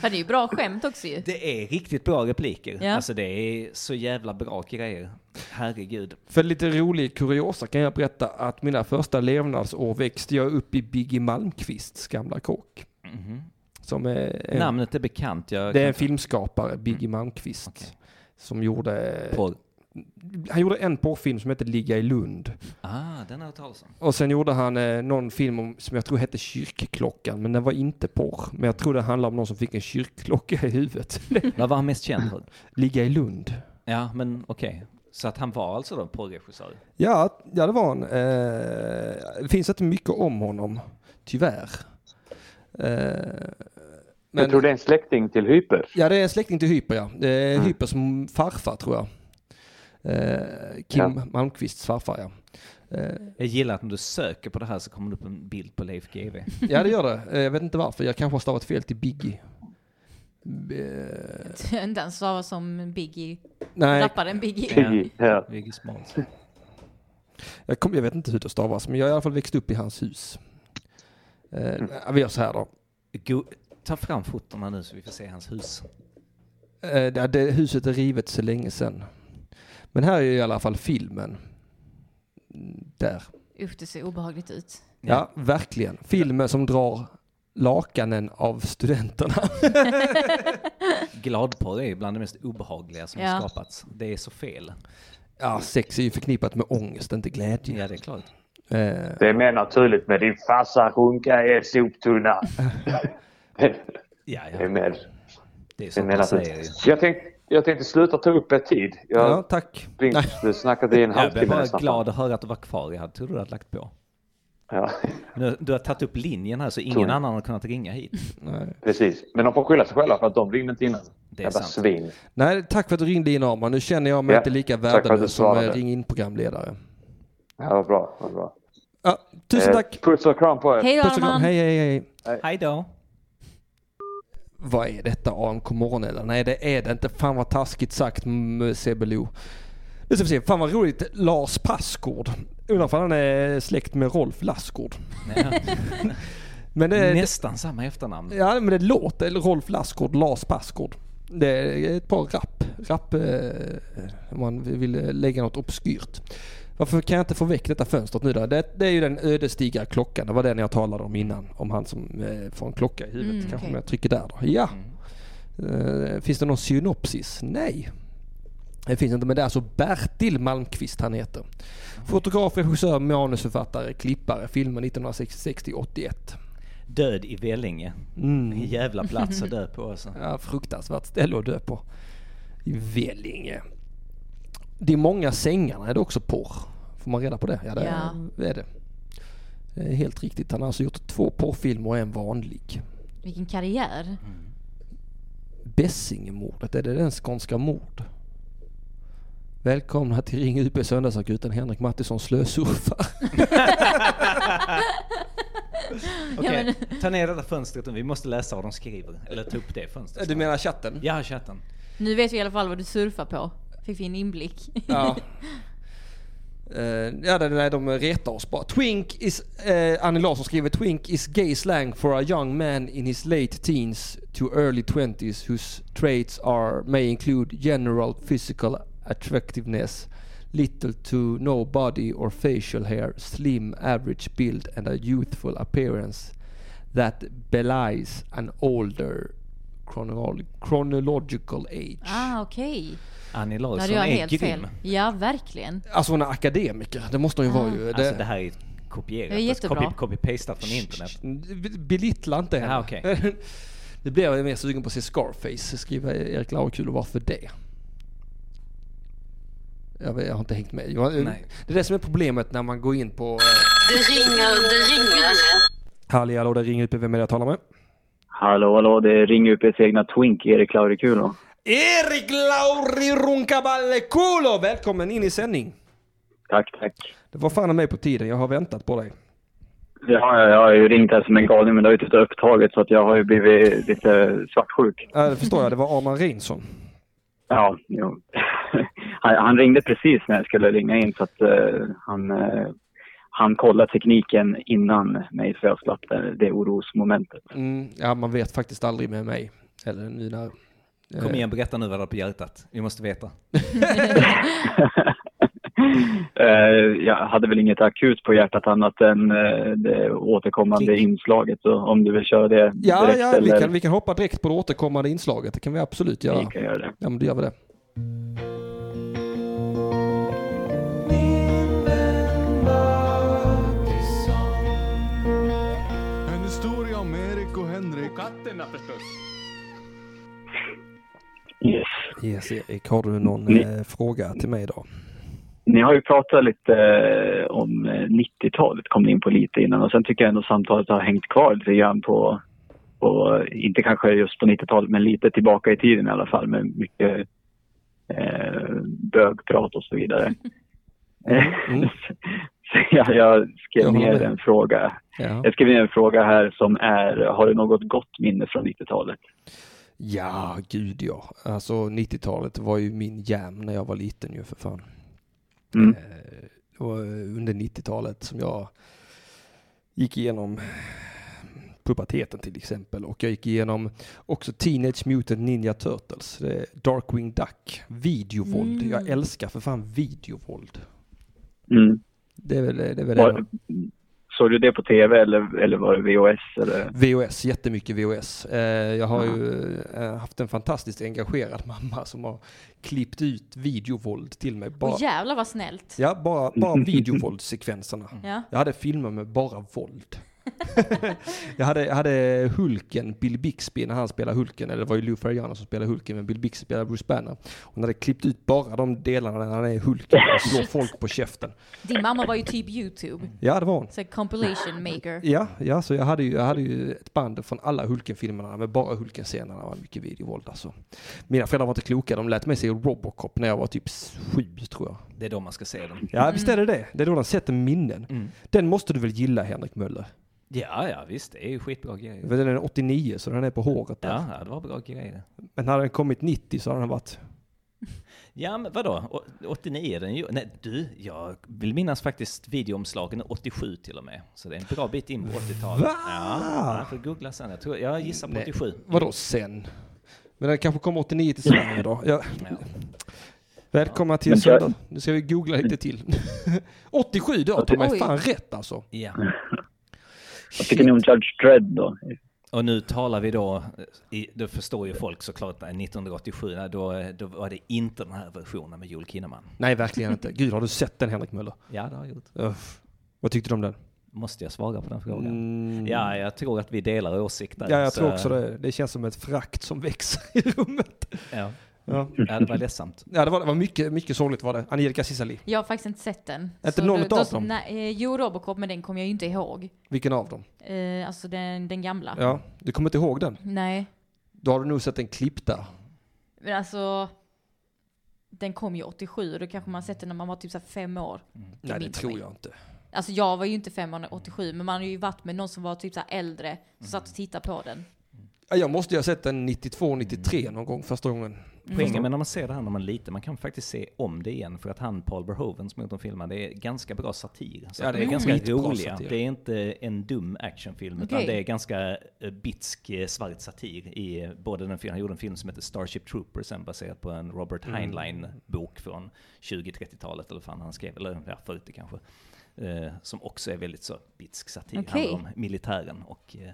Speaker 3: Fan, det är ju bra skämt också ju. *laughs*
Speaker 4: Det är riktigt bra repliker.
Speaker 3: Ja.
Speaker 4: Alltså det är så jävla bra grejer. Herregud.
Speaker 2: För lite rolig kuriosa kan jag berätta att mina första levnadsår växte jag upp i Biggie Malmqvists gamla kåk. Som är en,
Speaker 4: Mhm. Namnet är bekant. Jag
Speaker 2: det är en
Speaker 4: kan-
Speaker 2: filmskapare, Biggie Malmqvist.
Speaker 4: Okej.
Speaker 2: Som gjorde,
Speaker 4: Porr.
Speaker 2: han gjorde en porrfilm som hette Ligga i Lund.
Speaker 4: Ah, den har jag hört talas om.
Speaker 2: Och sen gjorde han eh, någon film om, som jag tror hette Kyrkklockan, men den var inte porr. Men jag tror det handlade om någon som fick en kyrkklocka i huvudet. *laughs*
Speaker 4: Vad var han mest känd för?
Speaker 2: Ligga i Lund.
Speaker 4: Ja, men okej. Så att han var alltså då en porrregissör?
Speaker 2: Ja, ja det var han. Eh, det finns inte mycket om honom, tyvärr. Eh,
Speaker 9: Jag tror det är en släkting till Hyper.
Speaker 2: Ja, det är en släkting till Hyper, ja. Det är Hypers m- farfar, tror jag. Eh, Kim Malmqvists farfar, ja. Eh,
Speaker 4: Jag gillar att när du söker på det här så kommer det upp en bild på
Speaker 2: *laughs*
Speaker 4: Leif GW.
Speaker 2: ja, det gör det. Eh, jag vet inte varför. Jag kanske har stavat fel till Biggie. Eh,
Speaker 3: Inte ens stava som Biggie.
Speaker 2: nej,
Speaker 3: Rapparen Biggie.
Speaker 9: Piggy. Ja.
Speaker 4: Viggy Smalls.
Speaker 2: jag, kom, jag vet inte hur det stavas, men jag har i alla fall växt upp i hans hus. Eh, vi gör så här då.
Speaker 4: Go- Ta fram fotona nu så vi får se hans hus.
Speaker 2: Eh, det, det, huset är rivet så länge sedan. Men här är i alla fall filmen. Mm, Där.
Speaker 3: Usch, det ser obehagligt ut.
Speaker 2: Ja, verkligen. Filmen som drar lakanen av studenterna.
Speaker 4: Gladporr är ju bland det mest obehagliga som
Speaker 3: Ja.
Speaker 4: har skapats. Det är så fel.
Speaker 2: Ja, sex är ju förknippat med ångest, inte glädje.
Speaker 4: Ja, det är klart.
Speaker 2: Eh,
Speaker 9: Det är mer naturligt med din farsa runka i en soptunna.
Speaker 4: Ja,
Speaker 9: Det är
Speaker 4: ja.
Speaker 9: mer,
Speaker 4: Det är
Speaker 9: det
Speaker 4: *laughs*
Speaker 9: är
Speaker 4: så
Speaker 9: mer
Speaker 4: man säger ju.
Speaker 9: naturligt. Jag tänkte, jag tänkte sluta ta upp er tid. Jag
Speaker 2: ja,
Speaker 9: har
Speaker 2: tack.
Speaker 9: ringt-
Speaker 2: Nej,
Speaker 9: du
Speaker 4: *laughs*
Speaker 9: snackat i en
Speaker 4: Jag blev
Speaker 9: halvtimme
Speaker 4: bara
Speaker 9: nästan.
Speaker 4: glad att höra att du var kvar. Jag hade trodde du hade lagt på.
Speaker 9: Ja, *laughs*
Speaker 4: Nu, du har tagit upp linjen här så ingen
Speaker 9: Tror jag.
Speaker 4: annan har kunnat ringa hit.
Speaker 2: nej.
Speaker 9: precis. Men de får skylla sig själva för att de ringde inte innan.
Speaker 4: Det är
Speaker 9: Jävla
Speaker 4: sant.
Speaker 9: svin.
Speaker 2: nej, tack för att du ringde in Arman. Nu känner jag mig
Speaker 9: Ja,
Speaker 2: inte lika
Speaker 9: tack för att du
Speaker 2: värdelös som eh,
Speaker 9: svarade.
Speaker 2: ring in programledare.
Speaker 9: Ja, vad bra. Vad bra.
Speaker 2: Ja, tusen
Speaker 9: Eh,
Speaker 2: tack.
Speaker 9: Puss och kram på er.
Speaker 3: Hej då,
Speaker 2: Puss och kram.
Speaker 3: Arman!
Speaker 2: Hej, hej, hej.
Speaker 4: Hej
Speaker 2: Eh,
Speaker 4: då.
Speaker 2: Vad är detta AMK morgon eller? Nej det är det inte. Fan vad taskigt sagt mm, CBLO. Nu ska vi se. Fan vad roligt. Lars Passgård. Undrar om han är släkt med Rolf Lassgård. men det, det,
Speaker 4: Nästan samma efternamn.
Speaker 2: ja, men det låter eller Rolf Lassgård, Lars Passgård. Det är ett par rapp. Rapp eh, om man vill lägga något obskyrt. Varför kan jag inte få väck detta fönstret nu då? Det, det är ju den ödesdigra klockan. Det var den jag talade om innan. Om han som eh, får en klocka i huvudet.
Speaker 3: Mm,
Speaker 2: Kanske
Speaker 3: okej. Mm.
Speaker 2: om jag trycker där då. Ja. Eh, finns det någon synopsis? Nej. Det finns inte, men det är alltså Bertil Malmqvist han heter. Fotograf, regissör, manusförfattare, klippare, filmer 1960-81.
Speaker 4: Död i Vellinge.
Speaker 2: Mm.
Speaker 4: En jävla plats att dö på alltså.
Speaker 2: Ja, fruktansvärt ställe att dö på. I Vellinge. De många sängarna är det också porr. Får man reda på det? Ja, det
Speaker 3: Ja.
Speaker 2: är det. Det är helt riktigt. Han har alltså gjort två porrfilmer och en vanlig.
Speaker 3: Vilken karriär.
Speaker 2: Bessingemordet, är det den skånska mord? Välkomna till Ring UP söndagsakuten Henrik Mattisson slösurfar.
Speaker 4: Okej, ta ner det där fönstret nu. Vi måste läsa vad de skriver. Eller ta upp det fönstret.
Speaker 2: Du menar chatten?
Speaker 4: Ja, chatten.
Speaker 3: Nu vet vi i alla fall vad du surfar på. Fick vi en inblick.
Speaker 2: Ja. Eh, ja, det- nej, de retar oss bara. Twink is, eh, Annie Larsson skriver Twink is gay slang for a young man in his late teens to early 20s whose traits are may include general physical attractiveness, little to no body or facial hair, slim average build and a youthful appearance that belies an older chronol- chronological age.
Speaker 3: *laughs* Ah, okej.
Speaker 4: Annie
Speaker 3: Då
Speaker 4: Larsson
Speaker 3: hade jag
Speaker 4: är
Speaker 3: helt
Speaker 4: grym.
Speaker 3: fel. Ja, verkligen.
Speaker 2: Alltså hon är akademiker, det måste hon ju vara ju.
Speaker 4: Alltså det här är kopierat. Alltså,
Speaker 3: Det är jättebra.
Speaker 4: Copy- Copy-pastat från internet.
Speaker 2: Belittla inte henne. *laughs*
Speaker 4: Ah, okej.
Speaker 2: Nu blir jag mer sugen på att se Scarface, skriva Erik Laurekul och varför det? Jag, vet, jag har inte hängt med. Jag,
Speaker 4: Nej.
Speaker 2: det är det som är problemet när man går in på... eh,
Speaker 8: Det ringer, det ringer.
Speaker 2: Halli hallå, det ringer upp. Vem är det jag talar med?
Speaker 7: Hallå, hallå, det är Ring UPs egna Twink, Erik Laurikulo.
Speaker 2: Erik Lauri Runkaballekulo! Välkommen in i sändning.
Speaker 7: Tack, tack.
Speaker 2: Det var fan mig på tiden, jag har väntat på dig.
Speaker 7: Ja, ja, jag har ju ringt här som en galning, men det har ju inte upptaget så att jag har ju blivit lite svartsjuk.
Speaker 2: Äh, Ja, det förstår jag. Det var Arman Reinsson.
Speaker 7: Ja, jo. *laughs* Han, han ringde precis när jag skulle ringa in så att eh, han, eh, han kollade tekniken innan mig så jag slapp det, det orosmomentet.
Speaker 2: Mm, ja, man vet faktiskt aldrig med mig. Eller nu när...
Speaker 4: Kom igen, berätta nu vad du har på hjärtat. Vi måste veta.
Speaker 7: Eh, jag hade väl inget akut på hjärtat annat än eh, det återkommande inslaget. Så om du vill köra det
Speaker 2: Ja,
Speaker 7: direkt
Speaker 2: ja vi,
Speaker 7: eller...
Speaker 2: kan, vi kan hoppa direkt på det återkommande inslaget. Det kan vi absolut göra.
Speaker 7: Vi kan göra det.
Speaker 2: Ja, men då gör vi det.
Speaker 10: En historia om Erik och Henrik. Och katterna förstås.
Speaker 7: Yes.
Speaker 2: Yes, Erik, har du någon
Speaker 7: Ni-
Speaker 2: eh, fråga till mig idag?
Speaker 7: Ni har ju pratat lite eh, om eh, 90-talet, kom ni in på lite innan. Och sen tycker jag ändå samtalet har hängt kvar lite grann på, på eh, inte kanske just på 90-talet, men lite tillbaka i tiden i alla fall med mycket eh, bögprat och så vidare.
Speaker 2: Mm.
Speaker 7: *laughs* så jag, jag skrev
Speaker 2: Jag håller
Speaker 7: ner
Speaker 2: med.
Speaker 7: en fråga.
Speaker 2: Ja.
Speaker 7: Jag skrev ner en fråga här som är, har du något gott minne från 90-talet?
Speaker 2: ja, gud ja. Alltså 90-talet var ju min jam när jag var liten ju för fan.
Speaker 7: Mm.
Speaker 2: Det var under 90-talet som jag gick igenom puberteten till exempel och jag gick igenom också Teenage Mutant Ninja Turtles, det är Darkwing Duck, videovåld.
Speaker 3: Mm.
Speaker 2: Jag älskar för fan videovåld.
Speaker 7: Mm.
Speaker 2: Det är väl det. Är väl det.
Speaker 7: Var, såg du det på tv eller, eller var det VHS? Eller?
Speaker 2: VOS, jättemycket VOS. Eh, jag har ju eh, haft en fantastiskt engagerad *laughs* mamma som har klippt ut videovåld till mig. Bara,
Speaker 3: Åh jävlar vad snällt.
Speaker 2: ja, bara, bara videovåldssekvenserna.
Speaker 3: Ja.
Speaker 2: Jag hade filmer med bara våld. *laughs* jag, hade, jag hade Hulken, Bill Bixby, när han spelade Hulken, eller det var ju Lou Ferrigano som spelade Hulken, men Bill Bixby spelade Bruce Banner. Hon hade klippt ut bara de delarna där han är Hulken och
Speaker 3: *laughs*
Speaker 2: slår folk på käften.
Speaker 3: Din mamma var ju typ YouTube.
Speaker 2: Ja, det var hon.
Speaker 3: Så här compilation maker.
Speaker 2: Ja, ja så jag hade, ju, jag hade ju ett band från alla Hulken-filmerna med bara Hulken-scenerna. Det var mycket videovåld alltså. Mina föräldrar var inte kloka, de lät mig se Robocop när jag var typ sju tror jag.
Speaker 4: Det är då man ska se dem.
Speaker 2: Ja,
Speaker 7: Mm.
Speaker 2: visst är det det? Det är då de sätter minnen. Den måste du väl gilla Henrik Möller?
Speaker 4: Ja, ja visst. Det är ju skitbra
Speaker 2: För
Speaker 4: grejer.
Speaker 2: Den är 89 så den är på håret där.
Speaker 4: Ja, ja, det var bra grejer.
Speaker 2: Men hade den kommit 90 så hade den varit...
Speaker 4: Ja, men vadå? Å- 89 är den ju. Nej, du, jag vill minnas faktiskt videoomslagen är 87 till och med. Så det är en bra bit in på 80-talet.
Speaker 2: Va?
Speaker 4: Ja, jag får googla sen. Jag, tror, jag gissar på
Speaker 2: Nej.
Speaker 4: 87.
Speaker 2: Vadå sen? Men den kanske kommer 89 till Sverige då? Ja.
Speaker 4: Ja.
Speaker 2: Välkomna till
Speaker 7: Men jag-
Speaker 2: Söndag. Nu ska vi googla lite till. *laughs* 87 då, ta mig
Speaker 3: Oj.
Speaker 2: fan rätt alltså.
Speaker 4: Ja.
Speaker 7: Vad tycker ni om Judge Dredd då?
Speaker 4: Och nu talar vi då, eh, i, då förstår ju folk såklart, nej, 1987, nej, då, eh, då var det inte den här versionen med Joel Kinnaman.
Speaker 2: Nej, verkligen inte. Gud, har du sett den Henrik Möller?
Speaker 4: Ja, det har jag gjort.
Speaker 2: Uff. Vad tyckte du om den?
Speaker 4: Måste jag svara på den frågan? Ja, jag tror att vi delar åsikter.
Speaker 2: Mm. Ja, jag
Speaker 4: så-
Speaker 2: tror också det. Det känns som ett frakt som växer i rummet.
Speaker 4: Ja.
Speaker 2: Ja,
Speaker 4: ja, det var ledsamt.
Speaker 2: ja det var, det var mycket, mycket sorgligt var det. Angelica Cissali.
Speaker 3: Jag har faktiskt inte sett den.
Speaker 2: Inte
Speaker 3: Så
Speaker 2: någon
Speaker 3: då-
Speaker 2: utav
Speaker 3: då-
Speaker 2: dem?
Speaker 3: Nej, eh, jo, Robocop, men den kommer jag ju inte ihåg.
Speaker 2: Vilken av dem?
Speaker 3: Eh, alltså den, den gamla.
Speaker 2: Ja, du kommer inte ihåg den?
Speaker 3: Nej,
Speaker 2: Då har du nog sett en klipp där.
Speaker 3: men alltså. Den kom ju 87 och då kanske man har sett den när man var typ så här fem år.
Speaker 2: Mm. Nej, det
Speaker 3: minns
Speaker 2: tror
Speaker 3: mig.
Speaker 2: jag inte.
Speaker 3: Alltså jag var ju inte fem år när 87, men man har ju varit med någon som var typ så här äldre
Speaker 2: Mm.
Speaker 3: som satt och tittade på den.
Speaker 2: Ja, Jag måste ju ha sett den 92, 93 någon gång första gången.
Speaker 3: Mm.
Speaker 4: Poängen med när man ser det här när man är liten, man kan faktiskt se om det igen för att han Paul Verhoeven som gjort de filmen, det är ganska bra satir. Så
Speaker 2: Ja,
Speaker 4: ja,
Speaker 2: det
Speaker 4: det
Speaker 2: är
Speaker 4: är ganska
Speaker 2: skitbra
Speaker 4: roliga.
Speaker 2: satir.
Speaker 4: Det är inte en dum actionfilm
Speaker 3: Okej.
Speaker 4: utan det är ganska eh, bitsk eh, svart satir i eh, både den filmen, han gjorde en film som heter Starship Troopers sen baserat på en Robert
Speaker 3: Mm.
Speaker 4: Heinlein bok från 20-30-talet eller fan han skrev, eller ja, 40 kanske. Eh, som också är väldigt så bitsk satir,
Speaker 3: Okej.
Speaker 4: handlar om militären och eh,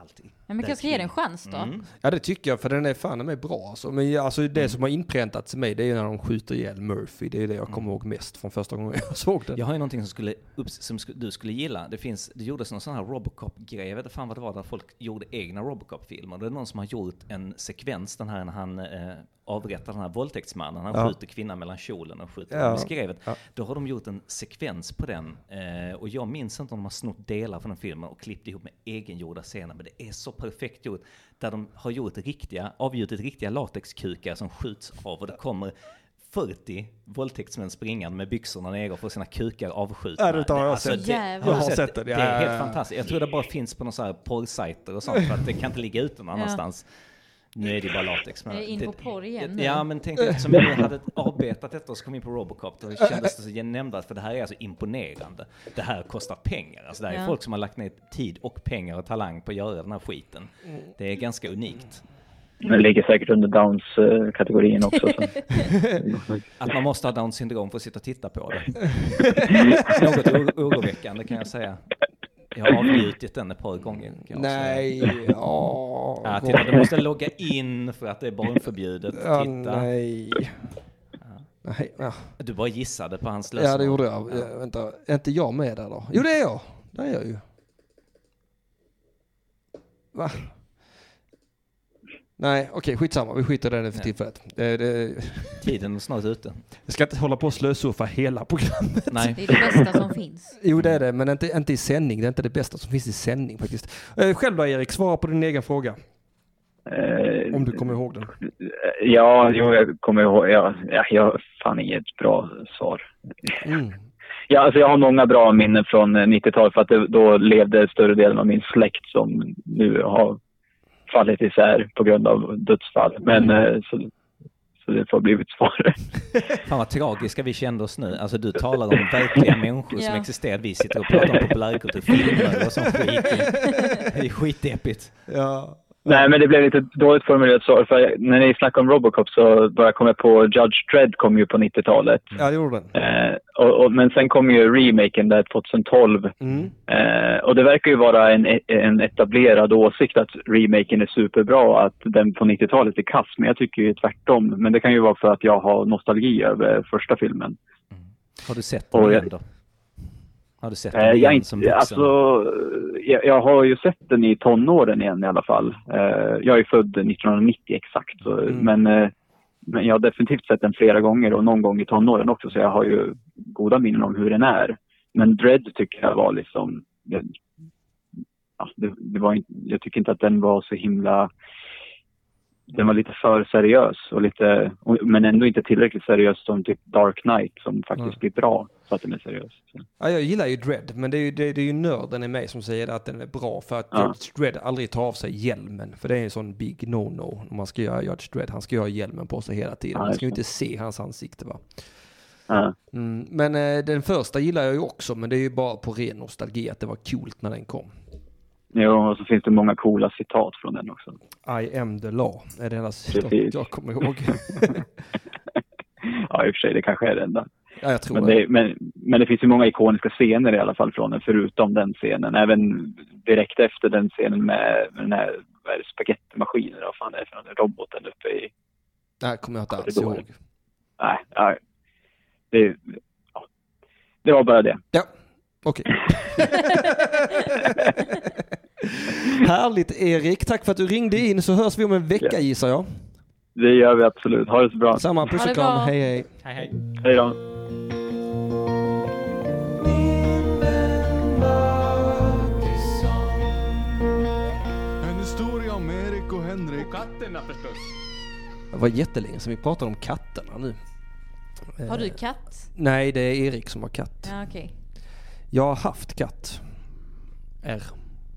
Speaker 4: allt.
Speaker 3: Ja, men
Speaker 4: där
Speaker 3: kanske ska ge den en
Speaker 4: kring.
Speaker 3: chans då.
Speaker 2: Ja det tycker jag för den är fan mig bra alltså. Men ja, alltså, det som har inpräntats i mig det är ju när de skjuter ihjäl Murphy. Det är det jag kommer ihåg mest från första gången jag *laughs* såg den.
Speaker 4: Jag har ju någonting som, skulle, upps- som sku- du skulle gilla. Det, finns, det gjordes någon sån här Robocop-grej, jag vet inte fan vad det var, där folk gjorde egna Robocop-filmer. Det är någon som har gjort en sekvens, den här när han eh, avrättar den här våldtäktsmannen. Han
Speaker 2: Ja.
Speaker 4: skjuter kvinnan mellan kjolen och skjuter
Speaker 2: Ja.
Speaker 4: honom i skrevet.
Speaker 2: Ja.
Speaker 4: Då har de gjort en sekvens på den. Eh, och jag minns inte om de har snott delar från den filmen och klippt ihop med egengjorda scener. Men det är så perfekt gjort. Där de har gjort riktiga, avgjutit riktiga latexkukar som skjuts av och det kommer 40 våldtäktsmän springande med byxorna nere och får sina kukar avskjutna. Alltså,
Speaker 2: Ja, det har jag sett.
Speaker 3: Jävlar.
Speaker 4: har
Speaker 2: Jag har
Speaker 4: du
Speaker 2: sett det,
Speaker 4: det
Speaker 2: ja,
Speaker 4: är
Speaker 2: ja, ja.
Speaker 3: *laughs*
Speaker 4: helt fantastiskt. Jag tror det bara finns på några så här porrsajter och sånt för att det kan inte ligga ute någon annanstans. Nu är det bara latex. men-
Speaker 3: Jag är in på
Speaker 4: det-
Speaker 3: porr igen nu.
Speaker 4: Ja, men tänk eftersom vi hade avbetat detta och så kom vi in på Robocop, då kändes det så nämnvärt, för det här är alltså imponerande. Det här kostar pengar. Alltså det här är
Speaker 3: Ja.
Speaker 4: folk som har lagt ner tid och pengar och talang på att göra den här skiten. Det är ganska unikt.
Speaker 7: Den ligger säkert under Downs-kategorin också. Så.
Speaker 4: Att man måste ha Downs syndrom för att sitta och titta
Speaker 2: *laughs*
Speaker 4: på det. Något o- oroväckande kan jag säga. Jag har avbrutit den ett par gånger. Kan jag
Speaker 2: Nej,
Speaker 4: säga.
Speaker 2: *laughs* ja.
Speaker 4: Ja, titta, du måste logga in för att det är barnförbjudet.
Speaker 2: Ja,
Speaker 4: Titta.
Speaker 2: nej. Nej, ja.
Speaker 4: Du bara gissade på hans lösenord.
Speaker 2: ja, det gjorde jag. Ja, Vänta, är inte jag med där då? Jo, det är jag. Det är jag ju. Va? Nej, okej, skitsamma. Vi skiter i det nu för tillfället. Det, det...
Speaker 4: Tiden är snart ute.
Speaker 2: Jag ska inte hålla på och slösurfa hela programmet. *laughs*
Speaker 4: Nej.
Speaker 3: Det är det bästa som finns.
Speaker 2: Jo, det är det, men inte, inte i sändning. Det är inte det bästa som finns i sändning faktiskt. Eh, Själv då, Erik? Svara på din egen fråga.
Speaker 7: Eh,
Speaker 2: Om du kommer ihåg den.
Speaker 7: Ja, jo, jag kommer ihåg. Ja, ja, jag har fan inget bra svar.
Speaker 2: Mm.
Speaker 7: Ja, alltså jag har många bra minnen från eh, 90-talet för att det, då levde större delen av min släkt som nu har fallit isär på grund av dödsfall. Men eh, så, så det får bli mitt svar. *laughs*
Speaker 4: Fan vad tragiska vi kände oss nu. Alltså du talar om
Speaker 2: *laughs*
Speaker 4: verkliga människor som
Speaker 3: Ja.
Speaker 4: existerar. Vi sitter och pratar om populärkultur, filmer och
Speaker 2: *laughs*
Speaker 4: sånt skit. Det är skitdeppigt.
Speaker 2: Ja.
Speaker 7: Nej, men det blev lite dåligt formulerat svar. För jag- när ni snackade om Robocop så bara kom jag på Judge Dredd kom ju på 90-talet.
Speaker 2: Ja, det gjorde den.
Speaker 7: Eh, och, och, men sen kom ju remaken där 2012.
Speaker 2: Mm.
Speaker 7: Eh, och det verkar ju vara en, en etablerad åsikt att remaken är superbra och att den på 90-talet är kass. Men jag tycker ju tvärtom. Men det kan ju vara för att jag har nostalgi över första filmen.
Speaker 4: Har du sett
Speaker 7: Och
Speaker 4: den
Speaker 7: jag-
Speaker 4: igen då? Har du sett
Speaker 7: Eh,
Speaker 4: den
Speaker 7: jag, är
Speaker 4: igen som
Speaker 7: inte,
Speaker 4: vuxen?
Speaker 7: alltså, jag, jag har ju sett den i tonåren igen i alla fall. Eh, jag är född 1990 exakt. Så,
Speaker 4: Mm.
Speaker 7: men, eh, men jag har definitivt sett den flera gånger och någon gång i tonåren också. Så jag har ju goda minnen om hur den är. Men Dread tycker jag var liksom... Jag, ja, det, det var inte, jag tycker inte att den var så himla... Den var lite för seriös, och lite, och- men ändå inte tillräckligt seriös som typ Dark Knight som faktiskt
Speaker 4: Mm.
Speaker 7: blir bra så att den är seriös.
Speaker 2: Ja, jag gillar ju Dread, men det är ju, det, det är ju nörden i mig som säger att den är bra för att
Speaker 7: Ja.
Speaker 2: Judge Dredd aldrig tar av sig hjälmen. För det är en sån big no-no när man ska göra Judge Dredd. Han ska ju ha hjälmen på sig hela tiden.
Speaker 7: Ja,
Speaker 2: Man ska ju
Speaker 7: just
Speaker 2: inte se hans ansikte va.
Speaker 7: Ja.
Speaker 2: Mm, men eh, den första gillar jag ju också, men det är ju bara på ren nostalgi att det var coolt när den kom.
Speaker 7: Ja, och så finns det många coola citat från den också.
Speaker 2: I am the law är det enda
Speaker 7: Precis.
Speaker 2: citat jag kommer ihåg. *laughs*
Speaker 7: Ja, i och för sig, det kanske är det enda.
Speaker 2: ja, jag tror
Speaker 7: Men det, men, men det finns ju många ikoniska scener i alla fall från den, förutom den scenen. Även direkt efter den scenen med, med den här vad är det, spagettimaskinen, vad fan det är för någon, roboten uppe i...
Speaker 2: det. Nej, kommer jag inte alls
Speaker 7: det går.
Speaker 2: ihåg.
Speaker 7: Nej, nej. Det, ja. det var bara det.
Speaker 2: Ja, okej. Härligt Erik, tack för att du ringde in så hörs vi om en vecka gissar jag.
Speaker 7: Det gör vi absolut. Ha det så bra.
Speaker 2: Samma puss
Speaker 3: Ha det
Speaker 2: och kram,
Speaker 3: bra.
Speaker 2: hej hej.
Speaker 4: Hej, hej.
Speaker 7: Hej då.
Speaker 10: En historia om Erik och Henrik. Och katterna förstås.
Speaker 2: Det var jättelänge sedan vi pratade om katterna nu. Eh,
Speaker 3: Har du katt?
Speaker 2: Nej, det är Erik som har katt.
Speaker 3: Ja, okej.
Speaker 2: Jag har haft katt.
Speaker 4: *laughs*
Speaker 2: R.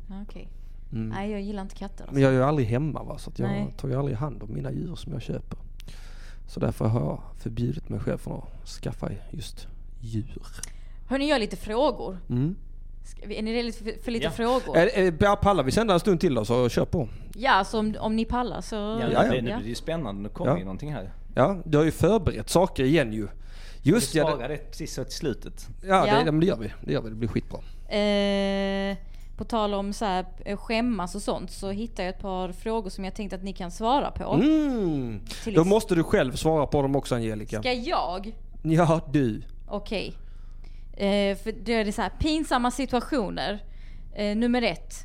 Speaker 3: Ja, okej.
Speaker 2: Mm.
Speaker 3: Nej, jag gillar inte katter. Alltså.
Speaker 2: Men jag är ju aldrig hemma va, så att jag
Speaker 3: Nej.
Speaker 2: tar ju aldrig hand om mina djur som jag köper. Så därför har jag förbjudit mig själv från att skaffa just djur.
Speaker 3: Hörni, jag har lite frågor.
Speaker 2: Mm.
Speaker 3: Ska vi- Är ni redo för, för lite
Speaker 4: Ja.
Speaker 3: frågor?
Speaker 2: Är, är, pallar vi sända en stund till då så kör på.
Speaker 3: Ja, så om, om ni pallar så...
Speaker 4: Ja,
Speaker 2: ja.
Speaker 4: Det, nu blir det ju spännande. Nu kommer
Speaker 2: Ja.
Speaker 4: ju någonting här.
Speaker 2: Ja, du har ju förberett saker igen ju.
Speaker 4: Du
Speaker 2: Just ja,
Speaker 4: svarade
Speaker 2: det,
Speaker 4: det precis så till slutet.
Speaker 2: ja,
Speaker 3: Ja.
Speaker 2: Det, ja, men det gör vi. Det gör vi, det blir skitbra.
Speaker 3: Eh, på tal om så här, eh, skämmas och sånt så hittade jag ett par frågor som jag tänkte att ni kan svara på.
Speaker 2: Mm.
Speaker 3: Till
Speaker 2: Då
Speaker 3: ex-
Speaker 2: måste du själv svara på dem också Angelica.
Speaker 3: Ska jag?
Speaker 2: Ja, du.
Speaker 3: Okej. Eh, för då är det så här, pinsamma situationer. Eh, nummer ett.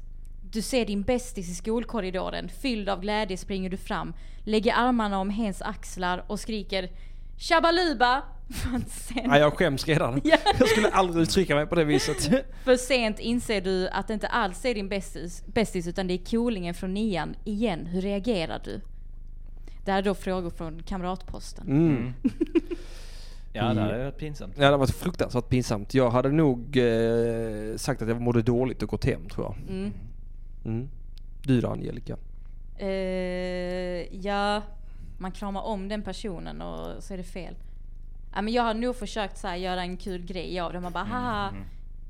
Speaker 3: Du ser din bästis i skolkorridoren. Fylld av glädje springer du fram, lägger armarna om hens axlar och skriker *laughs* Shabaluba! För att sen-
Speaker 2: Nej, jag skäms redan.
Speaker 3: Ja.
Speaker 2: Jag skulle aldrig uttrycka mig på det
Speaker 3: *laughs*
Speaker 2: viset.
Speaker 3: För sent inser du att det inte alls är din bästis, bästis utan det är coolingen från nian igen. Hur reagerar du? Det här är då frågor från Kamratposten.
Speaker 2: Mm.
Speaker 4: Ja, det hade varit pinsamt.
Speaker 2: Ja, det var fruktansvärt pinsamt. Jag hade nog eh, sagt att jag mådde dåligt och gått hem tror jag. Mm. Du då Mm. Angelica?
Speaker 3: Eh, ja, man kramar om den personen och så är det fel. Ja, men jag har nog försökt så här, göra en kul grej av det. Man bara haha,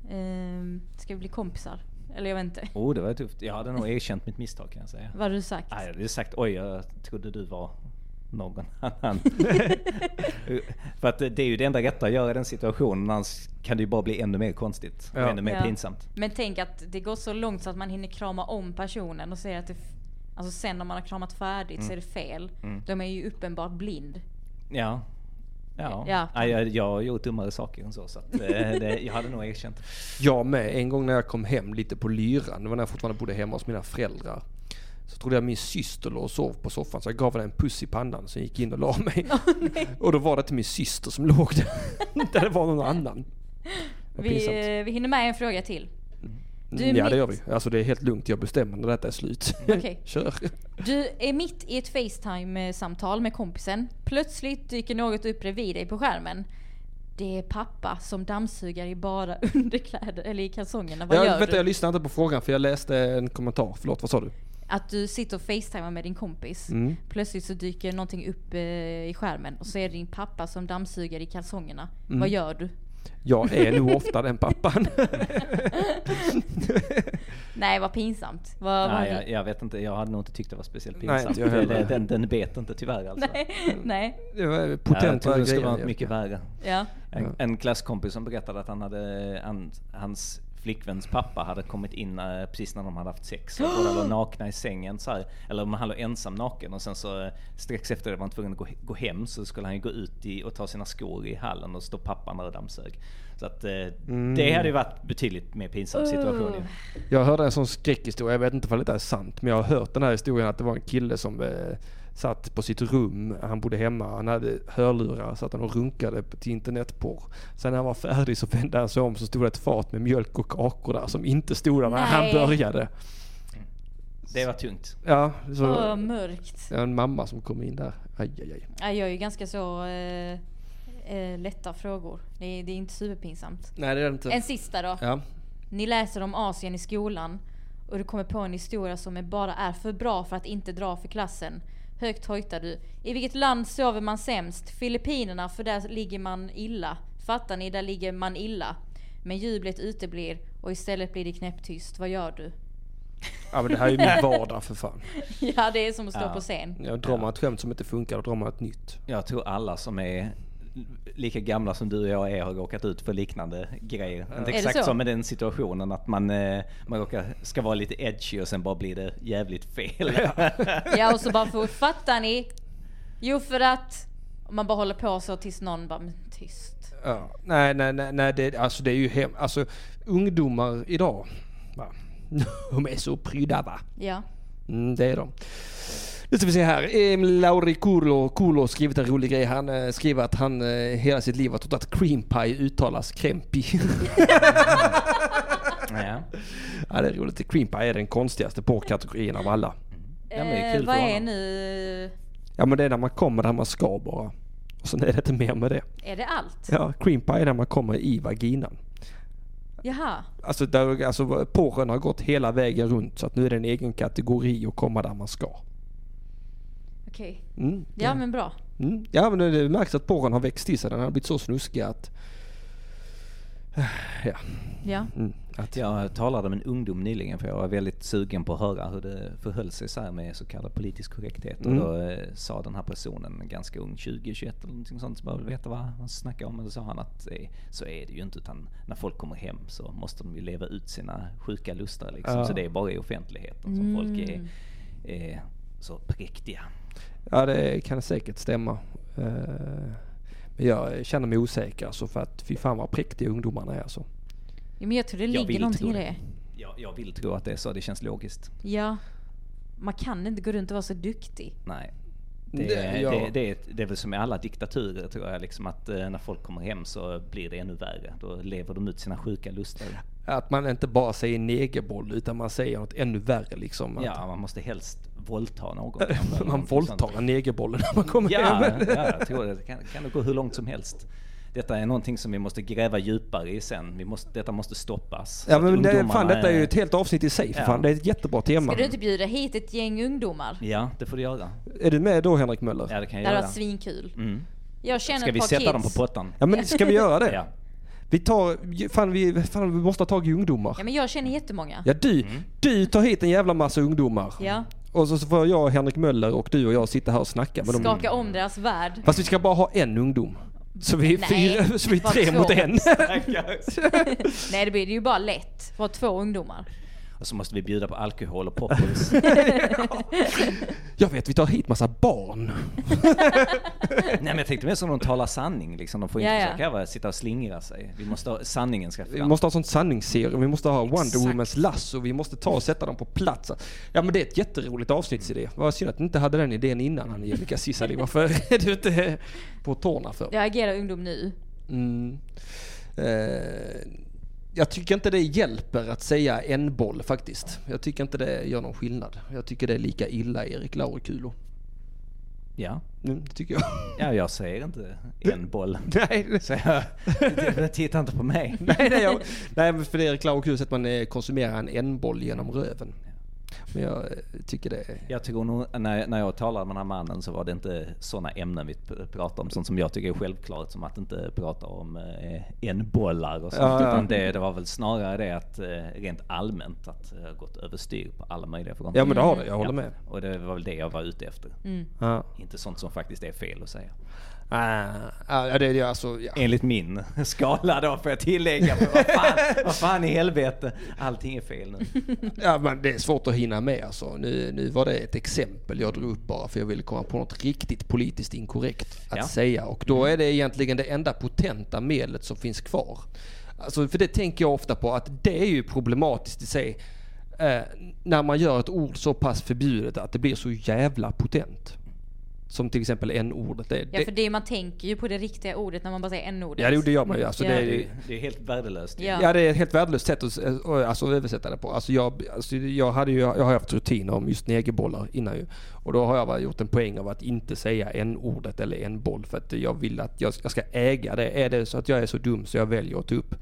Speaker 3: ehm, ska vi bli kompisar? Eller jag vet inte.
Speaker 4: Oh, det var tufft. Jag hade nog erkänt mitt misstag kan jag säga.
Speaker 3: Vad har du sagt?
Speaker 4: Nej, jag hade sagt oj, jag trodde du var någon *laughs* annan.
Speaker 3: *laughs*
Speaker 4: För att det är ju det enda rätta att göra i den situationen, annars kan det ju bara bli ännu mer konstigt. Och
Speaker 2: Ja.
Speaker 4: ännu mer
Speaker 3: Ja.
Speaker 4: pinsamt.
Speaker 3: Men tänk att det går så långt så att man hinner krama om personen och säga att det... f- Alltså sen när man har kramat färdigt så är det fel.
Speaker 4: Mm.
Speaker 3: Då är man ju uppenbart blind.
Speaker 4: Ja. Ja.
Speaker 3: Ja.
Speaker 4: Nej, jag, jag har gjort dummare saker än så, så att, eh, det, jag hade nog erkänt.
Speaker 2: Jag med. En gång när jag kom hem lite på lyran, det var när jag fortfarande bodde hemma hos mina föräldrar. Så trodde jag min syster låg och sov på soffan så jag gav henne en puss i pannan så jag gick in och la mig.
Speaker 3: *laughs*
Speaker 2: och då var det inte min syster som låg där. *laughs* där det var någon annan. Vad
Speaker 3: Vi,
Speaker 2: pinsamt.
Speaker 3: eh, vi hinner med en fråga till. Du är,
Speaker 2: Mm, ja det
Speaker 3: mitt,
Speaker 2: gör vi. Alltså det är helt lugnt, jag bestämmer när detta är slut.
Speaker 3: Okej.
Speaker 2: *laughs* Kör.
Speaker 3: du är mitt i ett Facetime-samtal med kompisen. Plötsligt dyker något upp bredvid dig på skärmen. Det är pappa som dammsugar i bara *laughs* underkläder, eller i kalsongerna. Vad
Speaker 2: Jag,
Speaker 3: gör
Speaker 2: vänta,
Speaker 3: du?
Speaker 2: jag lyssnade inte på frågan för jag läste en kommentar. Förlåt, vad sa du?
Speaker 3: Att du sitter och facetimar med din kompis.
Speaker 2: Mm.
Speaker 3: Plötsligt så dyker någonting upp eh, i skärmen och så är det din pappa som dammsuger i kalsongerna.
Speaker 2: Mm.
Speaker 3: Vad gör du?
Speaker 2: Jag är nog ofta den pappan. *laughs*
Speaker 3: Nej vad pinsamt. Vad,
Speaker 4: Nej,
Speaker 3: vad
Speaker 4: jag, jag vet inte, jag hade nog inte tyckt det var speciellt
Speaker 2: Nej,
Speaker 4: pinsamt.
Speaker 2: inte jag heller.
Speaker 4: Det- den, den bet inte tyvärr alltså.
Speaker 3: *laughs* Nej, nej.
Speaker 2: Det var
Speaker 4: Ja, jag
Speaker 2: potenta
Speaker 4: trodde det skulle
Speaker 2: grejer.
Speaker 4: vara mycket värre.
Speaker 3: Ja.
Speaker 2: Ja.
Speaker 4: En, en klasskompis som berättade att han hade, han, hans flickväns pappa hade kommit in eh, precis när de hade haft sex. Och båda
Speaker 2: *gasps*
Speaker 4: låg nakna i sängen så här. Eller om han låg ensam naken och sen så eh, strax efter det var han tvungen att gå, gå hem så skulle han ju gå ut i, och ta sina skor i hallen och stå pappan där och dammsög. Så att eh,
Speaker 2: Mm.
Speaker 4: det hade ju varit betydligt mer pinsam situation ju.
Speaker 2: Jag hörde en sån skräckhistoria, jag vet inte om det är sant, men jag har hört den här historien att det var en kille som eh, satt på sitt rum, han bodde hemma, han hade hörlurar, satt han och runkade på- till internetporr. Sen när han var färdig så vände han sig om så stod det ett fat med mjölk och kakor där som inte stod där när han
Speaker 3: Nej.
Speaker 2: började.
Speaker 4: Det var tungt.
Speaker 2: Ja, så
Speaker 3: Åh, mörkt.
Speaker 2: det var en mamma som kom in där. Aj, aj, aj.
Speaker 3: Ja, Jag är ju ganska så eh, eh, lätta frågor. Det är, det är inte superpinsamt.
Speaker 2: Nej det är det inte.
Speaker 3: En sista då.
Speaker 2: Ja.
Speaker 3: Ni läser om Asien i skolan och du kommer på en historia som är bara är för bra för att inte dra för klassen. Högt hojtar du. I vilket land sover man sämst? Filippinerna, för där ligger man illa. Fattar ni? Där ligger man illa. Men jublet uteblir och istället blir det knäpptyst. Vad gör du?
Speaker 2: ja men det här är ju min vardag för fan.
Speaker 3: *laughs* Ja, det är som att stå
Speaker 4: Ja.
Speaker 3: på scen.
Speaker 2: Jag drar man ett skämt som inte funkar, då drar man ett nytt.
Speaker 4: Jag tror alla som är lika gamla som du och jag är har råkat ut för liknande grejer. Inte
Speaker 3: det
Speaker 4: exakt
Speaker 3: så?
Speaker 4: som med den situationen att man, eh, man råkar, ska vara lite edgy och sen bara blir det jävligt fel.
Speaker 3: Ja, *laughs* och så bara för, fattar ni? Jo, för att... Och Man bara håller på så tills någon bara, men tyst.
Speaker 2: Ja. Nej, nej, nej, nej det, alltså det är ju hem, alltså ungdomar idag, va? *laughs* de är så prydda va?
Speaker 3: Ja.
Speaker 2: Mm, det är de. Nu ska vi se här. Emil Lauri Kurlo, Kurlo har skrivit en rolig grej. Han eh, skriver att han eh, hela sitt liv har trott att cream pie uttalas krempi. *laughs*
Speaker 4: ja.
Speaker 2: ja, det är roligt. Cream pie är den konstigaste porrkategorin av alla.
Speaker 4: *laughs* Ja, men det är
Speaker 3: Eh,
Speaker 4: kul
Speaker 3: vad
Speaker 4: för
Speaker 3: är
Speaker 4: honom.
Speaker 3: nu...
Speaker 2: Ja, men det är när man kommer där man ska bara. Och sen är det inte mer med det.
Speaker 3: Är det allt?
Speaker 2: Ja, cream pie är när man kommer i vaginan.
Speaker 3: Jaha.
Speaker 2: Alltså, där, alltså porren har gått hela vägen runt så att nu är det en egen kategori att komma där man ska.
Speaker 3: Okej.
Speaker 2: Mm.
Speaker 3: Ja men bra.
Speaker 2: Mm. Ja men det märks att porren har växt till sig. Den har blivit så snuskig att... Ja.
Speaker 3: Ja.
Speaker 2: Mm. att
Speaker 4: Jag talade med en ungdom nyligen för jag var väldigt sugen på att höra hur det förhöll sig så här med så kallad politisk korrekthet.
Speaker 2: Mm.
Speaker 4: Och då eh, sa den här personen, ganska ung, 20, 21 eller någonting sånt, så bara vill veta vad han snackar om. Och då sa han att eh, så är det ju inte utan när folk kommer hem så måste de ju leva ut sina sjuka lustar liksom.
Speaker 2: Ja.
Speaker 4: Så det är bara i offentligheten
Speaker 3: Mm.
Speaker 4: som folk är eh, så präktiga.
Speaker 2: ja det kan säkert stämma. Eh, Men jag känner mig osäker alltså för att fy fan vad präktiga ungdomarna är alltså.
Speaker 3: Ja, men jag tror det
Speaker 4: Jag
Speaker 3: ligger
Speaker 4: vill
Speaker 3: någonting i
Speaker 4: tro
Speaker 3: det.
Speaker 4: Jag, jag vill tro att det är så, det känns logiskt.
Speaker 3: Ja. Man kan inte gå runt och vara så duktig.
Speaker 4: Nej.
Speaker 2: Det-
Speaker 4: Det, det,
Speaker 2: ja.
Speaker 4: det, det, är, det är väl som i alla diktaturer tror jag, liksom att eh, när folk kommer hem så blir det ännu värre. Då lever de ut sina sjuka lustar.
Speaker 2: Att man inte bara säger negerboll utan man säger något ännu värre liksom. Att
Speaker 4: Ja, man måste helst
Speaker 2: *laughs*
Speaker 4: våldta någon.
Speaker 2: Man våldtar en negerboll när man kommer
Speaker 4: Ja,
Speaker 2: hem.
Speaker 4: ja, jag tror det. det kan, kan det gå hur långt som helst. detta är någonting som vi måste gräva djupare i sen. Vi måste, detta måste stoppas.
Speaker 2: *laughs* Ja
Speaker 4: Så att
Speaker 2: men det,
Speaker 4: ungdomarna
Speaker 2: fan detta är ju ett helt avsnitt i sig för
Speaker 4: Ja.
Speaker 2: fan. Det är ett jättebra tema.
Speaker 3: Ska du inte bjuda hit ett gäng ungdomar?
Speaker 4: Ja, det får du göra.
Speaker 2: Är du med då Henrik Möller?
Speaker 4: Ja, det kan
Speaker 3: Det
Speaker 4: jag
Speaker 3: hade
Speaker 4: göra.
Speaker 3: varit svinkul.
Speaker 4: Mm.
Speaker 3: Jag känner
Speaker 4: Ska
Speaker 3: ett
Speaker 4: vi
Speaker 3: par
Speaker 4: sätta
Speaker 3: kids.
Speaker 4: dem på pottan?
Speaker 2: Ja men ska vi göra det?
Speaker 4: Ja.
Speaker 2: Vi tar, fan vi, fan, vi måste ha tag i ungdomar.
Speaker 3: Ja men jag känner jättemånga.
Speaker 2: Ja du,
Speaker 4: Mm.
Speaker 2: du tar hit en jävla massa ungdomar.
Speaker 3: Ja.
Speaker 2: Och så så får jag, Henrik Möller och du och jag sitta här och snacka med dem.
Speaker 3: Skaka om deras värld.
Speaker 2: Fast vi ska bara ha en ungdom. Så vi är,
Speaker 3: Nej,
Speaker 2: fyra, så vi är
Speaker 3: bara
Speaker 2: tre
Speaker 3: två.
Speaker 2: mot en. *laughs*
Speaker 3: Nej det blir det ju bara lätt. För två *laughs* ungdomar.
Speaker 4: Och så måste vi bjuda på alkohol
Speaker 2: *laughs*
Speaker 4: och poppis.
Speaker 2: Jag vet, vi tar hit massa barn.
Speaker 4: Nej men jag tänkte mer som de talar sanning liksom. De får inte
Speaker 3: Ja, ja.
Speaker 4: försöka va, sitta och slingra sig. Vi måste ha, sanningen ska
Speaker 2: Vi
Speaker 4: fram.
Speaker 2: måste ha sånt sanningsserum, vi måste ha Wonder
Speaker 4: Exakt.
Speaker 2: Womans lasso, vi måste ta och sätta dem på plats. Ja men det är ett jätteroligt avsnittsidé. Vad synd att ni inte hade den idén innan Angelica Cissali. Varför är du inte på tårna för?
Speaker 3: Jag agerar ungdom nu.
Speaker 2: Mm. Eh, jag tycker inte det hjälper att säga en boll faktiskt. Jag tycker inte det gör någon skillnad. Jag tycker det är lika illa Erik Laurikulo.
Speaker 4: Ja.
Speaker 2: Mm, det tycker jag.
Speaker 4: ja, jag säger inte en boll.
Speaker 2: *laughs* Nej, det-
Speaker 4: Så jag, det- titta inte på mig.
Speaker 2: *laughs* nej, nej, jag, nej men för Erik Laurikulo så att man eh, konsumerar en en boll genom röven. Men jag eh, tycker det är...
Speaker 4: Jag tror nog, när, när jag talade med den här mannen så var det inte sådana ämnen vi pr- pratade om. Sånt som jag tycker är självklart, som att inte prata om eh, en bollar och sånt.
Speaker 2: Ja, ja.
Speaker 4: Utan det, det var väl snarare det att eh, rent allmänt att det har gått överstyr på alla möjliga fronter.
Speaker 2: Ja men det har det, jag håller med.
Speaker 4: Och det var väl det jag var ute efter.
Speaker 3: Mm.
Speaker 2: Ja.
Speaker 4: Inte sånt som faktiskt är fel att säga.
Speaker 2: Ah, ja, det, det, alltså, ja.
Speaker 4: Enligt min *laughs* skala då får jag tillägga. För vad, fan, vad fan i helvete. Allting är fel nu.
Speaker 2: Ja, men det är svårt att hinna med alltså. Nu, nu var det ett exempel jag drog upp bara för jag ville komma på något riktigt politiskt inkorrekt att
Speaker 4: Ja.
Speaker 2: säga. Och då är det egentligen det enda potenta medlet som finns kvar. Alltså, för det tänker jag ofta på att det är ju problematiskt i sig. Eh, när man gör ett ord så pass förbjudet att det blir så jävla potent. Som till exempel n-ordet är.
Speaker 3: Ja för det, man tänker ju på det riktiga ordet när man bara säger n-ordet.
Speaker 2: ja, det, det gör man ju. Alltså,
Speaker 3: Ja.
Speaker 2: Det
Speaker 4: Det
Speaker 2: är,
Speaker 4: är, det är helt värdelöst.
Speaker 3: Ja.
Speaker 2: Ja, det är ett helt värdelöst sätt att eh, alltså, att översätta det på. Alltså, jag, alltså, jag, hade ju, jag har haft rutiner om just negerbollar innan ju. Och då har jag bara gjort en poäng av att inte säga en ordet eller en boll för att jag vill att jag, jag ska äga det. Är det så att jag är så dum så jag väljer att ta upp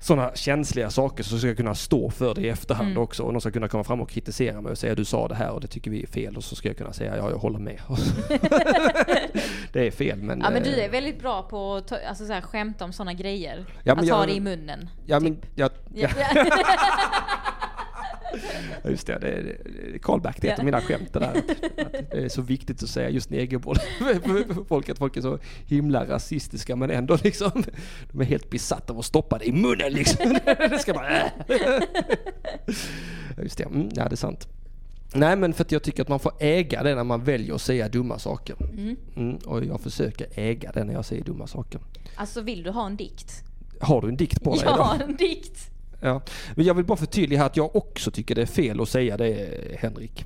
Speaker 2: sådana känsliga saker så ska jag kunna stå för det i efterhand också. Och någon ska kunna komma fram och kritisera mig och säga du sa det här och det tycker vi är fel. Och så ska jag kunna säga ja, jag håller med. *laughs* det är fel men...
Speaker 3: Ja men du
Speaker 2: eh,
Speaker 3: är väldigt bra på att ta, alltså, så här, skämta om sådana grejer.
Speaker 2: Ja, men
Speaker 3: att ha
Speaker 2: jag-
Speaker 3: det i munnen.
Speaker 2: Ja, men, jag,
Speaker 3: Typ. Ja. *laughs*
Speaker 2: Ja, Just det, det är det är callback till ett av mina skämt det där.
Speaker 3: *laughs*
Speaker 2: Att, att det är så viktigt att säga just negerboll. För *laughs* folk, att folk är så himla rasistiska men ändå liksom, de är helt besatta av att stoppa det i munnen liksom. *laughs* Det ska bara... äh. Ja, Just det, mm, ja det är sant. Nej men för att jag tycker att man får äga det när man väljer att säga dumma saker. Mm, och jag försöker äga det när jag säger dumma saker.
Speaker 3: Alltså vill du ha en dikt?
Speaker 2: Har du en dikt på dig idag?
Speaker 3: Ja, en dikt!
Speaker 2: Ja. Men jag vill bara förtydliga här att jag också tycker det är fel att säga det Henrik.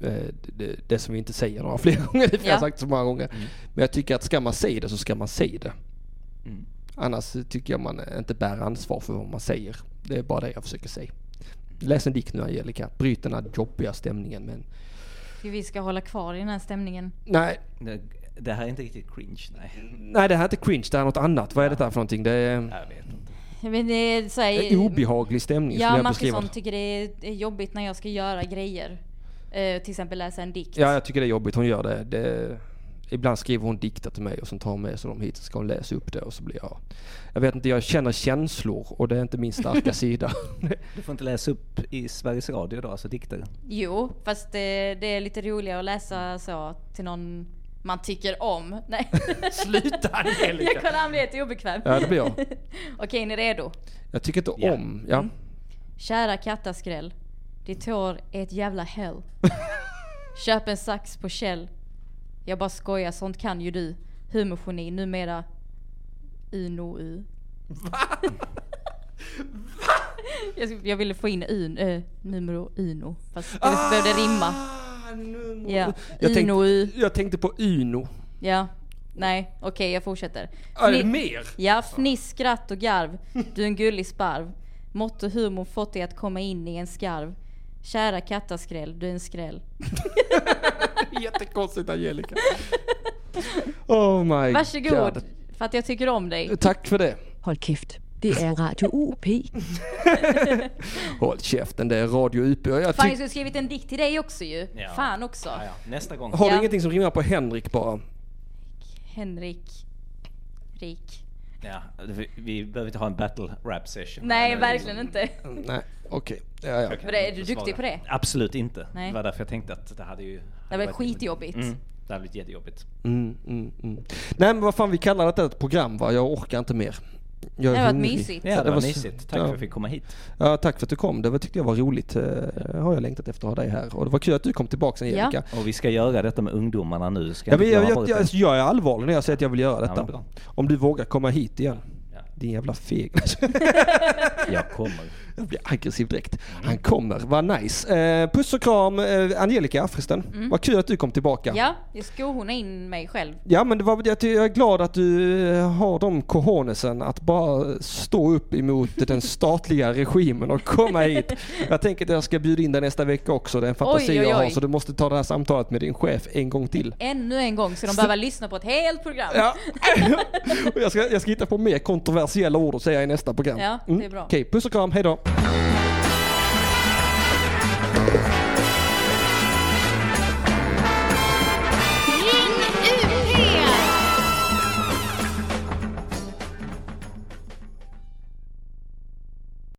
Speaker 2: Eh, Det, det som vi inte säger några *laughs* fler gånger, det har
Speaker 3: Ja.
Speaker 2: jag sagt så många gånger. Men jag tycker att ska man säga det så ska man säga det. Annars tycker jag man inte bär ansvar för vad man säger. Det är bara det jag försöker säga. Läs en dikt nu Angelica, bryt den här jobbiga stämningen. Men...
Speaker 3: För vi ska hålla kvar i den här stämningen.
Speaker 2: Nej,
Speaker 4: Det, det här är inte riktigt cringe, nej.
Speaker 2: nej, det här är inte cringe, det här är något annat. Vad är detta för någonting? Det är
Speaker 4: Jag vet inte.
Speaker 3: Men det är så
Speaker 2: en
Speaker 3: här,
Speaker 2: obehaglig stämning skulle
Speaker 3: Eh, ja,
Speaker 2: jag beskriva
Speaker 3: Martinsson
Speaker 2: det.
Speaker 3: tycker det är- är jobbigt när jag ska göra grejer. Eh, till exempel läsa en dikt.
Speaker 2: Ja, jag tycker det är jobbigt. Hon gör det. det ibland skriver hon dikter till mig och sen tar hon med sig dem hit. Så ska hon läsa upp det och så blir jag... Jag vet inte, jag känner känslor och det är inte min starka
Speaker 3: *laughs*
Speaker 2: sida.
Speaker 4: Du får inte läsa upp i Sveriges Radio då, alltså dikter.
Speaker 3: Jo, fast det, det är lite roligare att läsa så till någon man tycker om. *laughs* Nej.
Speaker 2: Sluta Angelica!
Speaker 3: jag kollar om det är lite obekväm.
Speaker 2: Ja, det blir jag.
Speaker 3: Okej, är ni redo?
Speaker 2: Jag tycker inte
Speaker 4: Ja.
Speaker 2: om...
Speaker 3: Mm.
Speaker 2: Ja.
Speaker 3: Kära kattaskräll. Ditt hår är ett jävla hell. Köp en sax på Kjell. Jag bara skojar, sånt kan ju du. Humorgeni, numera Uno U. *laughs* Jag, sk- jag ville få in un, eh, numero Uno. Fast det
Speaker 2: Ah!
Speaker 3: behövde rimma. Ja.
Speaker 2: Jag,
Speaker 3: Uno U.
Speaker 2: tänkte, jag tänkte på Uno.
Speaker 3: Ja. Nej, okej jag fortsätter.
Speaker 2: Är det
Speaker 3: Fni-
Speaker 2: mer? *laughs*
Speaker 3: Ja, fniss, skratt och garv. Du är en gullig sparv. Mått och humor fått dig att komma in i en skarv. Kära kattaskräll, du är en skräll. *laughs*
Speaker 2: Jättekonstigt Angelica. Oh my
Speaker 3: Varsågod.
Speaker 2: god.
Speaker 3: För att jag tycker om dig.
Speaker 2: Tack för det.
Speaker 11: Håll käft. Det är Radio UP.
Speaker 2: Håll käften, det är Radio UP. Jag
Speaker 3: Fan, jag skulle skrivit en dikt till dig också ju.
Speaker 4: Ja.
Speaker 3: Fan också.
Speaker 4: Ja, ja. Nästa gång.
Speaker 2: Har du ingenting som rimmar på Henrik bara?
Speaker 3: Henrik. Rik.
Speaker 4: Ja, vi- vi behöver inte ha en battle rap session.
Speaker 3: Nej,
Speaker 4: Men,
Speaker 3: verkligen inte.
Speaker 2: Nej, okej. Ja, ja.
Speaker 4: Jag kan
Speaker 3: Vad är du
Speaker 4: försvara.
Speaker 3: duktig på det?
Speaker 4: Absolut inte.
Speaker 3: Nej.
Speaker 4: Det var därför jag tänkte att det hade ju...
Speaker 3: Det var skitjobbigt.
Speaker 4: Mm, det hade blivit jättejobbigt.
Speaker 2: Mm, mm, mm. Nej men vad fan vi kallar detta ett program va? Jag orkar inte mer. Jag är
Speaker 3: Det var
Speaker 2: hungrig.
Speaker 3: mysigt.
Speaker 4: Ja, det var
Speaker 2: s-
Speaker 4: mysigt. Tack för att jag fick komma hit.
Speaker 2: Ja, tack för att du kom. Det var, tyckte jag var roligt. Eh, har jag längtat efter att ha dig här. Och det var kul att du kom tillbaka sen
Speaker 3: Ja.
Speaker 2: Jerika.
Speaker 4: Och vi ska göra detta med ungdomarna nu. Ska
Speaker 2: Ja, men
Speaker 4: inte
Speaker 2: jag,
Speaker 4: avbryta
Speaker 2: jag,
Speaker 4: er.
Speaker 2: jag, jag är allvarlig när jag säger att jag vill göra
Speaker 4: Ja,
Speaker 2: detta.
Speaker 4: men bra.
Speaker 2: Om du vågar komma hit igen. Din jävla feg. *laughs*
Speaker 4: Jag kommer.
Speaker 2: Jag blir aggressiv direkt. Han kommer, vad nice. Eh, puss och kram eh, Angelica förresten.
Speaker 3: Mm.
Speaker 2: Vad kul att du kom tillbaka.
Speaker 3: Ja, jag skohornar in mig själv.
Speaker 2: Ja men det var, jag, ty- jag är glad att du eh, har de cojonesen att bara stå upp
Speaker 3: *laughs*
Speaker 2: emot den statliga regimen och komma hit. Jag tänker att jag ska bjuda in dig nästa vecka också. Det är en fantasi
Speaker 3: Oj, oj,
Speaker 2: jag har
Speaker 3: oj.
Speaker 2: så du måste ta det här samtalet med din chef en gång till.
Speaker 3: Ännu en gång så de behöver lyssna på ett helt program. *laughs*
Speaker 2: Ja. Och jag, ska, jag ska hitta på mer kontroversiella ord att säga i nästa program. Mm.
Speaker 3: Ja, det är bra.
Speaker 2: Okej, puss och kram, hejdå.